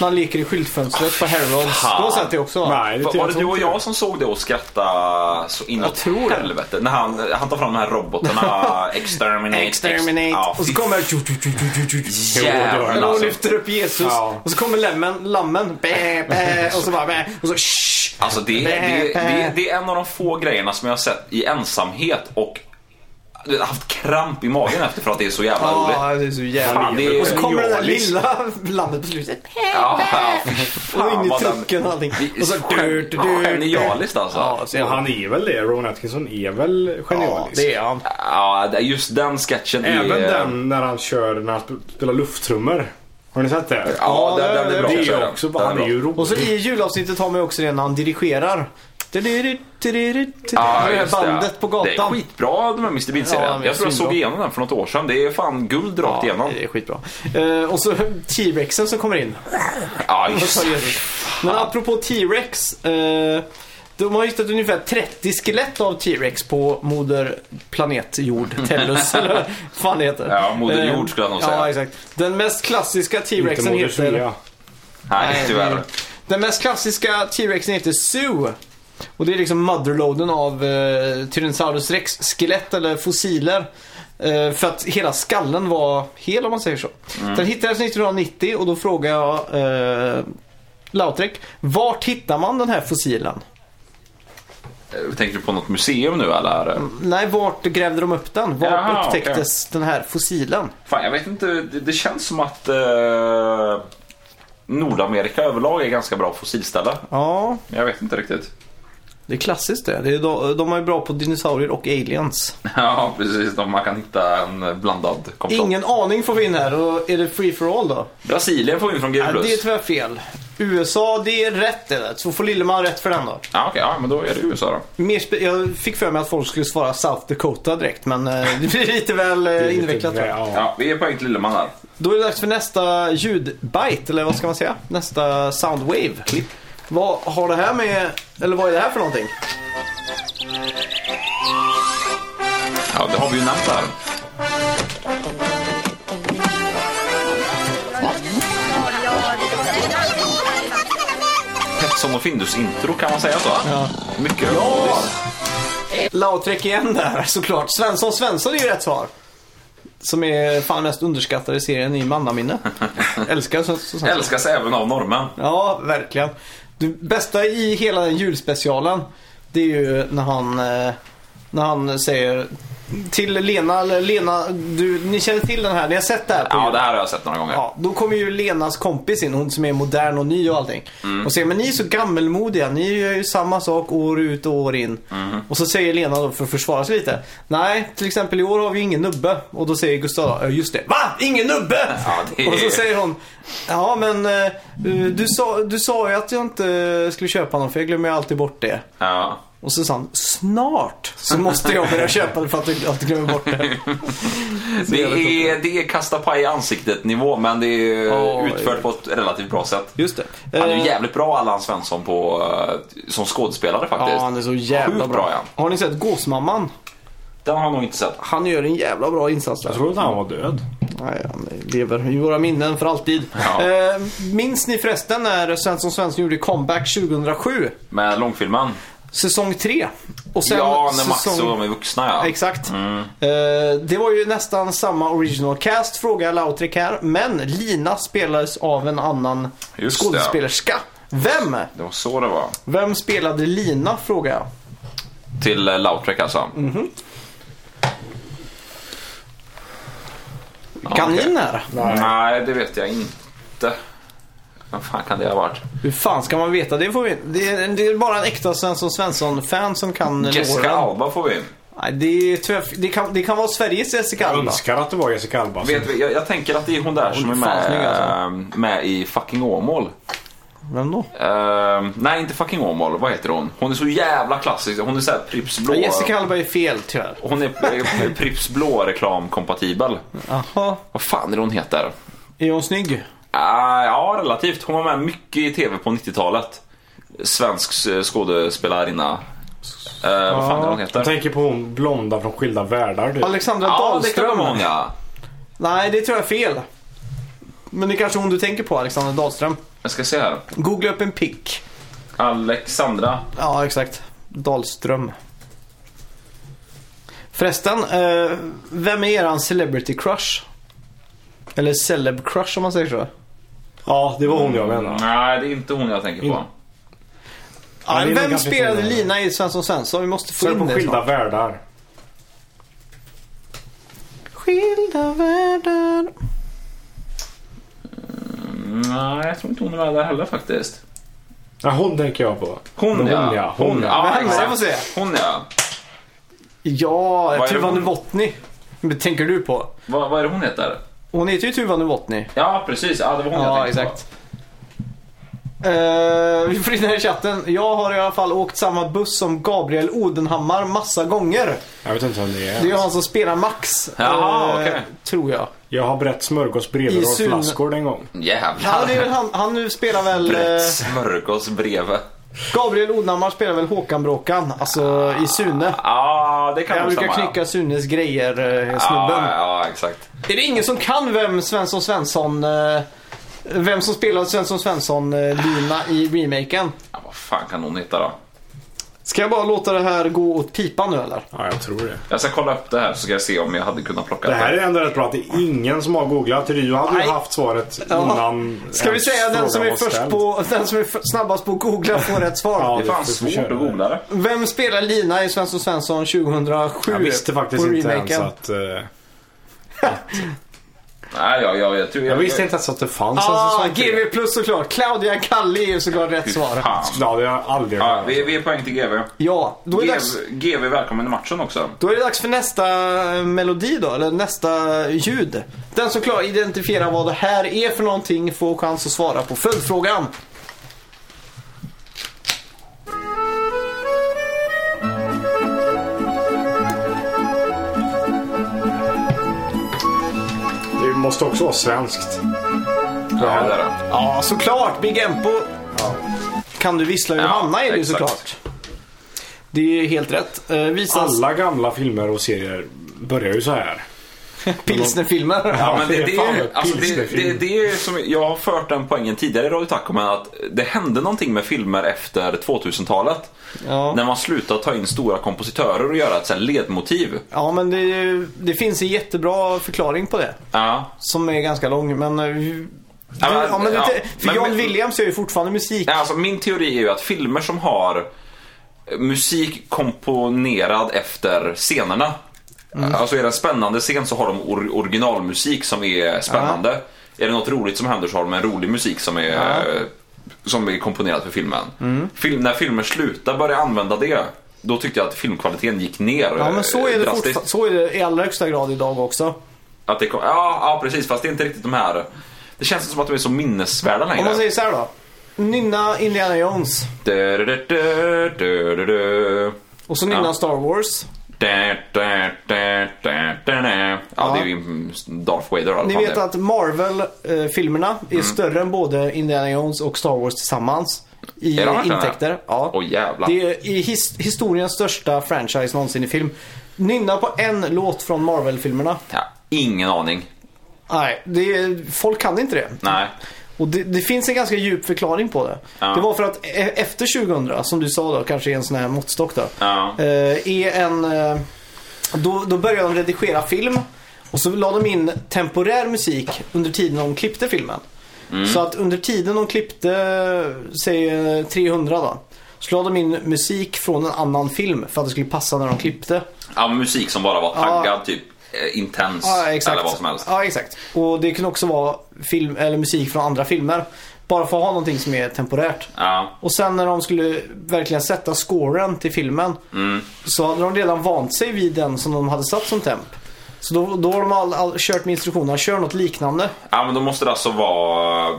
[SPEAKER 2] När han leker i skyltfönstret på Harrods. Du
[SPEAKER 3] fan.
[SPEAKER 2] har sett det också va?
[SPEAKER 4] Nej, det
[SPEAKER 3] Va-
[SPEAKER 4] tror
[SPEAKER 3] Var
[SPEAKER 4] jag
[SPEAKER 3] det du och
[SPEAKER 4] inte.
[SPEAKER 3] jag som såg det och skrattade så
[SPEAKER 2] Jag
[SPEAKER 3] inåt
[SPEAKER 2] tror det.
[SPEAKER 3] helvete? När han, han tar fram de här
[SPEAKER 2] [laughs]
[SPEAKER 3] robotarna, exterminate. ex-
[SPEAKER 2] Exterminate.
[SPEAKER 3] Ja,
[SPEAKER 2] och så
[SPEAKER 3] fy
[SPEAKER 2] kommer...
[SPEAKER 3] jävlar
[SPEAKER 2] Eller hon
[SPEAKER 3] alltså.
[SPEAKER 2] lyfter upp Jesus.
[SPEAKER 4] Ja.
[SPEAKER 2] Och så kommer lemmen, lammen. Bä, bä, och så bara bä, Och så shh.
[SPEAKER 3] Alltså det,
[SPEAKER 2] Bä,
[SPEAKER 3] det, det,
[SPEAKER 2] bä.
[SPEAKER 3] det, är en av de få grejerna som jag har sett i ensamhet och du vet, haft kramp i magen efter för att det är så jävla roligt.
[SPEAKER 2] Ja, det är så jävla
[SPEAKER 3] Fan, det är
[SPEAKER 2] Och så kommer det där
[SPEAKER 3] genialiskt.
[SPEAKER 2] lilla lammet på slutet.
[SPEAKER 3] Ja, fy
[SPEAKER 2] Och in
[SPEAKER 3] fan
[SPEAKER 2] i
[SPEAKER 3] vad
[SPEAKER 2] trucken och allting.
[SPEAKER 3] den...
[SPEAKER 2] Och så...
[SPEAKER 3] Gen- Genialiskt alltså.
[SPEAKER 2] Ja, så jävla-
[SPEAKER 4] Han är väl det? Ron Atkinson är väl
[SPEAKER 2] Ja,
[SPEAKER 4] genialisk?
[SPEAKER 2] det är han.
[SPEAKER 3] Ja, det- just den sketchen
[SPEAKER 4] Även
[SPEAKER 3] är...
[SPEAKER 4] den när han kör, när han sp- spelar lufttrummor. Har ni sett det?
[SPEAKER 3] Ja, den, den
[SPEAKER 2] det
[SPEAKER 3] är bra.
[SPEAKER 4] det
[SPEAKER 3] kör den.
[SPEAKER 4] är också bara,
[SPEAKER 3] Den
[SPEAKER 4] han är
[SPEAKER 3] bra.
[SPEAKER 4] ju rolig.
[SPEAKER 2] Och så i julavsnittet har man ju också det när han dirigerar. Du-du-du, du-du-du, du-du.
[SPEAKER 3] Ja,
[SPEAKER 2] det här
[SPEAKER 3] just det.
[SPEAKER 2] bandet på
[SPEAKER 3] Det är
[SPEAKER 2] gatan.
[SPEAKER 3] skitbra den här Mr
[SPEAKER 2] Ja,
[SPEAKER 3] Bean-serien.
[SPEAKER 2] men
[SPEAKER 3] jag tror jag
[SPEAKER 2] svinbra.
[SPEAKER 3] såg igenom den för något år sedan. Det är fan guld rakt igenom.
[SPEAKER 2] Ja, det är skitbra. Eh, och så T-rexen som kommer in.
[SPEAKER 3] Ja,
[SPEAKER 2] Och [laughs]
[SPEAKER 3] just
[SPEAKER 2] så Jesus. Men apropå T-rex. Eh, de har hittat ungefär 30 skelett av T-rex på moder planet jord,
[SPEAKER 3] [laughs]
[SPEAKER 2] Tellus eller vad fan det heter.
[SPEAKER 3] Ja, moder jord skulle jag nog
[SPEAKER 2] Eh,
[SPEAKER 3] säga.
[SPEAKER 2] Ja, exakt. Den mest klassiska
[SPEAKER 4] Inte
[SPEAKER 2] T-rexen
[SPEAKER 4] Moder
[SPEAKER 2] heter...
[SPEAKER 4] Svea.
[SPEAKER 3] Nej, tyvärr.
[SPEAKER 2] Den mest klassiska T-rexen heter Sue. Och det är liksom motherloaden av eh, Tyrannosaurus rex skelett eller fossiler. Eh, för att hela skallen var hel om man säger så.
[SPEAKER 3] Mm.
[SPEAKER 2] Den hittades 1990 och då frågar jag eh, Lautrec, vart hittar man den här fossilen?
[SPEAKER 3] Eh, Tänker du på något museum nu eller?
[SPEAKER 2] Nej, vart grävde de upp den? Vart
[SPEAKER 3] Jaha,
[SPEAKER 2] upptäcktes den här fossilen?
[SPEAKER 3] Fan, jag vet inte. Det, det känns som att eh, Nordamerika överlag är ganska bra fossilställe.
[SPEAKER 2] Ja,
[SPEAKER 3] Jag vet inte riktigt. [laughs]
[SPEAKER 2] det är klassiskt det. det är, de, de är bra på dinosaurier och aliens.
[SPEAKER 3] Ja, precis. Om man kan hitta en blandad komplott.
[SPEAKER 2] Ingen aning får vi in här. Och är det free for all då?
[SPEAKER 3] Brasilien får vi in från
[SPEAKER 2] Ja,
[SPEAKER 3] Gul
[SPEAKER 2] det är
[SPEAKER 3] Plus.
[SPEAKER 2] tyvärr fel. USA, det är rätt det där. Så får Lilleman rätt för den då.
[SPEAKER 3] Ja, okej. Ja, men då är det USA då.
[SPEAKER 2] Mer spe- jag fick för mig att folk skulle svara South Dakota direkt, men eh, [laughs] det blir lite väl eh, invecklat. tror jag.
[SPEAKER 4] Ja.
[SPEAKER 3] Ja, vi är poäng till Lilleman här.
[SPEAKER 2] Då är det dags för nästa ljudbite, eller vad ska man säga? Nästa soundwave. Vad har det här med, eller vad är det här för någonting?
[SPEAKER 3] Ja, det har vi ju nämnt här. som och Findus-intro, kan man säga så? Ja. Mycket
[SPEAKER 2] Ja! Lautrec igen där [laughs] såklart. Svensson Svensson är ju rätt svar. Som är fan mest underskattade serien i [laughs] mannaminne. Älskar Svensson Svensson.
[SPEAKER 3] Älskas även av norrmän.
[SPEAKER 2] Ja, verkligen. Det bästa i hela den julspecialen det är ju när han, eh, när han säger till Lena, eller Lena, du, ni känner till den här, ni har sett det här på
[SPEAKER 3] Ja,
[SPEAKER 2] jul.
[SPEAKER 3] det här har jag sett några gånger.
[SPEAKER 2] Ja, då kommer ju Lenas kompis in, hon som är modern och ny och allting.
[SPEAKER 3] Mm.
[SPEAKER 2] Och säger, men ni är så gammelmodiga, ni gör ju samma sak år ut och år in.
[SPEAKER 3] Mm.
[SPEAKER 2] Och så säger Lena då, för att försvara sig lite, nej, till exempel i år har vi ingen nubbe. Och då säger Gustav, "Ja, just det, VA? Ingen nubbe?
[SPEAKER 3] Ja, det är-
[SPEAKER 2] Och så säger hon, ja men eh, du, sa, du sa ju att jag inte skulle köpa någon för jag glömmer ju alltid bort det.
[SPEAKER 3] Ja.
[SPEAKER 2] Och så sa han, snart så måste jag börja köpa det för att jag alltid glömmer bort det.
[SPEAKER 3] [laughs] Det,
[SPEAKER 2] jävla
[SPEAKER 3] är, det är kasta paj i ansiktet nivå, men det är
[SPEAKER 2] Ja,
[SPEAKER 3] utfört på ett relativt bra sätt.
[SPEAKER 2] Just det.
[SPEAKER 3] Han är ju
[SPEAKER 2] Eh,
[SPEAKER 3] jävligt bra Allan Svensson på, eh, som skådespelare faktiskt.
[SPEAKER 2] Ja, han är så jävla
[SPEAKER 3] Sjukt
[SPEAKER 2] bra.
[SPEAKER 3] bra ja.
[SPEAKER 2] Har ni sett Gåsmamman?
[SPEAKER 3] Den har jag nog inte sett.
[SPEAKER 2] Han gör en jävla bra insats där.
[SPEAKER 4] Jag trodde han var död.
[SPEAKER 2] Nej, han lever i våra minnen för alltid.
[SPEAKER 3] Ja.
[SPEAKER 2] Eh, minns ni förresten när Svensson Svensson gjorde comeback 2007?
[SPEAKER 3] Med långfilmen.
[SPEAKER 2] Säsong 3. Och sen
[SPEAKER 3] ja, när Max
[SPEAKER 2] säsong-
[SPEAKER 3] och de är vuxna ja. Mm.
[SPEAKER 2] Exakt. Eh, det var ju nästan samma original cast, frågar Lautrec här. Men Lina spelades av en annan
[SPEAKER 3] Just det.
[SPEAKER 2] skådespelerska. Vem?
[SPEAKER 3] Det var så det var.
[SPEAKER 2] Vem spelade Lina, frågar jag.
[SPEAKER 3] Till eh, Lautrec alltså.
[SPEAKER 2] Mhm.
[SPEAKER 3] Ja,
[SPEAKER 2] kan
[SPEAKER 3] okej.
[SPEAKER 2] ni när?
[SPEAKER 3] Nej. det vet jag inte. Vad fan kan det ha varit?
[SPEAKER 2] Hur fan ska man veta? Det, får vi, det, är, det är bara en äkta Svensson Svensson-fan som kan
[SPEAKER 3] Jessica
[SPEAKER 2] låren.
[SPEAKER 3] Alba får vi in.
[SPEAKER 2] Nej, det, är tyvärr, det, kan, det kan vara Sveriges Jessica
[SPEAKER 4] Jag
[SPEAKER 2] Alba.
[SPEAKER 4] önskar att det var Jessica Alba. alltså.
[SPEAKER 3] Vet vi, jag, jag tänker att det är hon där som är
[SPEAKER 2] är fan snygg,
[SPEAKER 3] med,
[SPEAKER 2] alltså.
[SPEAKER 3] eh, med i fucking Åmål.
[SPEAKER 2] Vem då?
[SPEAKER 3] Eh, nej, inte fucking Åmål. Vad heter hon? Hon är så jävla klassisk. Hon är såhär Pripps blå.
[SPEAKER 2] Ja, Jessica Alba är fel tyvärr.
[SPEAKER 3] Hon är eh, Pripps blå reklamkompatibel.
[SPEAKER 2] Jaha.
[SPEAKER 3] Vad fan är det hon heter?
[SPEAKER 2] Är hon snygg?
[SPEAKER 3] Ah, ja, relativt. Hon var med mycket i TV på 90-talet. Svensk eh, skådespelarinna. Eh, Vad fan är det hon
[SPEAKER 4] Jag
[SPEAKER 3] heter?
[SPEAKER 4] tänker på hon blonda från skilda världar. typ. Du.
[SPEAKER 2] Alexandra
[SPEAKER 3] Ja, det kan det
[SPEAKER 2] Dahlström?
[SPEAKER 3] vara hon ja.
[SPEAKER 2] Nej, det tror jag är fel. Men det är kanske hon du tänker på, Alexandra Dahlström.
[SPEAKER 3] Jag ska se här.
[SPEAKER 2] Googla upp en pick.
[SPEAKER 3] Alexandra.
[SPEAKER 2] Ja, exakt. Dahlström. Förresten, eh, vem är eran celebrity crush? Eller celeb crush om man säger så.
[SPEAKER 4] Ja, det var hon jag menade.
[SPEAKER 3] Mm, Nej, det är inte hon jag tänker på.
[SPEAKER 4] In-
[SPEAKER 2] Ja,
[SPEAKER 4] det är nog
[SPEAKER 2] vem
[SPEAKER 4] kanske
[SPEAKER 2] spelade
[SPEAKER 4] inte-
[SPEAKER 2] Lina i Svensson Svensson? Vi måste få
[SPEAKER 4] Sök
[SPEAKER 2] in
[SPEAKER 4] på
[SPEAKER 2] det
[SPEAKER 4] skilda
[SPEAKER 2] snart.
[SPEAKER 4] världar.
[SPEAKER 2] Skilda världar.
[SPEAKER 3] Nej, jag tror inte hon är med där heller faktiskt.
[SPEAKER 4] Ja, hon tänker jag på.
[SPEAKER 3] Hon,
[SPEAKER 4] hon
[SPEAKER 3] ja.
[SPEAKER 4] ja. Hon, ja.
[SPEAKER 2] Vem?
[SPEAKER 3] exakt.
[SPEAKER 2] Jag får se.
[SPEAKER 3] Hon ja.
[SPEAKER 2] Ja,
[SPEAKER 3] Vad är
[SPEAKER 2] Tuva
[SPEAKER 3] det hon-
[SPEAKER 2] Novotny. Men tänker du på?
[SPEAKER 3] Vad, vad är det hon heter?
[SPEAKER 2] Hon heter ju Tuva Novotny.
[SPEAKER 3] Ja, precis. Ja, det var hon jag tänkte på.
[SPEAKER 2] Eh, vi får in här i chatten. Jag har i alla fall åkt samma buss som Gabriel Odenhammar massa gånger.
[SPEAKER 4] Jag vet inte vem det
[SPEAKER 2] Det är ju
[SPEAKER 4] är.
[SPEAKER 2] han som spelar Max.
[SPEAKER 3] Jaha,
[SPEAKER 2] eh,
[SPEAKER 3] okej.
[SPEAKER 2] Tror jag.
[SPEAKER 4] Jag har brett smörgås,
[SPEAKER 2] I
[SPEAKER 4] brevor och
[SPEAKER 2] syn-
[SPEAKER 4] flaskor den gång.
[SPEAKER 2] Ja, det är väl
[SPEAKER 3] Jävlar.
[SPEAKER 2] han, han nu spelar väl...
[SPEAKER 3] Brett
[SPEAKER 2] eh,
[SPEAKER 3] smörgås bredvid.
[SPEAKER 2] Gabriel Odenhammar spelar väl Håkan Bråkan, alltså i Sune.
[SPEAKER 3] Ja, det kan
[SPEAKER 2] Jag
[SPEAKER 3] nog
[SPEAKER 2] brukar
[SPEAKER 3] stämma.
[SPEAKER 2] knycka Sunes grejer, eh,
[SPEAKER 3] ja.
[SPEAKER 2] snubben.
[SPEAKER 3] Ja, ja, exakt.
[SPEAKER 2] Är det ingen som kan vem Svensson Svensson... eh, Vem som spelade Svensson Svensson-lina i remaken?
[SPEAKER 3] Ja, vad fan kan hon heta då?
[SPEAKER 2] Ska jag bara låta det här gå åt pipan nu eller?
[SPEAKER 4] Ja, jag tror det.
[SPEAKER 3] Jag ska kolla upp det här så ska jag se om jag hade kunnat plocka
[SPEAKER 4] Det här är ändå rätt bra att det är ingen som har googlat. Du hade
[SPEAKER 2] Nej.
[SPEAKER 4] ju haft svaret
[SPEAKER 2] Ja.
[SPEAKER 4] innan
[SPEAKER 2] Ska vi
[SPEAKER 4] ens
[SPEAKER 2] säga den
[SPEAKER 4] frågan
[SPEAKER 2] som är,
[SPEAKER 4] var
[SPEAKER 2] först
[SPEAKER 4] ställd.
[SPEAKER 2] på, den som är f- snabbast på att googla får rätt svar?
[SPEAKER 4] Ja,
[SPEAKER 3] Det är fan
[SPEAKER 4] får vi
[SPEAKER 3] svårt
[SPEAKER 4] köra.
[SPEAKER 3] att googla det.
[SPEAKER 2] Vem spelar Lina i Svensson Svensson 2007?
[SPEAKER 4] Jag visste faktiskt
[SPEAKER 2] på
[SPEAKER 4] inte ens
[SPEAKER 2] remaken?
[SPEAKER 4] att... eh,
[SPEAKER 3] Nej, jag, jag, jag tror
[SPEAKER 4] Jag visste inte ens att det fanns
[SPEAKER 2] Ah,
[SPEAKER 4] en säsong
[SPEAKER 2] GV plus såklart. Claudia Kalli är ju såklart rätt svar.
[SPEAKER 3] Fan.
[SPEAKER 4] Ja, det har jag aldrig
[SPEAKER 3] Ja,
[SPEAKER 4] hört.
[SPEAKER 3] vi, vi är poäng till GV.
[SPEAKER 2] Ja, då är, det dags,
[SPEAKER 3] GV, GV välkommen i matchen också.
[SPEAKER 2] då är det dags för nästa eh, melodi då, eller nästa ljud. Den som klarar att identifiera vad det här är för någonting får chans att svara på följdfrågan.
[SPEAKER 4] Det måste också vara svenskt.
[SPEAKER 3] Ja, det är det.
[SPEAKER 2] Ja, såklart. Big Empo. Kan du vissla Johanna är det ju
[SPEAKER 3] exakt.
[SPEAKER 2] såklart. Det är helt rätt. Eh, visas...
[SPEAKER 4] Alla gamla filmer och serier börjar ju så här.
[SPEAKER 2] Pilsnerfilmer.
[SPEAKER 3] Ja, men det, det,
[SPEAKER 4] Fan,
[SPEAKER 3] är,
[SPEAKER 4] vad
[SPEAKER 3] alltså, det,
[SPEAKER 4] pilsnerfilm.
[SPEAKER 3] det, det är som, jag har fört den poängen tidigare i Radio Taco men att det hände någonting med filmer efter 2000-talet.
[SPEAKER 2] [laughs] Ja.
[SPEAKER 3] När man slutade ta in stora kompositörer och göra ett så här ledmotiv.
[SPEAKER 2] Ja, men det, är ju- det finns en jättebra förklaring på det.
[SPEAKER 3] Ja.
[SPEAKER 2] Som är ganska lång, men... eh,
[SPEAKER 3] Ja, men-
[SPEAKER 2] ja, men
[SPEAKER 3] ja.
[SPEAKER 2] lite, för
[SPEAKER 3] Men-
[SPEAKER 2] John
[SPEAKER 3] men-
[SPEAKER 2] Williams gör ju fortfarande musik.
[SPEAKER 3] Nej, Alltså, min teori är ju att filmer som har eh, musik komponerad efter scenerna.
[SPEAKER 2] Mm.
[SPEAKER 3] Alltså är det en spännande scen så har de or- originalmusik som är spännande. Är det något roligt som händer så har de en rolig musik som är, eh, som är komponerad för filmen.
[SPEAKER 2] Mm.
[SPEAKER 3] Film, när filmer slutar börja använda det, då tyckte jag att filmkvaliteten gick ner eh,
[SPEAKER 2] Ja, men så är, det
[SPEAKER 3] drastiskt.
[SPEAKER 2] fortfar- så är det i allra högsta grad idag också.
[SPEAKER 3] Att det kom, ja, ja, precis. Fast det är inte riktigt de här... Det känns inte som att de är så minnesvärda längre.
[SPEAKER 2] Om man säger så här då. Nynna Indiana Jones
[SPEAKER 3] Du, du, du, du, du, du, du.
[SPEAKER 2] och så nynna
[SPEAKER 3] Ja.
[SPEAKER 2] Star Wars.
[SPEAKER 3] Da, da, da, da, da, da. Ja, det är ju mm, Darth Vader då,
[SPEAKER 2] Ni
[SPEAKER 3] fan
[SPEAKER 2] vet
[SPEAKER 3] det. Mm.
[SPEAKER 2] att Marvel-filmerna är större än både Indiana Jones och Star Wars tillsammans. I
[SPEAKER 3] Är de verkligen
[SPEAKER 2] intäkter.
[SPEAKER 3] det?
[SPEAKER 2] Ja.
[SPEAKER 3] Åh, jävlar.
[SPEAKER 2] det är i his- historiens största franchise någonsin i film. Nynna på en låt från Marvel-filmerna.
[SPEAKER 3] Ja, ingen aning.
[SPEAKER 2] Nej, det är, folk kan inte det.
[SPEAKER 3] Nej.
[SPEAKER 2] Och det, det finns en ganska djup förklaring på det.
[SPEAKER 3] Ja.
[SPEAKER 2] Det var för att e- efter 2000, som du sa då, kanske är en sån här måttstock då.
[SPEAKER 3] Ja.
[SPEAKER 2] eh, Är en... eh, Då, då började de redigera film. Och så la de in temporär musik under tiden de klippte filmen.
[SPEAKER 3] Mm.
[SPEAKER 2] Så att under tiden de klippte, säg eh, 300 då. Så la de in musik från en annan film för att det skulle passa när de klippte.
[SPEAKER 3] Ja, musik som bara var taggad, typ eh, intens
[SPEAKER 2] Ja, exakt.
[SPEAKER 3] eller vad som helst.
[SPEAKER 2] Ja, exakt. Och det kan också vara film, eller musik från andra filmer. Bara för att ha någonting som är temporärt.
[SPEAKER 3] Ja.
[SPEAKER 2] Och sen när de skulle verkligen sätta scoren till filmen
[SPEAKER 3] Mm.
[SPEAKER 2] så hade de redan vant sig vid den som de hade satt som temp. Så då, då har de all, all, kört med instruktionerna, kör något liknande.
[SPEAKER 3] ja, men då måste det alltså vara eh,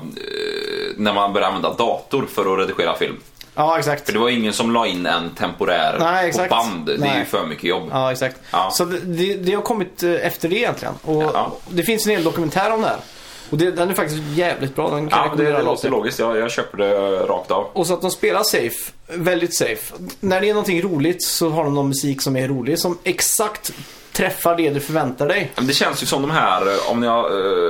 [SPEAKER 3] när man började använda dator för att redigera film.
[SPEAKER 2] Ja, exakt.
[SPEAKER 3] För det var ingen som la in en temporär
[SPEAKER 2] Nej, exakt.
[SPEAKER 3] på band. Det är
[SPEAKER 2] Nej.
[SPEAKER 3] ju för mycket jobb.
[SPEAKER 2] Ja, exakt.
[SPEAKER 3] Ja.
[SPEAKER 2] Så det- det, det har kommit eh, efter det egentligen. Och
[SPEAKER 3] Ja.
[SPEAKER 2] Det finns en hel dokumentär om det här. Och det, den är faktiskt jävligt bra. Den kan
[SPEAKER 3] Ja,
[SPEAKER 2] jag
[SPEAKER 3] det, det
[SPEAKER 2] rekommendera
[SPEAKER 3] låter logiskt. Jag, jag köper det eh, rakt av.
[SPEAKER 2] Och så att de spelar safe, väldigt safe. När det är någonting roligt så har de någon musik som är rolig som exakt träffar det du förväntar dig.
[SPEAKER 3] Men Det känns ju som de här, eh, om ni har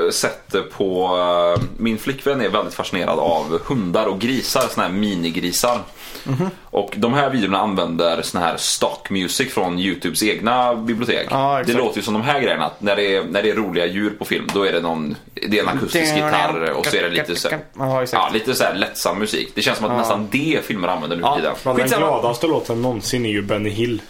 [SPEAKER 3] eh, sett det på... eh, min flickvän är väldigt fascinerad av hundar och grisar, såna här minigrisar.
[SPEAKER 2] Mhm.
[SPEAKER 3] Och de här videorna använder sån här stock music från Youtubes egna bibliotek.
[SPEAKER 2] Ja,
[SPEAKER 3] det
[SPEAKER 2] exakt.
[SPEAKER 3] låter ju som de här grejerna, att när det är, när det är roliga djur på film då är det någon... Det är en akustisk gitarr och så är det lite så,
[SPEAKER 2] Ja, exakt.
[SPEAKER 3] ja, lite så här lättsam musik. Det känns som att nästan det filmer använder nu för tiden.
[SPEAKER 4] Men den
[SPEAKER 2] Skitsamma.
[SPEAKER 4] gladaste låten någonsin är ju Benny Hill.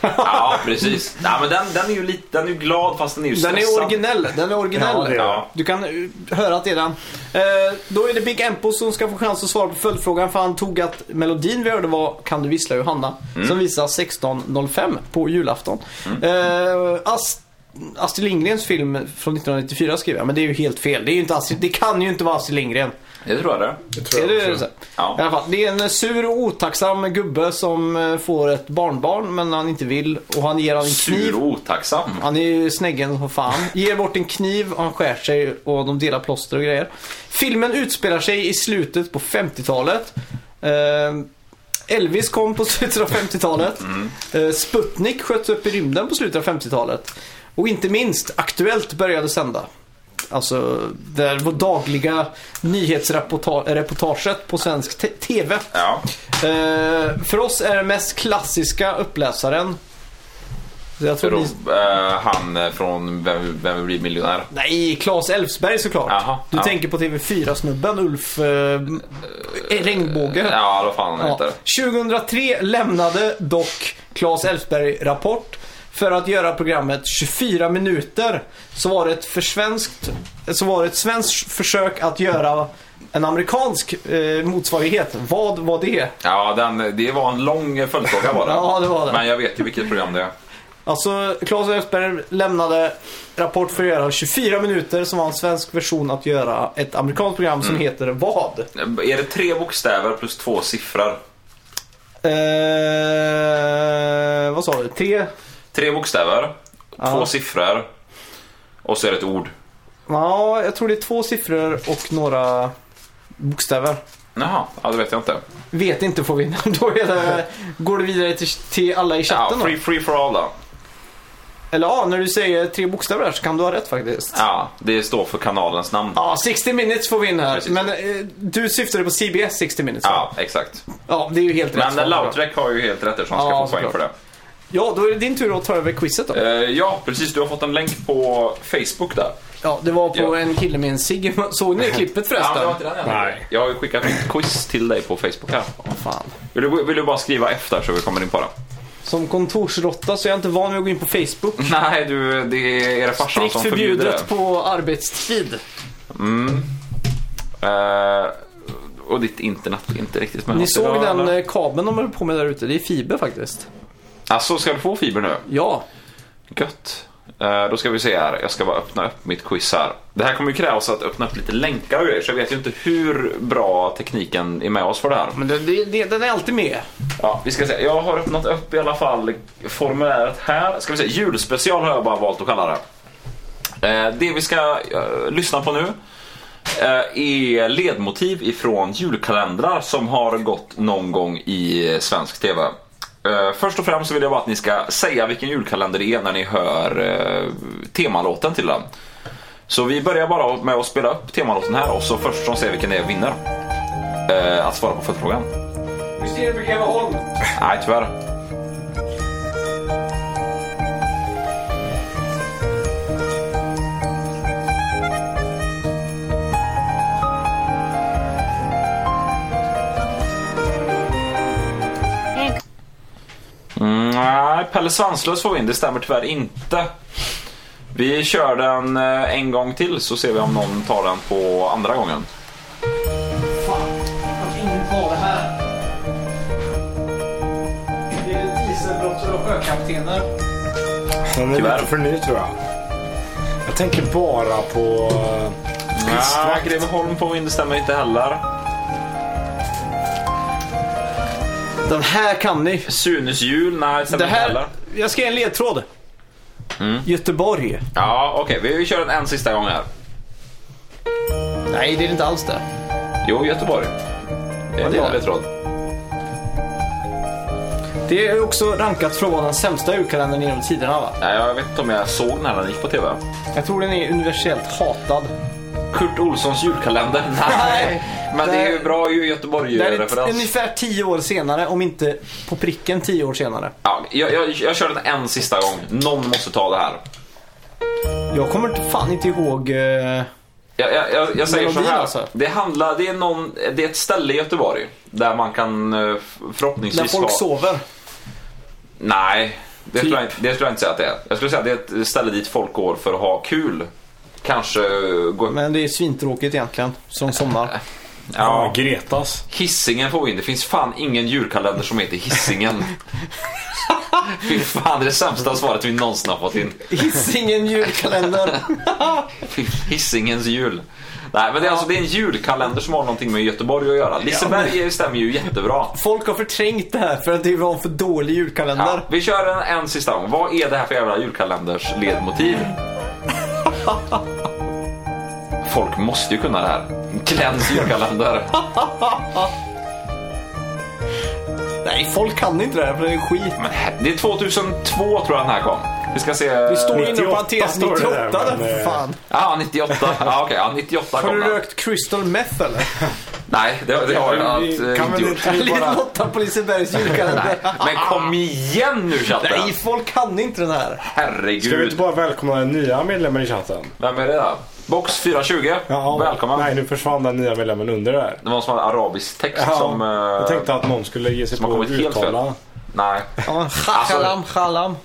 [SPEAKER 3] Ja, precis. Ja, men den, den är ju lite, den är ju glad fast den är ju
[SPEAKER 2] Den
[SPEAKER 3] stressad.
[SPEAKER 2] är originell. Den är originell.
[SPEAKER 4] Ja, det är den.
[SPEAKER 2] Du kan eh, höra att det är den. Eh, då är det Big Empo som ska få chans att svara på följdfrågan för han tog att melodin vi hörde var Kan du vissla Johanna? Som visar 16.05 på julafton. Eh, Ast- Astrid Lindgrens film från 1994 skriver jag, men det är ju helt fel. Det, är ju inte Astrid, det kan ju inte vara Astrid Lindgren.
[SPEAKER 3] Det tror jag det.
[SPEAKER 2] Är det, så?
[SPEAKER 3] Ja.
[SPEAKER 2] I alla fall, det är en sur och otacksam gubbe som eh, får ett barnbarn men han inte vill och han ger honom en kniv.
[SPEAKER 3] Sur och otacksam.
[SPEAKER 2] Han är ju snäggen som fan. Ger bort en kniv och han skär sig och de delar plåster och grejer. Filmen utspelar sig i slutet på 50-talet. Eh, Elvis kom på [laughs] slutet av 50-talet. Eh, Sputnik sköts upp i rymden på slutet av 50-talet. Och inte minst, Aktuellt började sända. Alltså, det var dagliga nyhetsreportaget på svensk te- TV.
[SPEAKER 3] Ja.
[SPEAKER 2] Eh, för oss är den mest klassiska uppläsaren... Jag tror ni...
[SPEAKER 3] Rob, eh, han eh, från Vem, vem blir miljonär?
[SPEAKER 2] Nej, Claes Elfsberg såklart.
[SPEAKER 3] Jaha,
[SPEAKER 2] du
[SPEAKER 3] ja.
[SPEAKER 2] tänker på TV4-snubben Ulf eh, Regnbåge.
[SPEAKER 3] Ja, vad fan han
[SPEAKER 2] Ja.
[SPEAKER 3] heter.
[SPEAKER 2] 2003 lämnade dock Claes Elfsberg Rapport för att göra programmet 24 minuter. Så var det ett, för svenskt, så var det ett svenskt försök att göra en amerikansk eh, motsvarighet. Vad var det?
[SPEAKER 3] Ja, den, det var en lång eh, följdfråga var
[SPEAKER 2] [laughs]
[SPEAKER 3] det.
[SPEAKER 2] Ja, det var det.
[SPEAKER 3] Men jag vet ju vilket program det är.
[SPEAKER 2] Alltså, Claes Elfsberg lämnade Rapport för att göra 24 minuter som var en svensk version att göra ett amerikanskt program
[SPEAKER 3] Mm.
[SPEAKER 2] som heter vad?
[SPEAKER 3] Eh, Är det tre bokstäver plus två siffror?
[SPEAKER 2] Eh, vad sa du? Tre?
[SPEAKER 3] Tre bokstäver, två
[SPEAKER 2] Ja.
[SPEAKER 3] siffror och så är det ett ord.
[SPEAKER 2] Ja, jag tror det är två siffror och några bokstäver.
[SPEAKER 3] Jaha, ja, det vet jag inte.
[SPEAKER 2] Vet inte får [laughs] vi. Då är det, går det vidare till, till alla i
[SPEAKER 3] Ja,
[SPEAKER 2] chatten då.
[SPEAKER 3] free, free for all då.
[SPEAKER 2] Eller ja, när du säger tre bokstäver här så kan du ha rätt faktiskt.
[SPEAKER 3] Ja, det står för kanalens namn.
[SPEAKER 2] Ja, 60 minutes får vi in här.
[SPEAKER 3] Precis.
[SPEAKER 2] Men eh, du syftade på CBS 60 minutes va?
[SPEAKER 3] Ja, exakt.
[SPEAKER 2] ja, det är ju helt rätt.
[SPEAKER 3] Men
[SPEAKER 2] svar.
[SPEAKER 3] eh, Lautrec har ju helt rätt eftersom han ska
[SPEAKER 2] Ja,
[SPEAKER 3] få poäng för det.
[SPEAKER 2] såklart. Ja, då är det din tur att ta över quizet då.
[SPEAKER 3] Eh, ja, precis. Du har fått en länk på Facebook där.
[SPEAKER 2] Ja, det var på
[SPEAKER 3] Ja.
[SPEAKER 2] en kille med en cigg. [laughs] Såg ni klippet
[SPEAKER 3] Ja, det var
[SPEAKER 2] förresten?
[SPEAKER 3] inte den jag
[SPEAKER 4] Nej.
[SPEAKER 3] tänkte. Jag har ju skickat mitt quiz till dig på Facebook här.
[SPEAKER 2] Fan.
[SPEAKER 3] Vill du, vill du bara skriva efter så vi kommer in på det?
[SPEAKER 2] Som kontorsrotta så är jag inte van vid att gå in på Facebook.
[SPEAKER 3] Nej, du, det är era farsan
[SPEAKER 2] Strikt
[SPEAKER 3] som förbjuder det.
[SPEAKER 2] förbjudet på arbetstid.
[SPEAKER 3] Eh, och ditt internet är inte riktigt med
[SPEAKER 2] Ni
[SPEAKER 3] oss
[SPEAKER 2] såg
[SPEAKER 3] idag,
[SPEAKER 2] den
[SPEAKER 3] eller?
[SPEAKER 2] eh, kabeln de höll på med där ute. Det är fiber faktiskt.
[SPEAKER 3] Alltså, ska du få fiber nu?
[SPEAKER 2] Ja,
[SPEAKER 3] Gött. Eh, Då ska vi se här. Jag ska bara öppna upp mitt quiz här. Det här kommer ju krävas att öppna upp lite länkar och grejer så jag vet ju inte hur bra tekniken är med oss för det här.
[SPEAKER 2] men det, det, det, den är alltid med.
[SPEAKER 3] Ja, vi ska se. Jag har öppnat upp i alla fall formuläret här. Ska vi se. Julspecial har jag bara valt att kalla det. Eh, Det vi ska eh, lyssna på nu eh, är ledmotiv ifrån julkalendrar som har gått någon gång i eh, svensk TV. Eh, Först och främst så vill jag bara att ni ska säga vilken julkalender det är när ni hör eh, temalåten till den. Så vi börjar bara med att spela upp temalåten här och så först som säger vilken det är vinner. Eh, Att svara på följdfrågan. Nej, tyvärr. Mm, nej, Pelle Svanslös får vi in. Det stämmer tyvärr inte. Vi kör den eh, en gång till så ser vi om någon tar den på andra gången.
[SPEAKER 2] Fan, att ingen tar det här. Det är dieselbrottsar och sjökaptener.
[SPEAKER 4] Den är
[SPEAKER 3] Tyvärr.
[SPEAKER 4] lite för ny tror jag. Jag tänker bara på... eh,
[SPEAKER 3] Ja,
[SPEAKER 4] Pistvakt.
[SPEAKER 3] Greveholm får vi in. Det stämmer inte heller.
[SPEAKER 2] Den här kan ni.
[SPEAKER 3] Sunes jul? Nej, det stämmer
[SPEAKER 2] Det
[SPEAKER 3] inte heller.
[SPEAKER 2] här, jag ska ge en ledtråd. Mm. Göteborg.
[SPEAKER 3] Ja, okej. vi- Vi kör den en sista gång här.
[SPEAKER 2] Nej, det är inte alls det.
[SPEAKER 3] Jo, Göteborg. Det är
[SPEAKER 2] det
[SPEAKER 3] en
[SPEAKER 2] är
[SPEAKER 3] vanlig
[SPEAKER 2] det.
[SPEAKER 3] tråd.
[SPEAKER 2] Det är också rankat från den sämsta julkalendern genom tiderna va?
[SPEAKER 3] Nej, jag vet inte om jag såg när den gick på TV.
[SPEAKER 2] Jag tror den är universellt hatad.
[SPEAKER 3] Kurt Olssons julkalender?
[SPEAKER 2] [laughs]
[SPEAKER 3] Nej. Men det är ju bra ju
[SPEAKER 2] Det är ett,
[SPEAKER 3] Göteborg-referens.
[SPEAKER 2] ungefär tio år senare, om inte på pricken tio år senare.
[SPEAKER 3] Ja, jag, jag, jag kör den en sista gång. Någon måste ta det här.
[SPEAKER 2] Jag kommer inte- fan inte ihåg... eh,
[SPEAKER 3] Jag, jag, jag, jag säger så
[SPEAKER 2] Melodin
[SPEAKER 3] här.
[SPEAKER 2] alltså.
[SPEAKER 3] Det, handlar, det, är någon, det är ett ställe i Göteborg där man kan eh, förhoppningsvis
[SPEAKER 2] När folk
[SPEAKER 3] vara-
[SPEAKER 2] sover. Typ.
[SPEAKER 3] Nej, det, skulle jag, inte- det skulle jag inte säga att det är. Jag skulle säga att det är ett ställe dit folk går för att ha kul. Kanske eh, gå...
[SPEAKER 2] Men det är svintråkigt egentligen, som
[SPEAKER 4] [laughs]
[SPEAKER 2] sommar.
[SPEAKER 4] Ja,
[SPEAKER 3] ja.
[SPEAKER 4] Gretas.
[SPEAKER 3] Hissingen får vi in. Det finns fan ingen julkalender som heter Hissingen. Fy fan, det är det sämsta svaret vi någonsin har fått in.
[SPEAKER 2] Hisingen julkalender.
[SPEAKER 3] Hissingens jul. Nej, men det är, alltså, det är en julkalender som har någonting med Göteborg att göra. Liseberg stämmer ju jättebra.
[SPEAKER 2] [laughs] Folk har förträngt det här för att det var en för dålig
[SPEAKER 3] Ja,
[SPEAKER 2] julkalender.
[SPEAKER 3] vi kör en, en sista gång. Vad är det här för jävla julkalenders ledmotiv? Folk måste ju kunna det här. Glens julkalender.
[SPEAKER 2] Nej, folk kan inte det här för det är skit.
[SPEAKER 3] Men här- det är 2002 tror jag den här kom. Vi ska se.
[SPEAKER 2] Det står inom
[SPEAKER 4] 98
[SPEAKER 2] parentes
[SPEAKER 4] står det
[SPEAKER 2] 98
[SPEAKER 4] där,
[SPEAKER 2] där,
[SPEAKER 4] men,
[SPEAKER 2] för
[SPEAKER 4] eh,
[SPEAKER 2] fan.
[SPEAKER 3] Ja, 98. Ja, okej. Ja, 98
[SPEAKER 2] Har
[SPEAKER 3] kom
[SPEAKER 2] du
[SPEAKER 3] den.
[SPEAKER 2] rökt crystal meth
[SPEAKER 4] [laughs]
[SPEAKER 2] eller?
[SPEAKER 3] Nej, det, det har jag
[SPEAKER 4] Vi
[SPEAKER 3] inte, eh,
[SPEAKER 4] kan
[SPEAKER 3] inte
[SPEAKER 4] väl
[SPEAKER 3] gjort.
[SPEAKER 4] inte
[SPEAKER 2] Lilla
[SPEAKER 4] bara...
[SPEAKER 2] Lotta på Lisebergs
[SPEAKER 4] [laughs]
[SPEAKER 2] julkalender.
[SPEAKER 3] Men kom igen nu chatten.
[SPEAKER 2] Nej, folk kan inte den här.
[SPEAKER 4] Ska vi inte
[SPEAKER 3] Herregud.
[SPEAKER 4] bara välkomna den nya medlemmen i chatten?
[SPEAKER 3] Vem är det där? Box 420.
[SPEAKER 4] Ja,
[SPEAKER 3] Välkommen.
[SPEAKER 4] Nej, nu försvann den nya medlemmen under där.
[SPEAKER 3] Det var en sån här arabisk text
[SPEAKER 4] Ja,
[SPEAKER 3] som... eh,
[SPEAKER 4] jag tänkte att någon skulle ge sig
[SPEAKER 3] som har
[SPEAKER 4] på att
[SPEAKER 3] kommit helt
[SPEAKER 4] uttala.
[SPEAKER 3] fel. Nej.
[SPEAKER 2] Ja,
[SPEAKER 4] Alltså-
[SPEAKER 2] Shalam, shalam.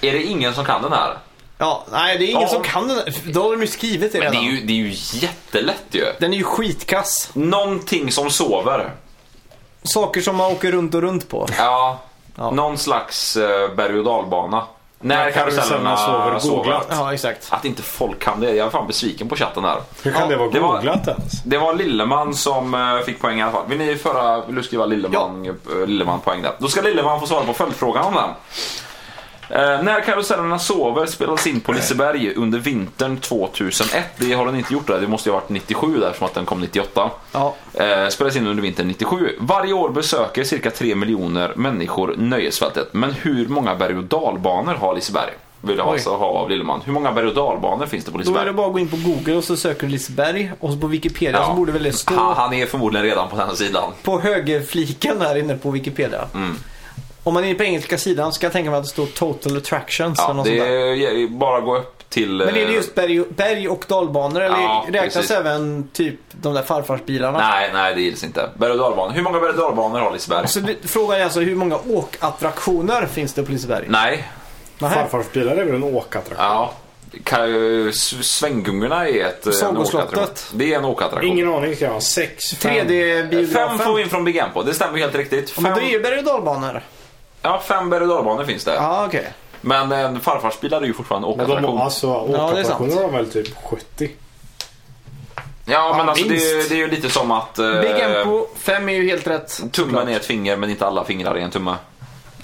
[SPEAKER 3] Är det ingen som kan den här?
[SPEAKER 2] Ja, nej, det är ingen
[SPEAKER 3] Ja.
[SPEAKER 2] som kan den här. Då har de ju skrivit det
[SPEAKER 3] Det är
[SPEAKER 2] redan.
[SPEAKER 3] ju, det är ju jättelätt ju.
[SPEAKER 2] Den är ju skitkass.
[SPEAKER 3] Någonting som sover.
[SPEAKER 2] Saker som man åker runt och runt på.
[SPEAKER 3] Ja.
[SPEAKER 2] Ja.
[SPEAKER 3] Någon slags eh, berg och dalbana. När
[SPEAKER 4] karusellerna
[SPEAKER 3] karusellerna
[SPEAKER 4] sover,
[SPEAKER 3] sover.
[SPEAKER 4] googlat.
[SPEAKER 2] Ja, exakt.
[SPEAKER 3] Att inte folk kan det. Jag är fan besviken på chatten här.
[SPEAKER 4] Hur kan
[SPEAKER 2] Ja,
[SPEAKER 4] det vara
[SPEAKER 3] det var-
[SPEAKER 4] googlat ens?
[SPEAKER 3] Det var Lilleman som eh, fick poäng i alla fall. Vill ni föra, vill du skriva Lilleman, eh, Lilleman poäng där? Då ska Lilleman få svara på följdfrågan om den. Eh, när karusellerna sover spelades in på Liseberg under vintern 2001. Det har den inte gjort där. Det måste ju ha varit 97 där som att den kom 98.
[SPEAKER 2] Ja.
[SPEAKER 3] Eh, spelades in under vintern 97. Varje år besöker cirka 3 miljoner människor nöjesfältet. Men hur många berg och dalbanor har Liseberg? vill jag ha,
[SPEAKER 2] Oj.
[SPEAKER 3] så ha av Lilleman. Hur många berg och dalbanor finns det på
[SPEAKER 2] Då är det
[SPEAKER 3] Liseberg?
[SPEAKER 2] bara att gå in på Google och så söker du Liseberg och så på Wikipedia
[SPEAKER 3] Ja.
[SPEAKER 2] så Alltså, borde väl det stå
[SPEAKER 3] Han, han är förmodligen redan på den här sidan.
[SPEAKER 2] på högerfliken här inne på Wikipedia.
[SPEAKER 3] Mm.
[SPEAKER 2] Om man är på engelska sidan så kan jag tänka mig att det står Total Attractions eller
[SPEAKER 3] Ja,
[SPEAKER 2] något
[SPEAKER 3] det
[SPEAKER 2] sånt där.
[SPEAKER 3] är bara gå upp till...
[SPEAKER 2] Men är det
[SPEAKER 3] eh,
[SPEAKER 2] just berg, berg och dalbanor eller
[SPEAKER 3] Ja,
[SPEAKER 2] räknas
[SPEAKER 3] precis.
[SPEAKER 2] även typ de där farfarsbilarna?
[SPEAKER 3] Nej, nej det gills inte. Berg och dalbanor. Hur många berg och dalbanor har Liseberg?
[SPEAKER 2] Så du, frågan är alltså hur många åkattraktioner finns det på Liseberg?
[SPEAKER 3] Nej.
[SPEAKER 2] Nähä.
[SPEAKER 4] Farfars bilar är väl en åkattraktion?
[SPEAKER 3] Ja. Kan ju- s- Svänggungorna är ett... eh, en
[SPEAKER 2] Sagoslottet.
[SPEAKER 3] åkattraktion. Det är en åkattraktion.
[SPEAKER 4] Ingen aning skrev han. Sex, fem.
[SPEAKER 2] 3D-biografen.
[SPEAKER 3] Fem får vi in från Big M på, det stämmer helt riktigt.
[SPEAKER 2] Ja, Men
[SPEAKER 3] Fem,
[SPEAKER 2] då är ju berg och dalbanor.
[SPEAKER 3] ja, fem berg och dalbanor finns det.
[SPEAKER 2] Ja, okej.
[SPEAKER 3] Men en farfarsbilar är ju fortfarande
[SPEAKER 4] Men de,
[SPEAKER 3] åkattraktion.
[SPEAKER 4] alltså,
[SPEAKER 2] Ja, det är sant.
[SPEAKER 4] åkattraktioner har väl typ 70?
[SPEAKER 3] Ja, men alltså, det, är ju-
[SPEAKER 2] minst.
[SPEAKER 3] det är ju lite som att... eh,
[SPEAKER 2] Big Empo, 5 är ju helt rätt.
[SPEAKER 3] Tummen är ett finger, men inte alla fingrar är en tumme.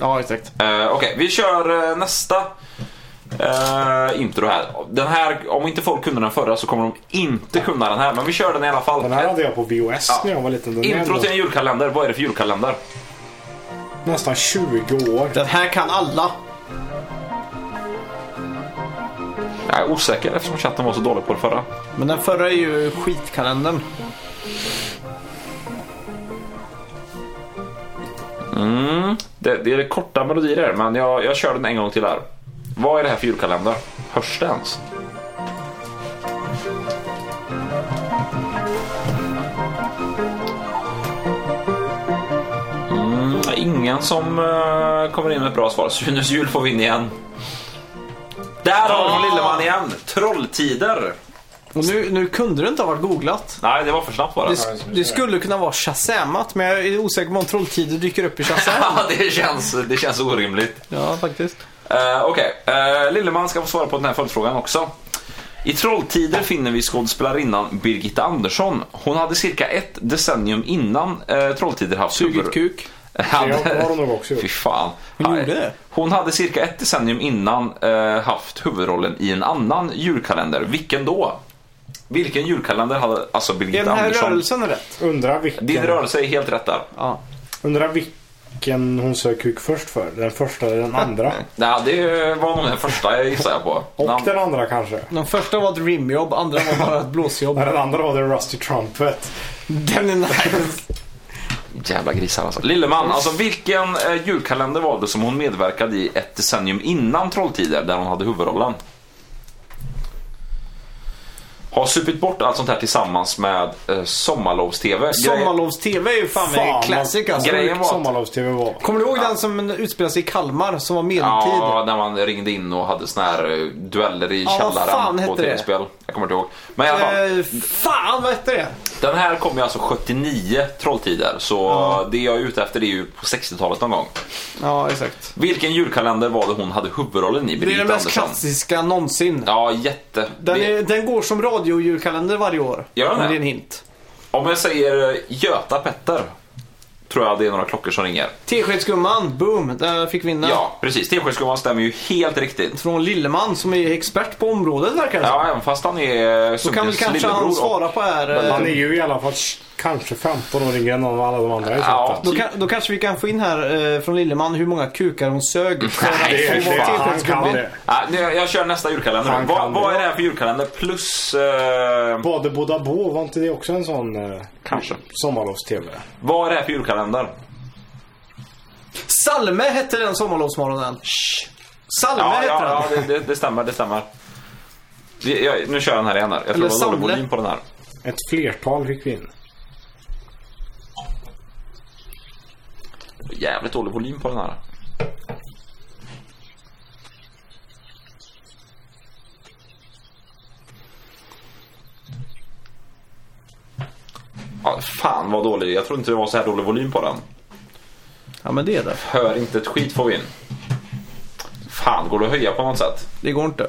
[SPEAKER 2] Ja, exakt.
[SPEAKER 3] Eh, Okej, vi kör eh, nästa eh, intro här. Den här. Om inte folk kunde den förra så kommer de inte kunna den här, men vi kör den i alla fall.
[SPEAKER 4] Den här hade jag på VHS
[SPEAKER 3] Ja.
[SPEAKER 4] när jag var liten. Den är
[SPEAKER 3] Intro
[SPEAKER 4] ändå
[SPEAKER 3] till en julkalender. Vad är det för julkalender?
[SPEAKER 4] nästan 20 år.
[SPEAKER 2] Den här kan alla.
[SPEAKER 3] Jag är osäker eftersom chatten var så dålig på det förra.
[SPEAKER 2] Men den förra är ju skitkalendern.
[SPEAKER 3] Det, det är korta melodier här, men jag, jag kör den en gång till här. Vad är det här för julkalender? Hörs det ens? Mm, ingen som eh, kommer in med ett bra svar. Sunes jul får vi in igen. Där har vi
[SPEAKER 2] Ah.
[SPEAKER 3] från Lilleman igen! Trolltider!
[SPEAKER 2] Och nu, nu kunde det inte ha varit googlat.
[SPEAKER 3] Nej, det var för snabbt bara.
[SPEAKER 2] Det, sk- det skulle kunna vara Shazamat, men jag är osäker på om Trolltider dyker upp i Shazam.
[SPEAKER 3] [laughs] Ja, det, känns, det känns orimligt.
[SPEAKER 2] [laughs] ja, faktiskt.
[SPEAKER 3] Eh, Okej, eh, Lilleman ska få svara på den här följdfrågan också. I Trolltider finner vi skådespelarinnan Birgitta Andersson. Hon hade cirka ett decennium innan eh, Trolltider haft
[SPEAKER 2] Sugit kuk.
[SPEAKER 3] [laughs] Hade...
[SPEAKER 4] Det har hon nog också gjort.
[SPEAKER 3] Fy fan.
[SPEAKER 2] Hon
[SPEAKER 3] Nej.
[SPEAKER 2] gjorde det?
[SPEAKER 3] Hon hade cirka ett decennium innan eh, haft huvudrollen i en annan julkalender. Vilken då? Vilken julkalender hade alltså
[SPEAKER 2] Är
[SPEAKER 3] Birgitta
[SPEAKER 2] den här
[SPEAKER 3] Andersson?
[SPEAKER 2] rörelsen rätt?
[SPEAKER 4] Undrar
[SPEAKER 3] Din
[SPEAKER 4] vilken,
[SPEAKER 3] rörelse är helt rätt där.
[SPEAKER 2] Ja.
[SPEAKER 4] undrar vilken hon sög kuk först för. Den första eller
[SPEAKER 3] [laughs]
[SPEAKER 4] den andra?
[SPEAKER 3] Nej, det var nog den första gissar jag på.
[SPEAKER 4] Och
[SPEAKER 3] Namn-
[SPEAKER 4] den andra kanske?
[SPEAKER 2] Den första var ett rimjobb, andra var bara ett blåsjobb.
[SPEAKER 4] Nej, Den andra var The Rusty Trumpet.
[SPEAKER 2] [laughs] Den är [laughs] nice.
[SPEAKER 3] Jävla grisar alltså. Lilleman, alltså vilken eh, julkalender var det som hon medverkade i ett decennium innan Trolltider där hon hade huvudrollen? Har supit bort allt sånt här tillsammans med eh, Sommarlovs-TV. Grej-
[SPEAKER 2] Sommarlovs-TV är ju fan, en classic alltså.
[SPEAKER 3] Grejen
[SPEAKER 4] Grejen
[SPEAKER 3] var att-
[SPEAKER 4] Sommarlovs-TV var.
[SPEAKER 2] Kommer du ihåg den som utspelade sig i Kalmar som var medeltid?
[SPEAKER 3] Ja, när man ringde in och hade såna här eh, dueller i
[SPEAKER 2] Ja, vad fan
[SPEAKER 3] källaren på
[SPEAKER 2] hette det?
[SPEAKER 3] tv-spel. Jag kommer inte ihåg. Men i alla fall,
[SPEAKER 2] Eh, fan vad hette det?
[SPEAKER 3] den här kom ju alltså 79, Trolltider. Så det jag är ute efter är ju på 60-talet någon gång.
[SPEAKER 2] Ja, exakt.
[SPEAKER 3] Vilken julkalender var det hon hade huvudrollen i?
[SPEAKER 2] Det är
[SPEAKER 3] Birgitta
[SPEAKER 2] den mest
[SPEAKER 3] Andersson?
[SPEAKER 2] klassiska någonsin.
[SPEAKER 3] Ja, jätte.
[SPEAKER 2] Den,
[SPEAKER 3] Det-
[SPEAKER 2] är, den går som radiodjurkalender varje år.
[SPEAKER 3] Gör den
[SPEAKER 2] Om
[SPEAKER 3] det?
[SPEAKER 2] det är en hint.
[SPEAKER 3] Om jag säger eh, Göta Petter. Tror jag det är några klockor som ringer.
[SPEAKER 2] Teskedsgumman, boom, där fick vinna.
[SPEAKER 3] Ja, precis. Teskedsgumman stämmer ju helt riktigt.
[SPEAKER 2] Från Lilleman som är expert på området verkar det som.
[SPEAKER 3] Ja, även fast han är eh,
[SPEAKER 2] Då kan väl
[SPEAKER 3] Sunkens
[SPEAKER 2] kanske
[SPEAKER 3] lillebror.
[SPEAKER 2] han
[SPEAKER 3] och-
[SPEAKER 2] svara på här. eh,
[SPEAKER 4] Han är ju i alla fall sh- kanske 15 år yngre än alla de andra i
[SPEAKER 3] Ja.
[SPEAKER 4] köttet.
[SPEAKER 2] Då, kan, då kanske vi kan få in här eh, från Lilleman hur många kukar hon sög för att
[SPEAKER 3] Nej,
[SPEAKER 4] Det är-
[SPEAKER 2] få
[SPEAKER 4] det-
[SPEAKER 2] vara
[SPEAKER 4] Han kan
[SPEAKER 2] Teskedsgumman.
[SPEAKER 4] det.
[SPEAKER 3] Ja, nu, jag, jag kör nästa julkalender.
[SPEAKER 4] Han
[SPEAKER 3] då. Vad
[SPEAKER 4] kan
[SPEAKER 3] vad
[SPEAKER 4] det.
[SPEAKER 3] är det här för julkalender? Plus... Eh,
[SPEAKER 4] Både Boda Bo, var inte det också en sån eh,
[SPEAKER 3] kanske.
[SPEAKER 4] sommarlovs-TV?
[SPEAKER 3] Vad är det här för julkalender?
[SPEAKER 2] Salme hette den sommarlovsmorgonen. Salme
[SPEAKER 3] Ja,
[SPEAKER 2] hette
[SPEAKER 3] ja,
[SPEAKER 2] den.
[SPEAKER 3] ja det, det, det stämmer. Det stämmer. Jag, jag, nu kör jag den här igen. Här. Jag tror
[SPEAKER 2] Eller
[SPEAKER 3] det var dålig
[SPEAKER 2] Samle.
[SPEAKER 3] volym på den här.
[SPEAKER 4] Ett flertal fick vi in.
[SPEAKER 3] Jävligt dålig volym på den här. Ja, fan vad dålig. Jag tror inte det var så här dålig volym på den.
[SPEAKER 2] Ja, men det är det.
[SPEAKER 3] Hör inte ett skit får vi in. Fan, går det att höja på något sätt?
[SPEAKER 2] Det går
[SPEAKER 3] [laughs]
[SPEAKER 2] inte.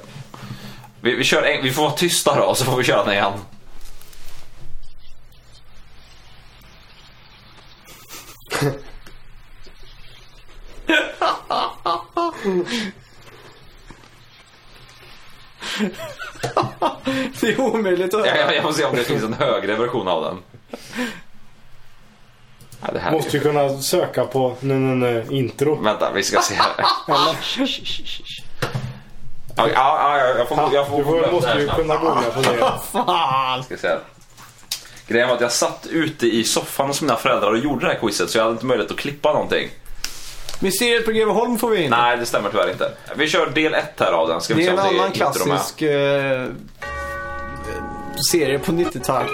[SPEAKER 3] Vi, vi, kör en, vi får vara tysta då, så får vi köra den igen.
[SPEAKER 2] Det är omöjligt att
[SPEAKER 3] Jag, jag, jag får se om det finns en högre version av den. Ja, det här är
[SPEAKER 4] Måste
[SPEAKER 3] ju...
[SPEAKER 4] ju kunna söka på nu, nu, nu, intro.
[SPEAKER 3] Vänta, vi ska se här.
[SPEAKER 4] Eller?
[SPEAKER 3] Ja, ja, ja, jag får, jag får
[SPEAKER 4] Du får, måste ju
[SPEAKER 3] snabbt.
[SPEAKER 4] kunna gå med
[SPEAKER 3] [laughs]
[SPEAKER 4] på det.
[SPEAKER 2] Fan!
[SPEAKER 3] Ska säga. Grejen var att jag satt ute i soffan hos mina föräldrar och gjorde det här quizet så jag hade inte möjlighet att klippa någonting.
[SPEAKER 2] Mysteriet på Greveholm får vi in.
[SPEAKER 3] Nej, det stämmer tyvärr inte. Vi kör del ett här av den. Ska vi
[SPEAKER 2] Det är
[SPEAKER 3] se
[SPEAKER 2] en
[SPEAKER 3] om det
[SPEAKER 2] annan
[SPEAKER 3] hittar de här.
[SPEAKER 2] klassisk eh, serie på 90-tal.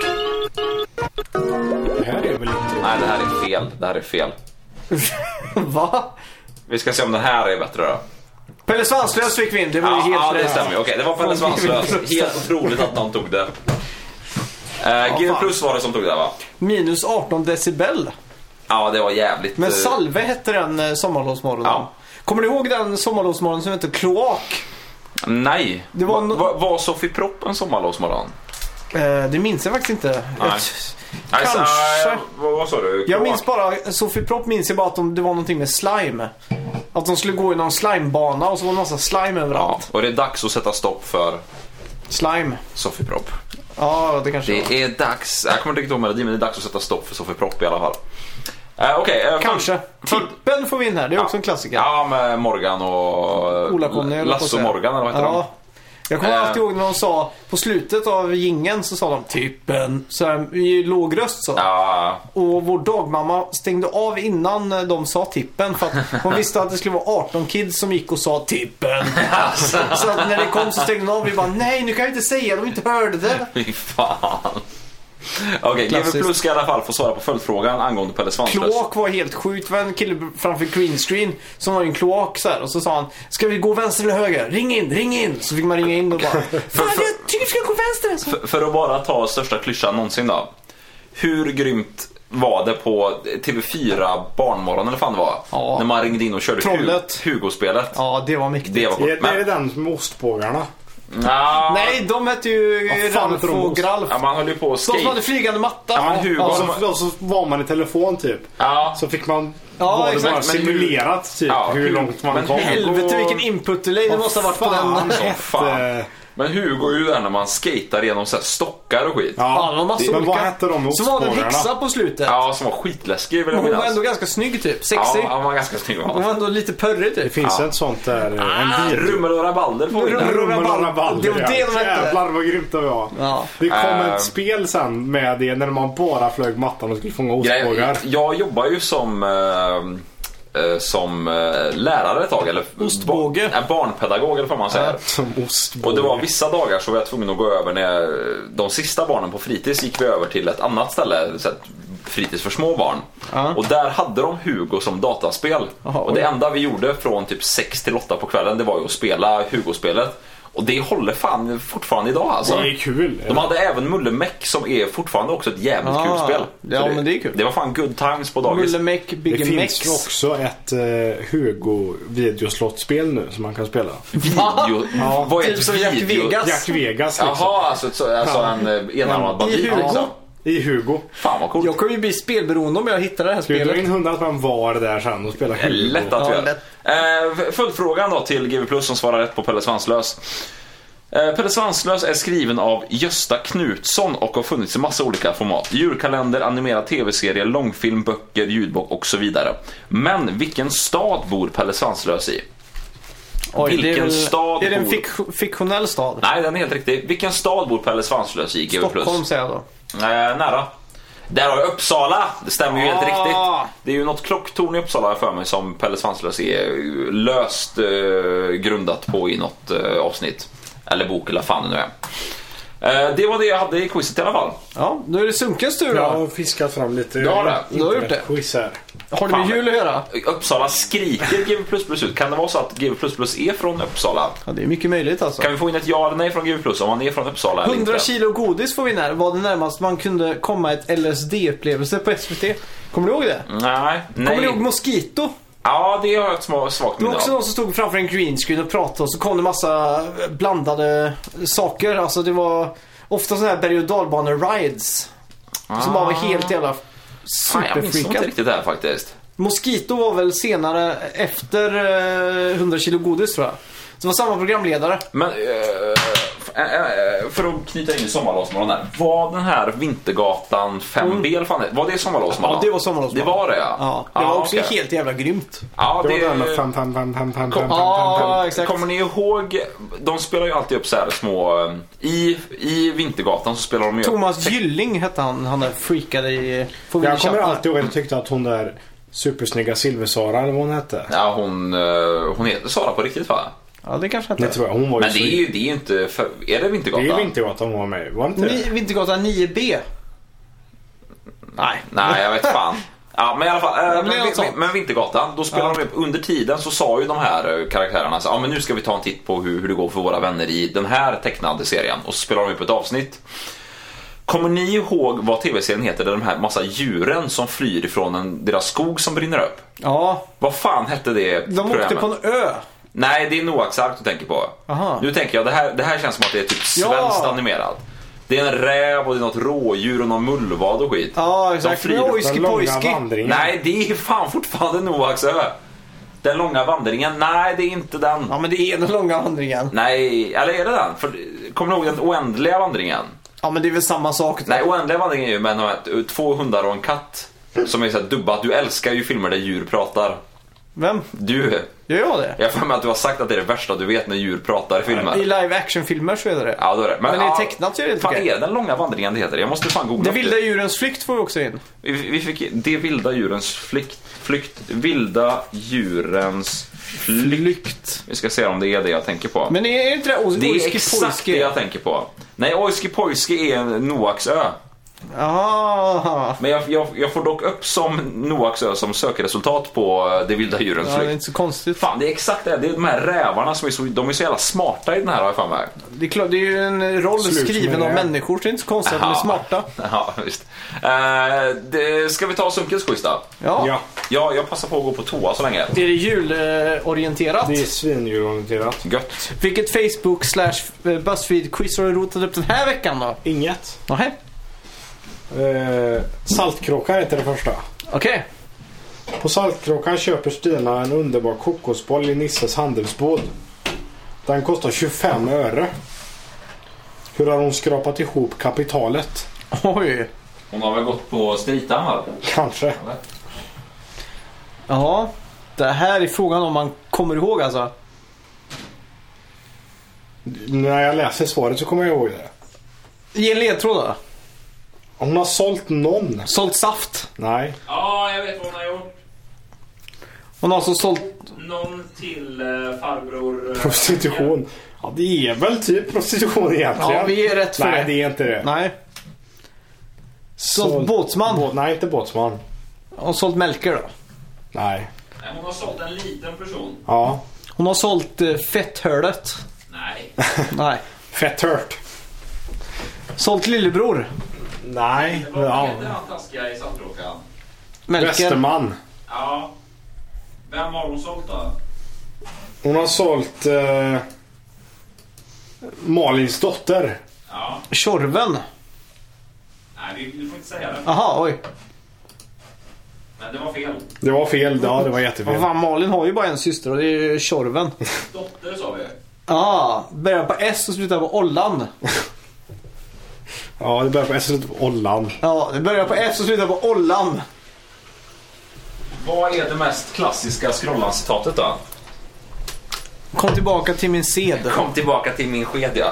[SPEAKER 4] Det här är väl inte...
[SPEAKER 3] Nej, det här är fel. Det här är fel.
[SPEAKER 2] [laughs] Va?
[SPEAKER 3] Vi ska se om den här är bättre då.
[SPEAKER 2] Pelle Svanslös fick vi in. Det var ju
[SPEAKER 3] Ja,
[SPEAKER 2] helt
[SPEAKER 3] ja det
[SPEAKER 2] rätt.
[SPEAKER 3] stämmer ju. Okej, det var Pelle Svanslös. Helt otroligt att någon tog det. Eh, G plus var det som tog det va?
[SPEAKER 2] Minus 18 decibel.
[SPEAKER 3] Ja, det var jävligt...
[SPEAKER 2] Men
[SPEAKER 3] eh,
[SPEAKER 2] Salve hette den eh, sommarlovsmorgonen.
[SPEAKER 3] Ja.
[SPEAKER 2] Kommer du ihåg den sommarlovsmorgonen som hette Kloak?
[SPEAKER 3] Nej.
[SPEAKER 2] Det var
[SPEAKER 3] Va-
[SPEAKER 2] no-
[SPEAKER 3] va- var Sofie Propp en sommarlovsmorgon?
[SPEAKER 2] Eh, det minns jag faktiskt inte.
[SPEAKER 3] Nej.
[SPEAKER 2] Jag,
[SPEAKER 3] Nej, så-
[SPEAKER 2] Kanske.
[SPEAKER 3] eh, Vad vad sa du?
[SPEAKER 2] jag
[SPEAKER 3] Kloak?
[SPEAKER 2] minns bara, Sofie Propp minns jag bara att de, det var någonting med slime. Att de skulle gå i någon slimebana och så var det massa slime
[SPEAKER 3] Ja,
[SPEAKER 2] överallt.
[SPEAKER 3] och det är dags att sätta stopp för
[SPEAKER 2] Slime.
[SPEAKER 3] Sofie Propp.
[SPEAKER 2] Ja, det kanske var.
[SPEAKER 3] Det är dags, jag kommer inte riktigt ihåg melodin, men det är dags att sätta stopp för Sofie Propp i alla fall. Eh, Okej. eh, för-
[SPEAKER 2] Kanske.
[SPEAKER 3] för-
[SPEAKER 2] Tippen får vi in här. Det är också en klassiker.
[SPEAKER 3] Ja, med Morgan och... eh,
[SPEAKER 2] Ola-Conny höll jag på att
[SPEAKER 3] Lasse och
[SPEAKER 2] säga.
[SPEAKER 3] Morgan eller vad heter de?
[SPEAKER 2] ja. Jag kommer
[SPEAKER 3] Eh.
[SPEAKER 2] alltid ihåg när de sa, på slutet av gingen så sa de Tippen. Så här, i låg röst så.
[SPEAKER 3] Ja,
[SPEAKER 2] Och vår dagmamma stängde av innan de sa tippen för att hon visste att det skulle vara 18 kids som gick och sa
[SPEAKER 3] [laughs]
[SPEAKER 2] tippen.
[SPEAKER 3] Alltså.
[SPEAKER 2] Så att när det kom så stängde hon av vi bara nej nu kan jag inte säga de inte hörde det.
[SPEAKER 3] fy fan. [laughs] Okej, GW
[SPEAKER 2] Klassiskt.
[SPEAKER 3] Plus ska i alla fall få svara på följdfrågan angående Pelle Svanslös.
[SPEAKER 2] Kloak var helt sjukt. Det var en kille framför green screen som har en kloak så här och så sa han ska vi gå vänster eller höger? Ring in, ring in! Så fick man ringa in och bara fan jag tycker vi ska gå vänster. Så.
[SPEAKER 3] F- För att bara ta största klyschan någonsin då. Hur grymt var det på TV4 Barnmorgon eller fan det var?
[SPEAKER 2] Ja.
[SPEAKER 3] När man ringde in och körde
[SPEAKER 2] Trollet.
[SPEAKER 3] Hu- Hugo-spelet.
[SPEAKER 2] Ja det var mäktigt.
[SPEAKER 3] Det var
[SPEAKER 4] Det
[SPEAKER 3] coolt.
[SPEAKER 4] är, det är den med ostbågarna.
[SPEAKER 3] Nja,
[SPEAKER 2] Nej de hette ju
[SPEAKER 4] Vad fan
[SPEAKER 2] Ralf
[SPEAKER 4] heter de?
[SPEAKER 2] och Gralf.
[SPEAKER 3] Ja, man höll ju på och
[SPEAKER 2] De som hade
[SPEAKER 3] skate.
[SPEAKER 2] flygande matta.
[SPEAKER 3] Ja, men Hugo-
[SPEAKER 4] Och
[SPEAKER 3] som-
[SPEAKER 4] så, och så var man i telefon typ.
[SPEAKER 3] Ja.
[SPEAKER 4] Så fick man...
[SPEAKER 2] Ja,
[SPEAKER 4] var det
[SPEAKER 2] exakt,
[SPEAKER 4] bara
[SPEAKER 3] men hur-
[SPEAKER 4] simulerat typ
[SPEAKER 3] Ja,
[SPEAKER 4] hur
[SPEAKER 3] hur-
[SPEAKER 4] långt man
[SPEAKER 3] men
[SPEAKER 4] kom.
[SPEAKER 3] hur-
[SPEAKER 2] Helvete vilken input delay det
[SPEAKER 4] Vad
[SPEAKER 2] måste ha varit på
[SPEAKER 4] fan
[SPEAKER 2] den.
[SPEAKER 3] Åh,
[SPEAKER 4] hette-
[SPEAKER 3] fan. Men Hugo är ju där när man skatar genom så här stockar och skit.
[SPEAKER 4] Ja,
[SPEAKER 2] Ja, det var massa
[SPEAKER 4] men vad
[SPEAKER 2] olika.
[SPEAKER 4] hette de
[SPEAKER 2] Så var det en
[SPEAKER 4] ostbågarna?
[SPEAKER 2] häxa på slutet.
[SPEAKER 3] Ja, som var skitläskig vill jag
[SPEAKER 2] Hon var
[SPEAKER 3] minnas.
[SPEAKER 2] ändå ganska snygg typ. Sexig.
[SPEAKER 3] Ja, han var ganska snygg.
[SPEAKER 2] Hon var ändå lite pörrig
[SPEAKER 4] Det
[SPEAKER 2] typ.
[SPEAKER 4] finns ett sånt där. eh, En bil.
[SPEAKER 3] Rummel och rabalder får vi
[SPEAKER 2] Rummel
[SPEAKER 3] där.
[SPEAKER 2] och-
[SPEAKER 4] Rummen och
[SPEAKER 2] Rabalder. Det
[SPEAKER 4] rabalder.
[SPEAKER 2] var det de hette.
[SPEAKER 4] Jävlar vad grymt det var.
[SPEAKER 2] Ja.
[SPEAKER 4] Det kom
[SPEAKER 3] Ehm.
[SPEAKER 4] ett spel sen med det när man bara flög mattan och skulle fånga ostbågar.
[SPEAKER 3] Grejen- Jag jobbar ju som eh, eh, som eh, lärare ett tag, eller
[SPEAKER 2] Ostbåge.
[SPEAKER 3] Ba- äh, barnpedagog eller vad man säger.
[SPEAKER 4] Som ostbågar.
[SPEAKER 3] Och det var vissa dagar så var jag tvungen att gå över när jag, de sista barnen på fritids gick vi över till ett annat ställe, så här, fritids för små barn. Och där hade de Hugo som dataspel.
[SPEAKER 2] Jaha,
[SPEAKER 3] och det
[SPEAKER 2] oj.
[SPEAKER 3] enda vi gjorde från typ 6 till 8 på kvällen det var ju att spela Hugo-spelet. Och det håller fan fortfarande idag alltså.
[SPEAKER 4] Det är kul.
[SPEAKER 3] De hade även Mulle Meck som är fortfarande också ett jävligt
[SPEAKER 2] Ah,
[SPEAKER 3] kul spel.
[SPEAKER 2] ja,
[SPEAKER 3] Så
[SPEAKER 2] men det är kul.
[SPEAKER 3] Det var fan good times på dagis.
[SPEAKER 2] Mullemäck,
[SPEAKER 4] Det
[SPEAKER 2] Bigge
[SPEAKER 4] finns
[SPEAKER 2] Mex.
[SPEAKER 4] ju också ett eh, Hugo videoslottspel nu som man kan spela.
[SPEAKER 3] Video.
[SPEAKER 2] Ja,
[SPEAKER 3] Vad är
[SPEAKER 2] typ
[SPEAKER 3] ett
[SPEAKER 2] som Jack
[SPEAKER 3] video?
[SPEAKER 2] Vegas.
[SPEAKER 4] Jack Vegas liksom.
[SPEAKER 3] Jaha, alltså, så- alltså en eh, enarmad bandit.
[SPEAKER 2] I Hugo.
[SPEAKER 3] liksom.
[SPEAKER 4] I Hugo.
[SPEAKER 3] Fan vad coolt.
[SPEAKER 2] Jag kommer ju bli spelberoende om jag hittar det här
[SPEAKER 4] Du drar in
[SPEAKER 2] spelet.
[SPEAKER 4] hundra man var där sen och spelar Hugo.
[SPEAKER 3] Lätt att
[SPEAKER 2] Ja,
[SPEAKER 3] vi gör. Eh, följdfrågan då till GW Plus som svarar rätt på Pelle Svanslös. Eh, Pelle Svanslös är skriven av Gösta Knutsson och har funnits i massa olika format. Djurkalender, animerad tv-serie, långfilm, böcker, ljudbok och så vidare. Men vilken stad bor Pelle Svanslös i?
[SPEAKER 2] Oj, det är
[SPEAKER 3] Vilken
[SPEAKER 2] väl-
[SPEAKER 3] stad
[SPEAKER 2] Är det en
[SPEAKER 3] bor-
[SPEAKER 2] fik- fiktionell stad?
[SPEAKER 3] Nej, den är helt riktig. Vilken stad bor Pelle Svanslös i? GW+.
[SPEAKER 2] Stockholm säger jag då.
[SPEAKER 3] Eh, nära. Där har jag Uppsala! Det stämmer ju helt
[SPEAKER 2] Ah.
[SPEAKER 3] riktigt. Det är ju något klocktorn i Uppsala har jag för mig som Pelle Svanslös är eh, löst eh, grundat på i något eh, avsnitt. Eller bok eller vad fan det nu är. Eh, det var det jag hade i quizet i alla fall.
[SPEAKER 2] Ja, då är det Sunkens tur
[SPEAKER 4] Jag
[SPEAKER 2] då.
[SPEAKER 4] har fiskat fram lite
[SPEAKER 3] Ja, det.
[SPEAKER 2] Du har gjort det.
[SPEAKER 4] quiz här.
[SPEAKER 2] Har det med
[SPEAKER 3] Fan.
[SPEAKER 2] jul att göra?
[SPEAKER 3] Uppsala skriker GW++ ut. Kan det vara så att GW++ är från Uppsala?
[SPEAKER 2] Ja, det är mycket möjligt alltså.
[SPEAKER 3] Kan vi få in ett ja eller nej från GW+, om han är från Uppsala eller
[SPEAKER 2] 100
[SPEAKER 3] inte?
[SPEAKER 2] kilo godis får vi in här. Var det närmast man kunde komma ett LSD-upplevelse på SVT. Kommer du ihåg det?
[SPEAKER 3] Nej.
[SPEAKER 2] Kommer du
[SPEAKER 3] nej.
[SPEAKER 2] ihåg Mosquito?
[SPEAKER 3] Ja, det har jag ett små- svagt
[SPEAKER 2] Det
[SPEAKER 3] minne
[SPEAKER 2] var också
[SPEAKER 3] av.
[SPEAKER 2] någon som stod framför en green screen och pratade och så kom det massa blandade saker. Alltså det var ofta sådana här berg och dalbane-rides. Som bara var helt jävla
[SPEAKER 3] Ah. Fan, jag minns nog inte
[SPEAKER 2] superfreakat.
[SPEAKER 3] riktigt det här faktiskt.
[SPEAKER 2] Mosquito var väl senare efter eh, 100 kilo godis tror jag. Så det var samma programledare.
[SPEAKER 3] Men eh, eh, eh, eh, för att knyta in i sommarlovsmorgon där. Var den här Vintergatan 5B, eller fan det- var det sommarlovsmorgon?
[SPEAKER 2] Ja, det var sommarlovsmorgon.
[SPEAKER 3] Det var det ja. Ah,
[SPEAKER 2] Ja, det var också
[SPEAKER 3] okej.
[SPEAKER 2] helt jävla grymt.
[SPEAKER 3] Ja,
[SPEAKER 4] Det
[SPEAKER 3] det,
[SPEAKER 4] var det här med fem, fem, fem, fem, fem, fem,
[SPEAKER 2] Ja,
[SPEAKER 4] fem,
[SPEAKER 3] Ah,
[SPEAKER 4] fem.
[SPEAKER 2] exakt.
[SPEAKER 3] Kommer ni ihåg, de spelar ju alltid upp så här små, eh, i, i Vintergatan så spelar de ju upp
[SPEAKER 2] Thomas Gylling hette han, han där freakade i Får
[SPEAKER 4] Jag kommer alltid ihåg att jag tyckte att hon där supersnygga Silver-Sara eller vad hon hette.
[SPEAKER 3] Ja, hon, eh, hon heter Sara på riktigt va?
[SPEAKER 2] Ja, det kanske hette.
[SPEAKER 4] Det tror jag. Hon var ju
[SPEAKER 3] Men det är ju det är ju inte... För, är det Vintergatan?
[SPEAKER 4] Det är ju inte att hon var med. Var det inte
[SPEAKER 2] Ni,
[SPEAKER 4] det?
[SPEAKER 2] Vintergatan 9B. Nej.
[SPEAKER 3] Nej, jag vet fan. Ja, men i alla fall. eh,
[SPEAKER 2] men det är
[SPEAKER 3] Men,
[SPEAKER 2] något sånt.
[SPEAKER 3] men, men Vintergatan, då spelar de upp. Under tiden så sa ju de här eh, karaktärerna så, ja men nu ska vi ta en titt på hur, hur det går för våra vänner i den här tecknade serien. Och så spelar de upp ett avsnitt. Kommer ni ihåg vad tv-serien heter där de här massa djuren som flyr ifrån en, deras skog som brinner upp?
[SPEAKER 2] Ja,
[SPEAKER 3] Vad fan hette det
[SPEAKER 2] de åkte på en ö.
[SPEAKER 3] Nej, det är Noaks ark du tänker på.
[SPEAKER 2] Aha.
[SPEAKER 3] Nu tänker jag, det här, det här känns som att det är typ
[SPEAKER 2] Ja.
[SPEAKER 3] svenskt animerat. Det är en räv och det är något rådjur och någon mullvad och skit.
[SPEAKER 2] Ja, exakt.
[SPEAKER 3] De flyr
[SPEAKER 2] Men
[SPEAKER 3] från
[SPEAKER 2] ojski
[SPEAKER 4] Den långa
[SPEAKER 2] pojski.
[SPEAKER 4] vandringen.
[SPEAKER 3] Nej, det är fan fortfarande Noaks ö. Den långa vandringen, nej det är inte den.
[SPEAKER 2] Ja, men det är den långa vandringen.
[SPEAKER 3] Nej, eller är det den? För, kommer du ihåg den oändliga vandringen?
[SPEAKER 2] Ja, men det är väl samma sak.
[SPEAKER 3] Nej, oändliga vandringen är ju med några- två hundar och en katt. Som är så här dubbat. Du älskar ju filmer där djur pratar.
[SPEAKER 2] Vem?
[SPEAKER 3] Du,
[SPEAKER 2] Gör jag det?
[SPEAKER 3] jag har för mig att du har sagt att det är det värsta du vet när djur pratar i filmer.
[SPEAKER 2] I live action-filmer så är det det.
[SPEAKER 3] Ja, då är det.
[SPEAKER 2] Men i
[SPEAKER 3] ja,
[SPEAKER 2] tecknat så är det helt
[SPEAKER 3] Fan,
[SPEAKER 2] okej.
[SPEAKER 3] är den långa vandringen det heter? Jag måste fan googla.
[SPEAKER 2] Det vilda djurens flykt får vi också in.
[SPEAKER 3] Vi, vi fick Det vilda djurens flykt. flykt vilda djurens flykt.
[SPEAKER 2] Flykt.
[SPEAKER 3] Vi ska se om det är det jag tänker på.
[SPEAKER 2] Men är är inte det oj-
[SPEAKER 3] det är
[SPEAKER 2] ojski
[SPEAKER 3] exakt det
[SPEAKER 2] pojski?
[SPEAKER 3] jag tänker på. Nej, Oiski Poiski är en Noaks ö.
[SPEAKER 2] Jaha.
[SPEAKER 3] Men jag, jag, jag får dock upp som Noaks ö som sökresultat på eh, det vilda djurens
[SPEAKER 2] Ja, det är
[SPEAKER 3] flykt.
[SPEAKER 2] inte så konstigt.
[SPEAKER 3] Fan, det är exakt det. Det är de här rävarna som är så, de är så jävla smarta i den här har jag för mig. [laughs]
[SPEAKER 2] Det är, klart, det är ju en roll
[SPEAKER 4] Slut
[SPEAKER 2] skriven
[SPEAKER 4] med
[SPEAKER 2] av
[SPEAKER 4] det.
[SPEAKER 2] människor, så det är inte så konstigt att de är
[SPEAKER 3] Ja.
[SPEAKER 2] smarta.
[SPEAKER 3] Ja, visst. Eh, det, ska vi ta Sunkens quiz då?
[SPEAKER 2] Ja.
[SPEAKER 4] Ja,
[SPEAKER 3] Ja, jag passar på att gå på toa så länge.
[SPEAKER 2] Är det julorienterat?
[SPEAKER 4] det är svindjurorienterat.
[SPEAKER 3] Gött.
[SPEAKER 2] Vilket Facebook slash Buzzfeed-quiz har du rotat upp den här veckan då?
[SPEAKER 4] Inget.
[SPEAKER 2] Nej.
[SPEAKER 4] Eh, saltkråkan heter det första.
[SPEAKER 2] Okej.
[SPEAKER 4] På Saltkråkan köper Stina en underbar kokosboll i Nisses handelsbod. Den kostar 25 öre. Hur har hon skrapat ihop kapitalet?
[SPEAKER 2] Oj.
[SPEAKER 3] Hon har väl gått på Stritahammar?
[SPEAKER 4] Kanske.
[SPEAKER 2] Ja. Det här är frågan om man kommer ihåg alltså.
[SPEAKER 4] När jag läser svaret så kommer jag ihåg det.
[SPEAKER 2] Ge en ledtråd då.
[SPEAKER 4] Hon har sålt någon.
[SPEAKER 2] Sålt saft.
[SPEAKER 4] Nej.
[SPEAKER 6] Ja, jag vet vad hon har gjort.
[SPEAKER 2] Hon har alltså sålt...
[SPEAKER 6] Någon till eh, farbror... eh,
[SPEAKER 4] Prostitution. Ja, det är väl typ prostitution egentligen.
[SPEAKER 2] Ja, vi är rätt för
[SPEAKER 4] Nej,
[SPEAKER 2] det.
[SPEAKER 4] det är inte det.
[SPEAKER 2] Nej. Sålt, båtsman.
[SPEAKER 4] Bå- Nej, inte båtsman.
[SPEAKER 2] Och sålt Melker då.
[SPEAKER 4] Nej.
[SPEAKER 6] Nej, hon har sålt en liten person.
[SPEAKER 4] Ja.
[SPEAKER 2] Hon har sålt eh,
[SPEAKER 4] [laughs]
[SPEAKER 2] fetthölet.
[SPEAKER 6] Nej.
[SPEAKER 2] Nej.
[SPEAKER 4] Fett hört.
[SPEAKER 2] Sålt lillebror.
[SPEAKER 4] Nej.
[SPEAKER 6] Vad
[SPEAKER 4] Ja.
[SPEAKER 6] heter han taskiga i Saltkråkan?
[SPEAKER 2] Melker.
[SPEAKER 4] Västerman.
[SPEAKER 6] Ja. Vem har hon sålt då?
[SPEAKER 4] Hon har sålt eh, Malins dotter.
[SPEAKER 6] Ja.
[SPEAKER 2] Tjorven.
[SPEAKER 6] Nej, vi- du får inte säga det.
[SPEAKER 2] Aha, oj.
[SPEAKER 6] Men det var fel.
[SPEAKER 4] Det var fel. Ja, det var jättefel.
[SPEAKER 2] Vad fan, Malin har ju bara en syster och det är ju
[SPEAKER 3] [laughs]
[SPEAKER 2] Tjorven.
[SPEAKER 6] Dotter sa vi.
[SPEAKER 2] Ja, börjar på S och slutar på Ollan.
[SPEAKER 4] Ja, det börjar på S och slutar på Ollan.
[SPEAKER 2] Ja, det börjar på F och slutar på Ollan.
[SPEAKER 3] Vad är det mest klassiska Scrollan-citatet då?
[SPEAKER 2] Kom tillbaka till min sed.
[SPEAKER 3] Kom tillbaka till min skedja.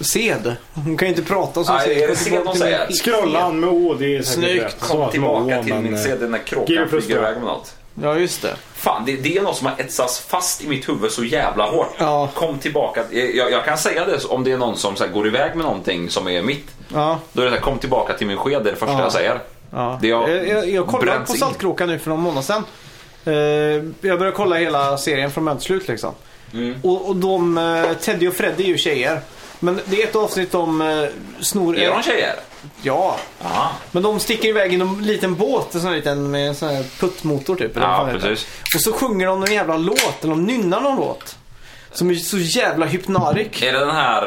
[SPEAKER 2] Sed? Hon kan ju inte prata som
[SPEAKER 3] Nej,
[SPEAKER 2] sed.
[SPEAKER 3] är det
[SPEAKER 2] Kom
[SPEAKER 3] sed
[SPEAKER 2] tillbaka
[SPEAKER 3] hon
[SPEAKER 2] till min
[SPEAKER 3] säger?
[SPEAKER 2] sed.
[SPEAKER 4] Scrollan med Å, det är säkert
[SPEAKER 2] Snyggt.
[SPEAKER 4] rätt.
[SPEAKER 3] Kom
[SPEAKER 4] Så att det var
[SPEAKER 3] tillbaka
[SPEAKER 4] Å,
[SPEAKER 3] till
[SPEAKER 4] men,
[SPEAKER 3] min
[SPEAKER 4] eh,
[SPEAKER 3] skedja när
[SPEAKER 4] Gil
[SPEAKER 3] kråkan
[SPEAKER 4] plus
[SPEAKER 3] flyger
[SPEAKER 4] tre.
[SPEAKER 3] iväg med något.
[SPEAKER 2] Ja, just det.
[SPEAKER 3] Fan, det, det är något som har etsats fast i mitt huvud så jävla hårt.
[SPEAKER 2] Ja.
[SPEAKER 3] Kom tillbaka. Eh, Jag, jag kan säga det om det är någon som så här, går iväg med någonting som är mitt.
[SPEAKER 2] Ja,
[SPEAKER 3] Då är det så här, kom tillbaka till min sked, det är det första
[SPEAKER 2] Ja.
[SPEAKER 3] jag säger.
[SPEAKER 2] ja. Eh,
[SPEAKER 3] Det har
[SPEAKER 2] jag, jag, jag kollade
[SPEAKER 3] bränts
[SPEAKER 2] på
[SPEAKER 3] in.
[SPEAKER 2] Saltkråkan nu för någon månad sedan. Eh, jag började kolla hela serien från början till slut liksom.
[SPEAKER 3] Mm.
[SPEAKER 2] Och, och de, eh, Teddy och Freddy är ju tjejer. Men det är ett avsnitt om eh, snor...
[SPEAKER 3] Är de tjejer?
[SPEAKER 2] Ja.
[SPEAKER 3] Ja,
[SPEAKER 2] Men de sticker iväg i en liten båt, en sån här liten, med en sån här puttmotor typ. eller vad
[SPEAKER 3] ja
[SPEAKER 2] fan det heter.
[SPEAKER 3] precis.
[SPEAKER 2] Och så sjunger de någon jävla låt, eller de nynnar någon låt. Som är så jävla hypnarik.
[SPEAKER 3] Är det den här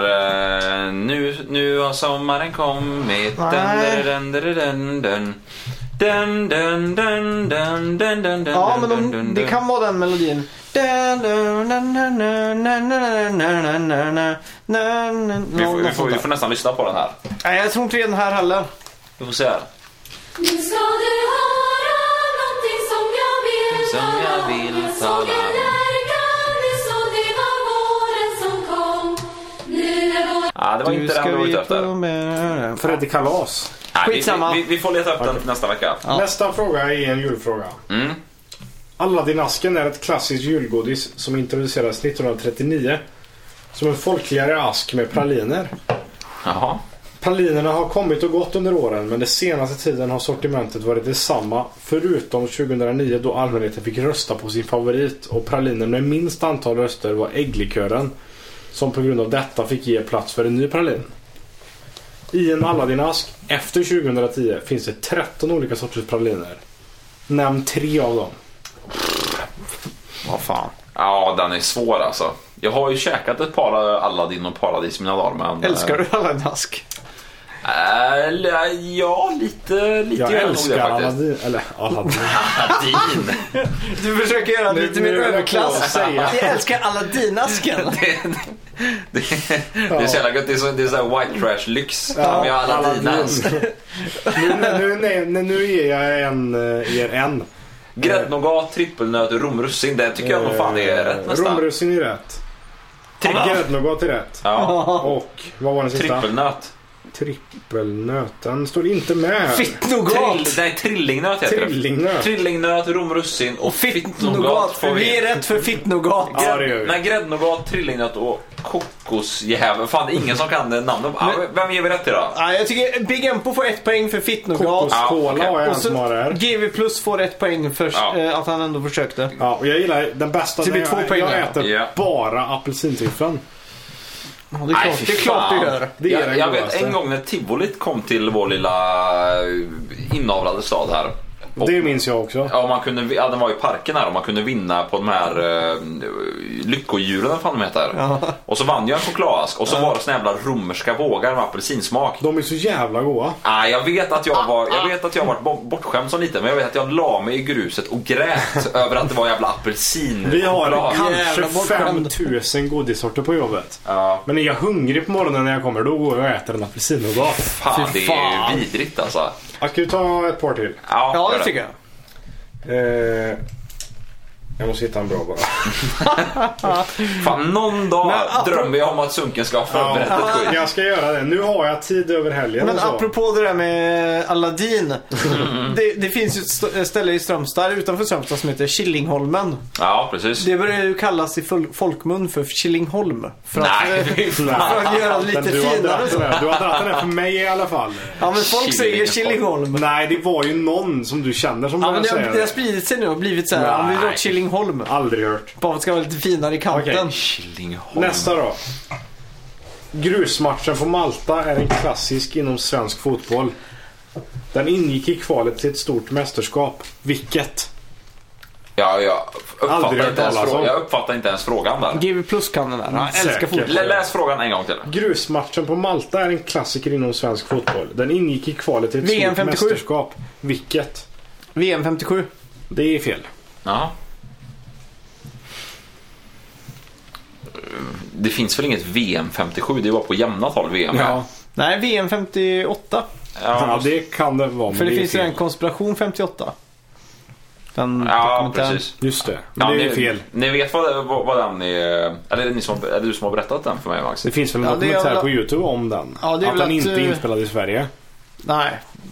[SPEAKER 3] eh, nu, nu har sommaren kommit
[SPEAKER 2] Nej.
[SPEAKER 3] dun, dun, dun, dun, dun, dun. Dun, dun, dun, dun, dun, dun, dun,
[SPEAKER 2] Ja, men
[SPEAKER 3] dun, dun,
[SPEAKER 2] de,
[SPEAKER 3] dun,
[SPEAKER 2] det
[SPEAKER 3] dun.
[SPEAKER 2] kan vara den melodin. Nej, nej,
[SPEAKER 3] Vi
[SPEAKER 2] nej,
[SPEAKER 3] får, vi,
[SPEAKER 2] något
[SPEAKER 3] får,
[SPEAKER 2] sånt
[SPEAKER 3] vi
[SPEAKER 2] där.
[SPEAKER 3] får nästan lyssna på den här.
[SPEAKER 2] Nej, jag tror inte det är den här heller.
[SPEAKER 3] Vi får se här.
[SPEAKER 7] Nu ska du höra någonting som jag vill
[SPEAKER 3] Som jag vill
[SPEAKER 7] Jag såg
[SPEAKER 3] tala
[SPEAKER 7] en
[SPEAKER 3] om.
[SPEAKER 7] lärka nyss och det var våren som kom Nu är våren
[SPEAKER 3] Ah, det var inte den du var ute efter.
[SPEAKER 2] med...
[SPEAKER 4] Freddy Kalas.
[SPEAKER 3] Ah, vi,
[SPEAKER 2] Skitsamma.
[SPEAKER 3] vi, vi får leta upp den nästa vecka.
[SPEAKER 2] Ja.
[SPEAKER 4] Nästa fråga är en julfråga.
[SPEAKER 3] Mm.
[SPEAKER 4] Aladdin-asken är ett klassiskt julgodis som introducerades 1939 som en folkligare ask med praliner.
[SPEAKER 3] Jaha.
[SPEAKER 4] Pralinerna har kommit och gått under åren men den senaste tiden har sortimentet varit detsamma förutom 2009 då allmänheten fick rösta på sin favorit och pralinen med minst antal röster var ägglikören som på grund av detta fick ge plats för en ny pralin. I en Aladdin-ask efter 2010 finns det 13 olika sorters praliner. Nämn tre av dem.
[SPEAKER 2] Vad fan.
[SPEAKER 3] Ja, den är svår alltså. Jag har ju käkat ett par eh, Aladdin och Paradis i mina dagar men...
[SPEAKER 2] Älskar du alla dask?
[SPEAKER 3] Äh, l- ja, lite, lite
[SPEAKER 4] Jag
[SPEAKER 3] gör nog
[SPEAKER 4] älskar
[SPEAKER 3] det, faktiskt.
[SPEAKER 4] Aladdin. Eller Aladdin.
[SPEAKER 3] Aladdin.
[SPEAKER 2] Du försöker göra
[SPEAKER 4] Nu-
[SPEAKER 2] lite
[SPEAKER 4] nu
[SPEAKER 2] mer
[SPEAKER 4] höll jag på
[SPEAKER 2] överklass.
[SPEAKER 4] att säga.
[SPEAKER 2] [laughs] Jag älskar alla dinasken.
[SPEAKER 3] det, det, det är så jävla gött. Det är, så, det är så här white trash lyx. Ja, vi har Aladdin ens.
[SPEAKER 4] nu, nu, nej, nej, nu ger jag en, eh, er en.
[SPEAKER 3] Gräddnougat, trippelnöt, romrussin. Det tycker jag nog fan är rätt nästan.
[SPEAKER 4] Romrussin är rätt.
[SPEAKER 3] Trippel,
[SPEAKER 4] Gräddnougat är rätt.
[SPEAKER 3] [laughs] ja,
[SPEAKER 4] Och vad var den sista?
[SPEAKER 3] trippelnöt.
[SPEAKER 4] Trippelnöt. Den står inte med här.
[SPEAKER 3] Trill,
[SPEAKER 2] Fittnogat.
[SPEAKER 3] nej, trillingnöt heter det.
[SPEAKER 4] Trillingnöt.
[SPEAKER 3] Trillingnöt, romrussin och fittnougat
[SPEAKER 2] Fittnogat.
[SPEAKER 3] får
[SPEAKER 2] Vi är
[SPEAKER 3] vi.
[SPEAKER 2] rätt för fittnogat.
[SPEAKER 4] Ja, det gör vi.
[SPEAKER 3] Nej, gräddnougat, trillingnöt och kokosjävel. Fan, det är ingen som kan eh, namnen. Ah, Vem ger vi rätt till då?
[SPEAKER 2] Ja, jag tycker Big Empo får ett poäng för fittnogat.
[SPEAKER 3] Ja,
[SPEAKER 4] Kokoskola
[SPEAKER 3] okej.
[SPEAKER 4] har jag en
[SPEAKER 2] Och så
[SPEAKER 4] som har det här.
[SPEAKER 2] GV Plus får ett poäng för
[SPEAKER 3] Ja.
[SPEAKER 2] eh, att han ändå försökte.
[SPEAKER 4] Ja, och jag gillar den bästa.
[SPEAKER 3] Typ
[SPEAKER 2] Det blir
[SPEAKER 4] när
[SPEAKER 2] två
[SPEAKER 4] jag,
[SPEAKER 2] poäng
[SPEAKER 4] jag
[SPEAKER 2] där.
[SPEAKER 4] äter
[SPEAKER 3] Ja.
[SPEAKER 4] bara apelsintrifflan.
[SPEAKER 2] Ja, det är klart, det, är klart det gör.
[SPEAKER 4] Det är
[SPEAKER 3] jag,
[SPEAKER 4] den
[SPEAKER 3] jag vet
[SPEAKER 4] godaste.
[SPEAKER 3] en gång när tivolit kom till vår lilla eh, inavlade stad här. Och,
[SPEAKER 4] Det minns jag också.
[SPEAKER 3] ja, man kunde, ja, den var i parken här och man kunde vinna på de här uh, lyckodjuren vad fan de heter. Och så vann jag en chokladask och så var det såna jävla romerska vågar med apelsinsmak.
[SPEAKER 4] De är så jävla goda.
[SPEAKER 3] Ah, jag vet att jag var jag vet att jag varit bo- bortskämd som liten men jag vet att jag la mig i gruset
[SPEAKER 2] [laughs]
[SPEAKER 3] och grät över att det var jävla apelsin.
[SPEAKER 4] Vi har
[SPEAKER 3] choklad.
[SPEAKER 2] Jävla bortskämd.
[SPEAKER 4] kanske 5000 godissorter på jobbet.
[SPEAKER 3] Ja,
[SPEAKER 4] Men är jag hungrig på morgonen när jag kommer då går jag och äter en apelsinnougat.
[SPEAKER 3] fan,
[SPEAKER 2] Fy
[SPEAKER 3] det är
[SPEAKER 2] fan.
[SPEAKER 3] vidrigt alltså.
[SPEAKER 4] Jag ska ju ta ett par till.
[SPEAKER 3] Ja,
[SPEAKER 2] Ja,
[SPEAKER 3] gör
[SPEAKER 2] det tycker jag.
[SPEAKER 4] Eh, jag måste hitta en bra bara.
[SPEAKER 3] Fan, någon dag drömmer jag om att Sunken ska ha förberett ett skit.
[SPEAKER 4] Jag ska göra det. Nu har jag tid över helgen alltså.
[SPEAKER 2] Men
[SPEAKER 4] och
[SPEAKER 2] [laughs]
[SPEAKER 4] så.
[SPEAKER 2] apropå det där med Aladdin.
[SPEAKER 4] Mm.
[SPEAKER 2] det, det finns ju ett st- ställe i Strömstad, utanför Strömstad, som heter Killingholmen.
[SPEAKER 3] Ja, precis.
[SPEAKER 2] Det börjar ju kallas i full- folkmun för Killingholm. För att,
[SPEAKER 4] [laughs]
[SPEAKER 3] Nej, fy
[SPEAKER 2] för
[SPEAKER 3] fan.
[SPEAKER 2] att göra det lite
[SPEAKER 4] Men du har
[SPEAKER 2] finare.
[SPEAKER 4] dragit
[SPEAKER 2] så.
[SPEAKER 4] den här. Du har dragit den här för mig i alla fall.
[SPEAKER 2] Ja men folk säger
[SPEAKER 3] Killingholm.
[SPEAKER 2] Killingholm.
[SPEAKER 4] Nej, det var ju någon som du känner som
[SPEAKER 2] Ja men
[SPEAKER 4] började
[SPEAKER 2] det har,
[SPEAKER 4] säga
[SPEAKER 2] det har
[SPEAKER 4] det.
[SPEAKER 2] spridit sig nu och blivit såhär, ja, men vi drar
[SPEAKER 3] Nej.
[SPEAKER 2] Killingholm.
[SPEAKER 4] Aldrig hört.
[SPEAKER 2] Bara för att det ska vara lite finare i kanten.
[SPEAKER 4] Okej.
[SPEAKER 3] Killingholm.
[SPEAKER 4] Nästa då. Grusmatchen på Malta är en klassisk inom svensk fotboll. Den ingick i kvalet till ett stort mästerskap. Vilket?
[SPEAKER 3] Ja, jag
[SPEAKER 4] Aldrig
[SPEAKER 3] uppfattar,
[SPEAKER 4] hört
[SPEAKER 3] inte ens,
[SPEAKER 4] talas
[SPEAKER 3] frå-
[SPEAKER 4] om.
[SPEAKER 3] jag uppfattar inte ens frågan där.
[SPEAKER 2] GW plus kan den där. Han älskar
[SPEAKER 4] Säkert.
[SPEAKER 2] fotboll.
[SPEAKER 3] Lä- Läs frågan en gång till.
[SPEAKER 4] Grusmatchen på Malta är en klassiker inom svensk fotboll. Den ingick i kvalet till ett
[SPEAKER 2] VM
[SPEAKER 4] stort
[SPEAKER 2] 57.
[SPEAKER 4] mästerskap. Vilket?
[SPEAKER 2] VM 57.
[SPEAKER 4] Det är fel.
[SPEAKER 3] Ja. Det finns väl inget VM 57? Det var på jämna tal VM.
[SPEAKER 4] Ja,
[SPEAKER 2] Nej, VM 58.
[SPEAKER 4] ja
[SPEAKER 3] ja,
[SPEAKER 4] det kan det vara. men
[SPEAKER 2] För det,
[SPEAKER 4] är
[SPEAKER 2] finns ju
[SPEAKER 4] fel.
[SPEAKER 2] en konspiration 58. Den
[SPEAKER 3] ja
[SPEAKER 2] dokumentären.
[SPEAKER 3] precis.
[SPEAKER 4] Just det. Men
[SPEAKER 3] Ja,
[SPEAKER 4] det är
[SPEAKER 3] ni,
[SPEAKER 4] fel.
[SPEAKER 3] Ni vet vad, vad, vad den är? Eller är det, ni som, är det du som har berättat den för mig Max?
[SPEAKER 4] Det finns väl en
[SPEAKER 2] Ja, det är
[SPEAKER 4] dokumentär
[SPEAKER 2] väl-
[SPEAKER 4] på Youtube om den?
[SPEAKER 2] Ja, det är
[SPEAKER 4] att
[SPEAKER 2] väl
[SPEAKER 4] den
[SPEAKER 2] att,
[SPEAKER 4] inte är
[SPEAKER 2] eh,
[SPEAKER 4] inspelad i Sverige.
[SPEAKER 2] Nej.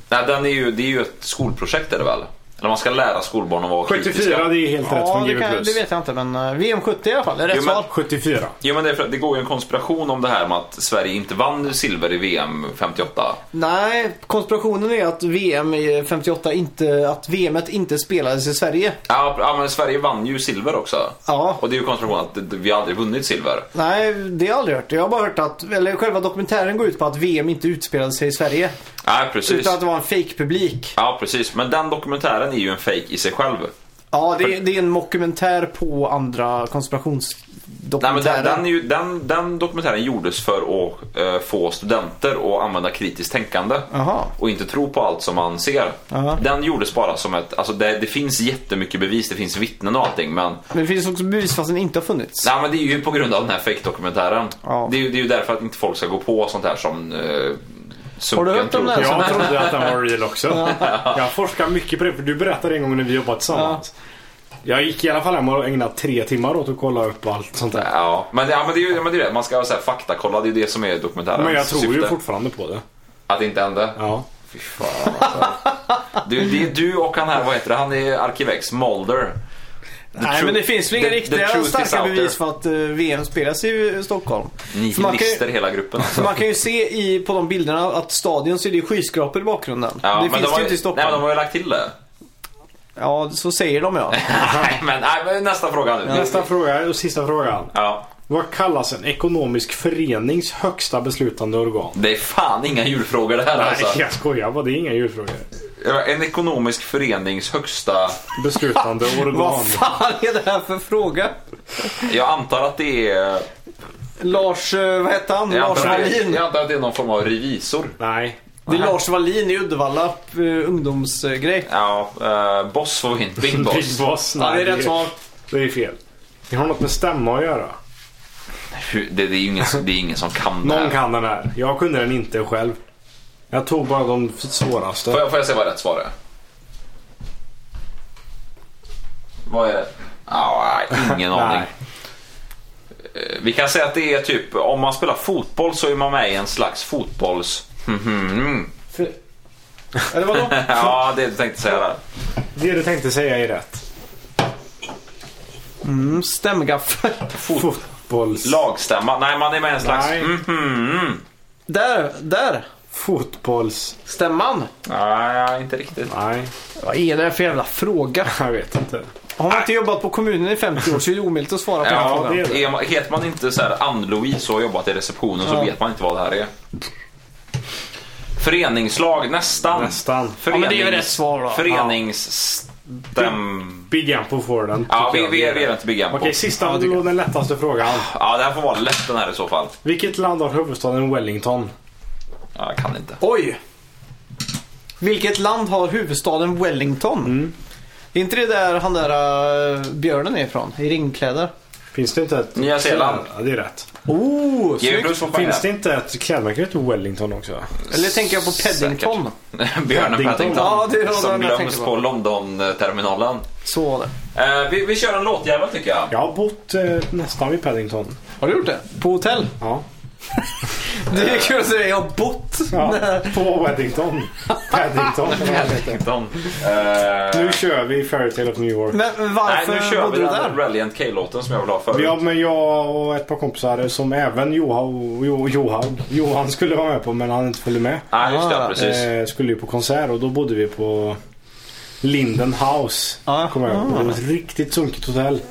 [SPEAKER 3] Nej, den är ju, det är ju ett skolprojekt är det väl? Eller man ska lära skolbarn att vara
[SPEAKER 4] 74, det är helt rätt
[SPEAKER 2] Ja,
[SPEAKER 4] från
[SPEAKER 2] det,
[SPEAKER 4] GW+.
[SPEAKER 2] kan, det vet jag inte men eh, VM 70 i alla fall. Det är rätt
[SPEAKER 3] Jo, men-
[SPEAKER 2] svar.
[SPEAKER 4] 74.
[SPEAKER 3] Ja, men det, är för, att det går ju en konspiration om det här med att Sverige inte vann silver i VM 58.
[SPEAKER 2] Nej, konspirationen är att VM i 58 inte, att VMet inte spelades i Sverige.
[SPEAKER 3] Ja, ja, men Sverige vann ju silver också.
[SPEAKER 2] Ja.
[SPEAKER 3] Och det är ju konspirationen att det- vi aldrig vunnit silver.
[SPEAKER 2] Nej, det har jag aldrig hört. Jag har bara hört att, eller själva dokumentären går ut på att VM inte utspelade sig i Sverige.
[SPEAKER 3] Nej, precis.
[SPEAKER 2] Utan att det var en fake publik
[SPEAKER 3] Ja, precis. Men den dokumentären är ju en fake i sig själv.
[SPEAKER 2] Ja, det, är- det är en dokumentär på andra konspirations...
[SPEAKER 3] Nej, men den,
[SPEAKER 8] dokumentären.
[SPEAKER 3] den, är ju, den, den dokumentären gjordes för att eh, få studenter att använda kritiskt tänkande
[SPEAKER 2] Jaha.
[SPEAKER 3] och inte tro på allt som man ser.
[SPEAKER 2] Jaha.
[SPEAKER 3] Den gjordes bara som ett... Alltså det, det finns jättemycket bevis, det finns vittnen och allting men
[SPEAKER 2] Men det finns också bevis fast den inte har funnits.
[SPEAKER 3] Nej men det är ju på grund av den här fake-dokumentären.
[SPEAKER 2] Ja.
[SPEAKER 3] Det, är ju- det är ju därför att inte folk ska gå på sånt här som eh, sunken
[SPEAKER 2] hört om
[SPEAKER 3] tror.
[SPEAKER 2] det här?
[SPEAKER 4] Jag trodde att den var real också. Jag forskar mycket på det för du berättade en gång när vi jobbade tillsammans. Jag gick i alla fall hem och ägnade tre timmar åt att kolla upp allt sånt där.
[SPEAKER 3] Ja, men, ja, men det är ju ja, men det, är det. Man ska så här, faktakolla, det är ju det som är dokumentärens
[SPEAKER 4] Men jag tror
[SPEAKER 3] syfte.
[SPEAKER 4] ju fortfarande på det.
[SPEAKER 3] Att det inte hände.
[SPEAKER 4] Ja.
[SPEAKER 3] Fy fan alltså. du, Det är du och han här, vad heter det? Han är arkivex, Mulder.
[SPEAKER 2] Nej,
[SPEAKER 3] truth-
[SPEAKER 2] men det finns väl inga
[SPEAKER 3] the- the truth
[SPEAKER 2] riktiga
[SPEAKER 3] is
[SPEAKER 2] starka
[SPEAKER 3] out
[SPEAKER 2] bevis
[SPEAKER 3] there.
[SPEAKER 2] för att eh, VM spelas i eh, Stockholm. För man kan ju-
[SPEAKER 3] Nihilister hela gruppen alltså.
[SPEAKER 2] Man kan ju se i, på de bilderna att stadion så är det ju skyskrapor i bakgrunden.
[SPEAKER 3] Ja,
[SPEAKER 2] det
[SPEAKER 3] men
[SPEAKER 2] finns
[SPEAKER 3] de har,
[SPEAKER 2] ju inte i
[SPEAKER 3] Nej,
[SPEAKER 2] Stockholm.
[SPEAKER 3] men de har ju lagt till det.
[SPEAKER 2] Ja, så säger de
[SPEAKER 3] [laughs]
[SPEAKER 2] ja.
[SPEAKER 3] nej, men, nej, men nästa fråga nu.
[SPEAKER 4] Nästa fråga och sista frågan.
[SPEAKER 3] Ja,
[SPEAKER 4] Vad kallas en ekonomisk förenings högsta beslutande organ?
[SPEAKER 3] det är fan inga djurfrågor det här alltså.
[SPEAKER 4] Nej, jag skojar bara. Det är inga djurfrågor.
[SPEAKER 3] En ekonomisk förenings högsta...
[SPEAKER 2] [laughs]
[SPEAKER 4] Beslutande organ.
[SPEAKER 2] Vad fan är det här för fråga?
[SPEAKER 3] Jag antar att det är...
[SPEAKER 2] Lars, eh, vad hette han?
[SPEAKER 3] Jag
[SPEAKER 2] Lars
[SPEAKER 3] antar, att det,
[SPEAKER 2] Wallin.
[SPEAKER 3] jag antar att det är någon form av revisor.
[SPEAKER 4] Nej.
[SPEAKER 2] Det är Lars Wallin i Uddevalla, eh, ungdomsgrej.
[SPEAKER 3] Ja, eh, boss får vi inte. Big
[SPEAKER 2] [laughs]
[SPEAKER 3] boss.
[SPEAKER 4] Big boss.
[SPEAKER 2] Ja,
[SPEAKER 4] Nej,
[SPEAKER 2] det är rätt svar.
[SPEAKER 4] Det är fel. Det har något med stämma att göra.
[SPEAKER 3] Hur- Det, det, är ju ingen, det är ingen som kan det
[SPEAKER 4] Någon
[SPEAKER 3] här.
[SPEAKER 4] kan den här. Jag kunde den inte själv. Jag tog bara de svåraste.
[SPEAKER 3] Får jag, får jag se vad rätt svar är? Vad är det? Ah, ingen aning.
[SPEAKER 4] [laughs] Nej.
[SPEAKER 3] Eh, Vi kan säga att det är typ, om man spelar fotboll så är man med i en slags fotbolls... Mhm.
[SPEAKER 2] Eller vadå?
[SPEAKER 3] ja, det tänkte jag säga där.
[SPEAKER 4] Det du tänkte säga är rätt.
[SPEAKER 2] Mm, Stämgaffel.
[SPEAKER 4] Fotbolls...
[SPEAKER 3] Lagstämma? Nej, man är med i en slags...
[SPEAKER 4] Nej.
[SPEAKER 3] Mhm.
[SPEAKER 2] [laughs] Där, där.
[SPEAKER 4] Fotbolls...
[SPEAKER 2] Stämman.
[SPEAKER 3] Nej, inte riktigt.
[SPEAKER 4] Nej,
[SPEAKER 2] Vad är det här för jävla fråga?
[SPEAKER 4] jag vet inte.
[SPEAKER 2] Har man inte jobbat på kommunen i 50 år så är det omöjligt att svara på den här
[SPEAKER 3] Ja,
[SPEAKER 2] frågan.
[SPEAKER 4] det är
[SPEAKER 3] är man, heter man inte så här Ann-Louise och har jobbat i receptionen så vet man inte vad det här är. Föreningslag, nästan.
[SPEAKER 4] Nästan.
[SPEAKER 2] Ja, men det är ju rätt svar då.
[SPEAKER 3] Föreningsstäm...
[SPEAKER 4] Big Ampo får den.
[SPEAKER 3] Ja,
[SPEAKER 4] tycker
[SPEAKER 3] vi,
[SPEAKER 4] jag.
[SPEAKER 3] vi, är- vi är inte big på.
[SPEAKER 4] Okej, sista och den lättaste frågan.
[SPEAKER 3] Ja, det här får vara lätt den här i så fall.
[SPEAKER 4] Vilket land har huvudstaden Wellington?
[SPEAKER 3] Ja, jag kan inte.
[SPEAKER 2] Oj! Vilket land har huvudstaden Wellington? Är inte det där han där äh, björnen är ifrån? I ringkläder?
[SPEAKER 4] Finns det inte ett...
[SPEAKER 3] Nya Zeeland.
[SPEAKER 4] Ja, det är rätt.
[SPEAKER 2] Oh,
[SPEAKER 3] Ge
[SPEAKER 2] snyggt!
[SPEAKER 3] plus på poäng
[SPEAKER 4] Finns
[SPEAKER 3] [laughs]
[SPEAKER 4] det
[SPEAKER 3] där.
[SPEAKER 4] inte ett klädmärke som heter Wellington också?
[SPEAKER 2] Eller tänker jag på Paddington?
[SPEAKER 3] Björnen Paddington.
[SPEAKER 2] Ja, det var den
[SPEAKER 3] som
[SPEAKER 2] jag
[SPEAKER 3] glöms
[SPEAKER 2] tänkte på.
[SPEAKER 3] på London-terminalen.
[SPEAKER 2] Så var det.
[SPEAKER 3] Eh, vi, vi kör en låtjävel tycker jag.
[SPEAKER 4] Jag har bott eh, nästan vid Paddington.
[SPEAKER 2] Har du gjort det? På hotell?
[SPEAKER 4] Ja.
[SPEAKER 2] Det är kul att säga, jag har bott. [laughs]
[SPEAKER 4] ja. På Weddington. Paddington.
[SPEAKER 3] Paddington. Eh,
[SPEAKER 4] nu kör vi Fairytale of New York.
[SPEAKER 2] Men
[SPEAKER 3] nej,
[SPEAKER 2] varför
[SPEAKER 3] nu kör
[SPEAKER 2] bodde
[SPEAKER 3] vi
[SPEAKER 2] du
[SPEAKER 3] den
[SPEAKER 2] där?
[SPEAKER 3] Reliant K-låten som jag vill ha förut.
[SPEAKER 4] Ja, men jag och ett par kompisar som även Johan, Jo- Johan, Johan skulle vara med på men han inte följde med.
[SPEAKER 3] Nej, just det.
[SPEAKER 2] Ah,
[SPEAKER 3] Precis.
[SPEAKER 4] Eh, skulle ju på konsert och då bodde vi på Linden House.
[SPEAKER 2] Ah.
[SPEAKER 4] Kommer jag ihåg. Det var ett riktigt sunkigt hotell.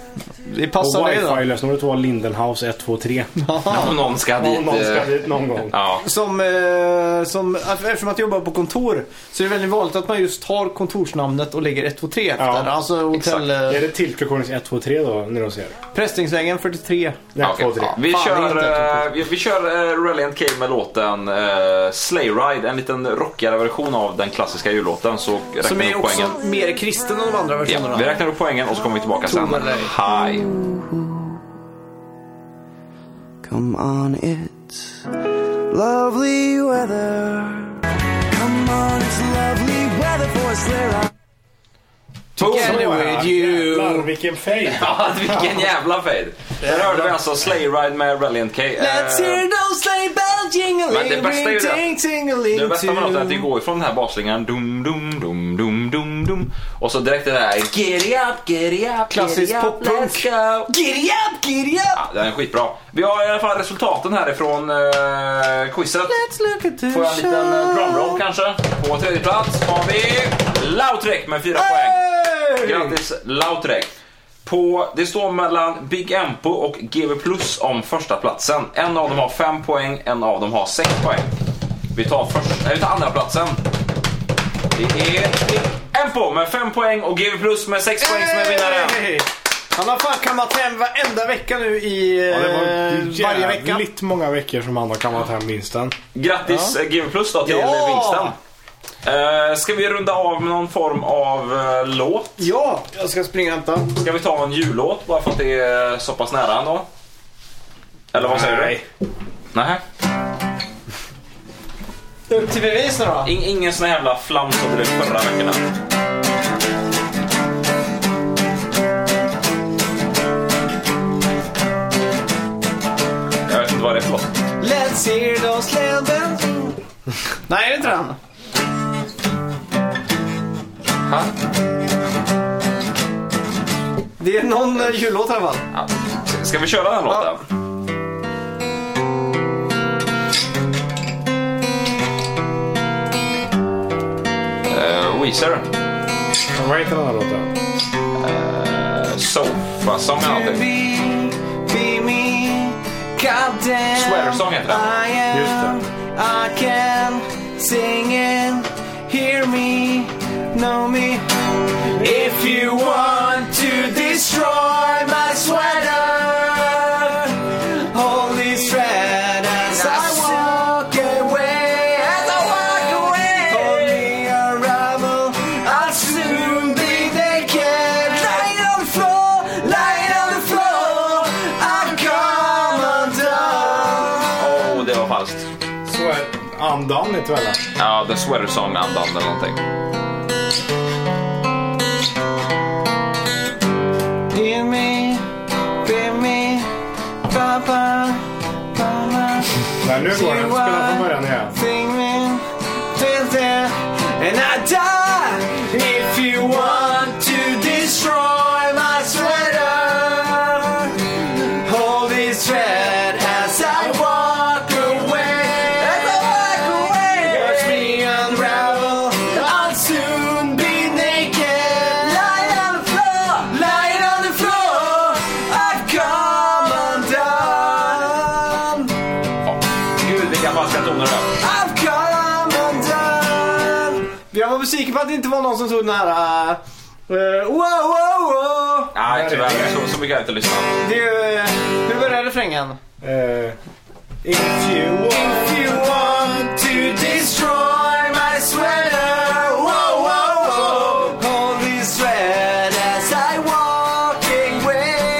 [SPEAKER 2] Det
[SPEAKER 4] Och
[SPEAKER 2] passar dig då.
[SPEAKER 4] wifi-lösenordet var Linden House 123.
[SPEAKER 3] Om någon ska dit.
[SPEAKER 4] Om någon ska
[SPEAKER 3] eh,
[SPEAKER 4] dit någon gång.
[SPEAKER 3] Ja.
[SPEAKER 2] Som, eh, som, eftersom att jag jobbar på kontor så är det väldigt vanligt att man just tar kontorsnamnet och lägger 123 efter.
[SPEAKER 4] Ja,
[SPEAKER 2] alltså hotell...
[SPEAKER 4] Är
[SPEAKER 2] Eh,
[SPEAKER 4] det Tiltrekordnings 123 då, när de ser?
[SPEAKER 2] Prästvingsvägen 43.
[SPEAKER 4] Ja,
[SPEAKER 3] Okej,
[SPEAKER 4] 123.
[SPEAKER 3] ja. Vi,
[SPEAKER 2] Fan, det är
[SPEAKER 3] kör,
[SPEAKER 2] inte
[SPEAKER 3] eh, vi, vi kör eh, Reliant K med låten eh, Slay Ride, en liten rockigare version av den klassiska jullåten. Så räknar
[SPEAKER 2] Som
[SPEAKER 3] vi
[SPEAKER 2] är
[SPEAKER 3] upp
[SPEAKER 2] också
[SPEAKER 3] poängen.
[SPEAKER 2] mer kristen än de andra
[SPEAKER 3] Ja,
[SPEAKER 2] versionerna.
[SPEAKER 3] vi räknar upp poängen och så kommer vi tillbaka sen.
[SPEAKER 2] eller
[SPEAKER 3] Hi. [laughs]
[SPEAKER 9] Come on, it's lovely weather. Come on, it's lovely weather for a sleigh ride.
[SPEAKER 2] Together with you.
[SPEAKER 4] Jävlar, vilken fade!
[SPEAKER 3] Ja, vilken jävla fade. Där hörde vi alltså Slay Ride med Reliant K. Eh,
[SPEAKER 2] Let's hear those sleigh bells jingling,
[SPEAKER 3] Men det bästa är ju det-
[SPEAKER 2] ring, ting, tingling
[SPEAKER 3] Det bästa med låten är att det
[SPEAKER 2] too.
[SPEAKER 3] går ifrån den här basslingan dum dum dum dum dum dum och så direkt det där Get it up, get it up,
[SPEAKER 2] Klassisk
[SPEAKER 3] get it up,
[SPEAKER 2] poppunk.
[SPEAKER 3] let's go.
[SPEAKER 2] Giddy up, giddy up!
[SPEAKER 3] Ja, den är skitbra. Vi har i alla fall resultaten härifrån eh, quizet.
[SPEAKER 2] Let's look at the
[SPEAKER 3] Får jag en liten eh,
[SPEAKER 2] show.
[SPEAKER 3] drumroll kanske? På tredje plats har vi Lautrec med fyra poäng.
[SPEAKER 2] Hey!
[SPEAKER 3] Grattis Lautrec. På, det står mellan Big Empo och GV Plus om första platsen. En av dem har fem poäng, en av dem har sex poäng. Vi tar, först, nej, vi tar andra platsen. Det är Big Empo med fem poäng och GV Plus med sex poäng som är vinnaren.
[SPEAKER 2] Hey! Han har fan kammat hem varenda vecka nu i
[SPEAKER 4] Ja, det var
[SPEAKER 2] eh,
[SPEAKER 4] ju
[SPEAKER 2] varje vecka.
[SPEAKER 4] jävligt många veckor som han har kammat hem vinsten.
[SPEAKER 3] Grattis ja. GW Plus då till
[SPEAKER 2] Ja!
[SPEAKER 3] vinsten. Eh, ska vi runda av med någon form av eh, låt?
[SPEAKER 2] Ja, jag ska springa och hämta.
[SPEAKER 3] Ska vi ta en jullåt bara för att det är så pass nära ändå? Eller vad säger
[SPEAKER 4] Nej.
[SPEAKER 3] du? Nej.
[SPEAKER 2] Upp till bevis nu då.
[SPEAKER 3] In, ingen sån här jävla flams som det blev förra veckan. Jag vet inte vad det är för låt.
[SPEAKER 2] Let's hear those landen. Nej, det är inte den.
[SPEAKER 3] Ha?
[SPEAKER 2] Det är någon eh, jullåt i alla fall.
[SPEAKER 3] Ja. Ska vi köra den låten? Eh, Weezer.
[SPEAKER 4] Men Vad heter den här låten?
[SPEAKER 3] Eh, Sofasång eller någonting.
[SPEAKER 2] Be, be me, God damn.
[SPEAKER 3] Swearsång heter den.
[SPEAKER 2] I am,
[SPEAKER 4] Just det.
[SPEAKER 2] I can sing and hear me, know me. If you want to destroy my sweater, hold this thread as I walk away. As I walk away, hold me a rival. I'll soon be naked. Lying on the floor, lying on the floor. I'm undone.
[SPEAKER 3] Åh, Oh, det var falskt.
[SPEAKER 4] Så är andan inte väl?
[SPEAKER 3] Ja, The Sweater Song med andan eller någonting.
[SPEAKER 2] Hear me, hear me, papa, papa.
[SPEAKER 4] Nej, nu går den. Spela från början igen.
[SPEAKER 2] Singing, dancing, and I die if you want to destroy my sweater. Hold this thread as I walk away. As I walk away, watch me unravel. I'll soon be naked. Lying on the floor, lying on the floor. I've come undone.
[SPEAKER 3] Gud, vilka falska toner det är.
[SPEAKER 2] I've come undone Jag var besviken på att det inte var någon som tog den här... eh, wow, wow, wow.
[SPEAKER 3] Nej, tyvärr. Så, så mycket har jag inte lyssnat.
[SPEAKER 2] Det är ju... eh, hur börjar refrängen?
[SPEAKER 4] Eh, if you want...
[SPEAKER 2] If you want to destroy my sweater Wow, wow, wow Hold this thread as I walk away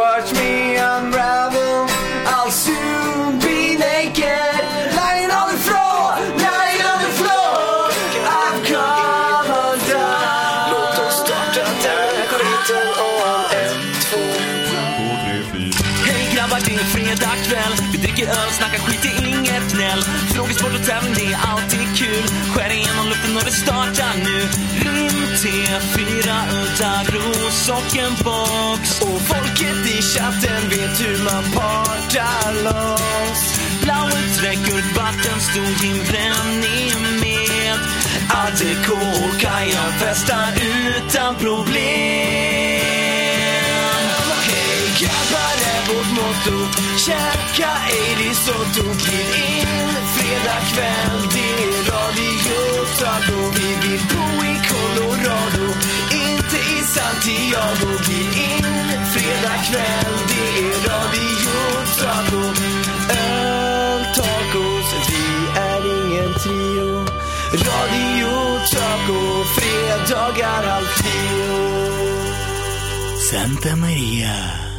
[SPEAKER 2] Watch me unravel I'll soon be naked Lying on the floor, lying on the floor I've come undone Låt oss starta den skiten om en, två,
[SPEAKER 8] Hej grabbar, det är fredag kväll. Vi dricker öl, snackar skit, det är inget gnäll. Frågesport och tävling, det är alltid kul. Skär igenom luften och det startar nu. Rim, te, fyra udda, ros och en box.
[SPEAKER 2] Och folket i chatten vet hur man partar loss
[SPEAKER 8] Blauet, räcker vatten, stor gin, brännvin med. ADK och Kajan festar utan problem.
[SPEAKER 2] Hej grabbar är vårt motto Käka ej risotto Glid in fredag kväll Det är Radio Taco Vi vill bo i Colorado Inte i Santiago Glid in fredag kväll Det är Radio Taco Öl, tacos Vi är ingen trio Radio Taco Fredagar halv tio
[SPEAKER 8] Santa Maria.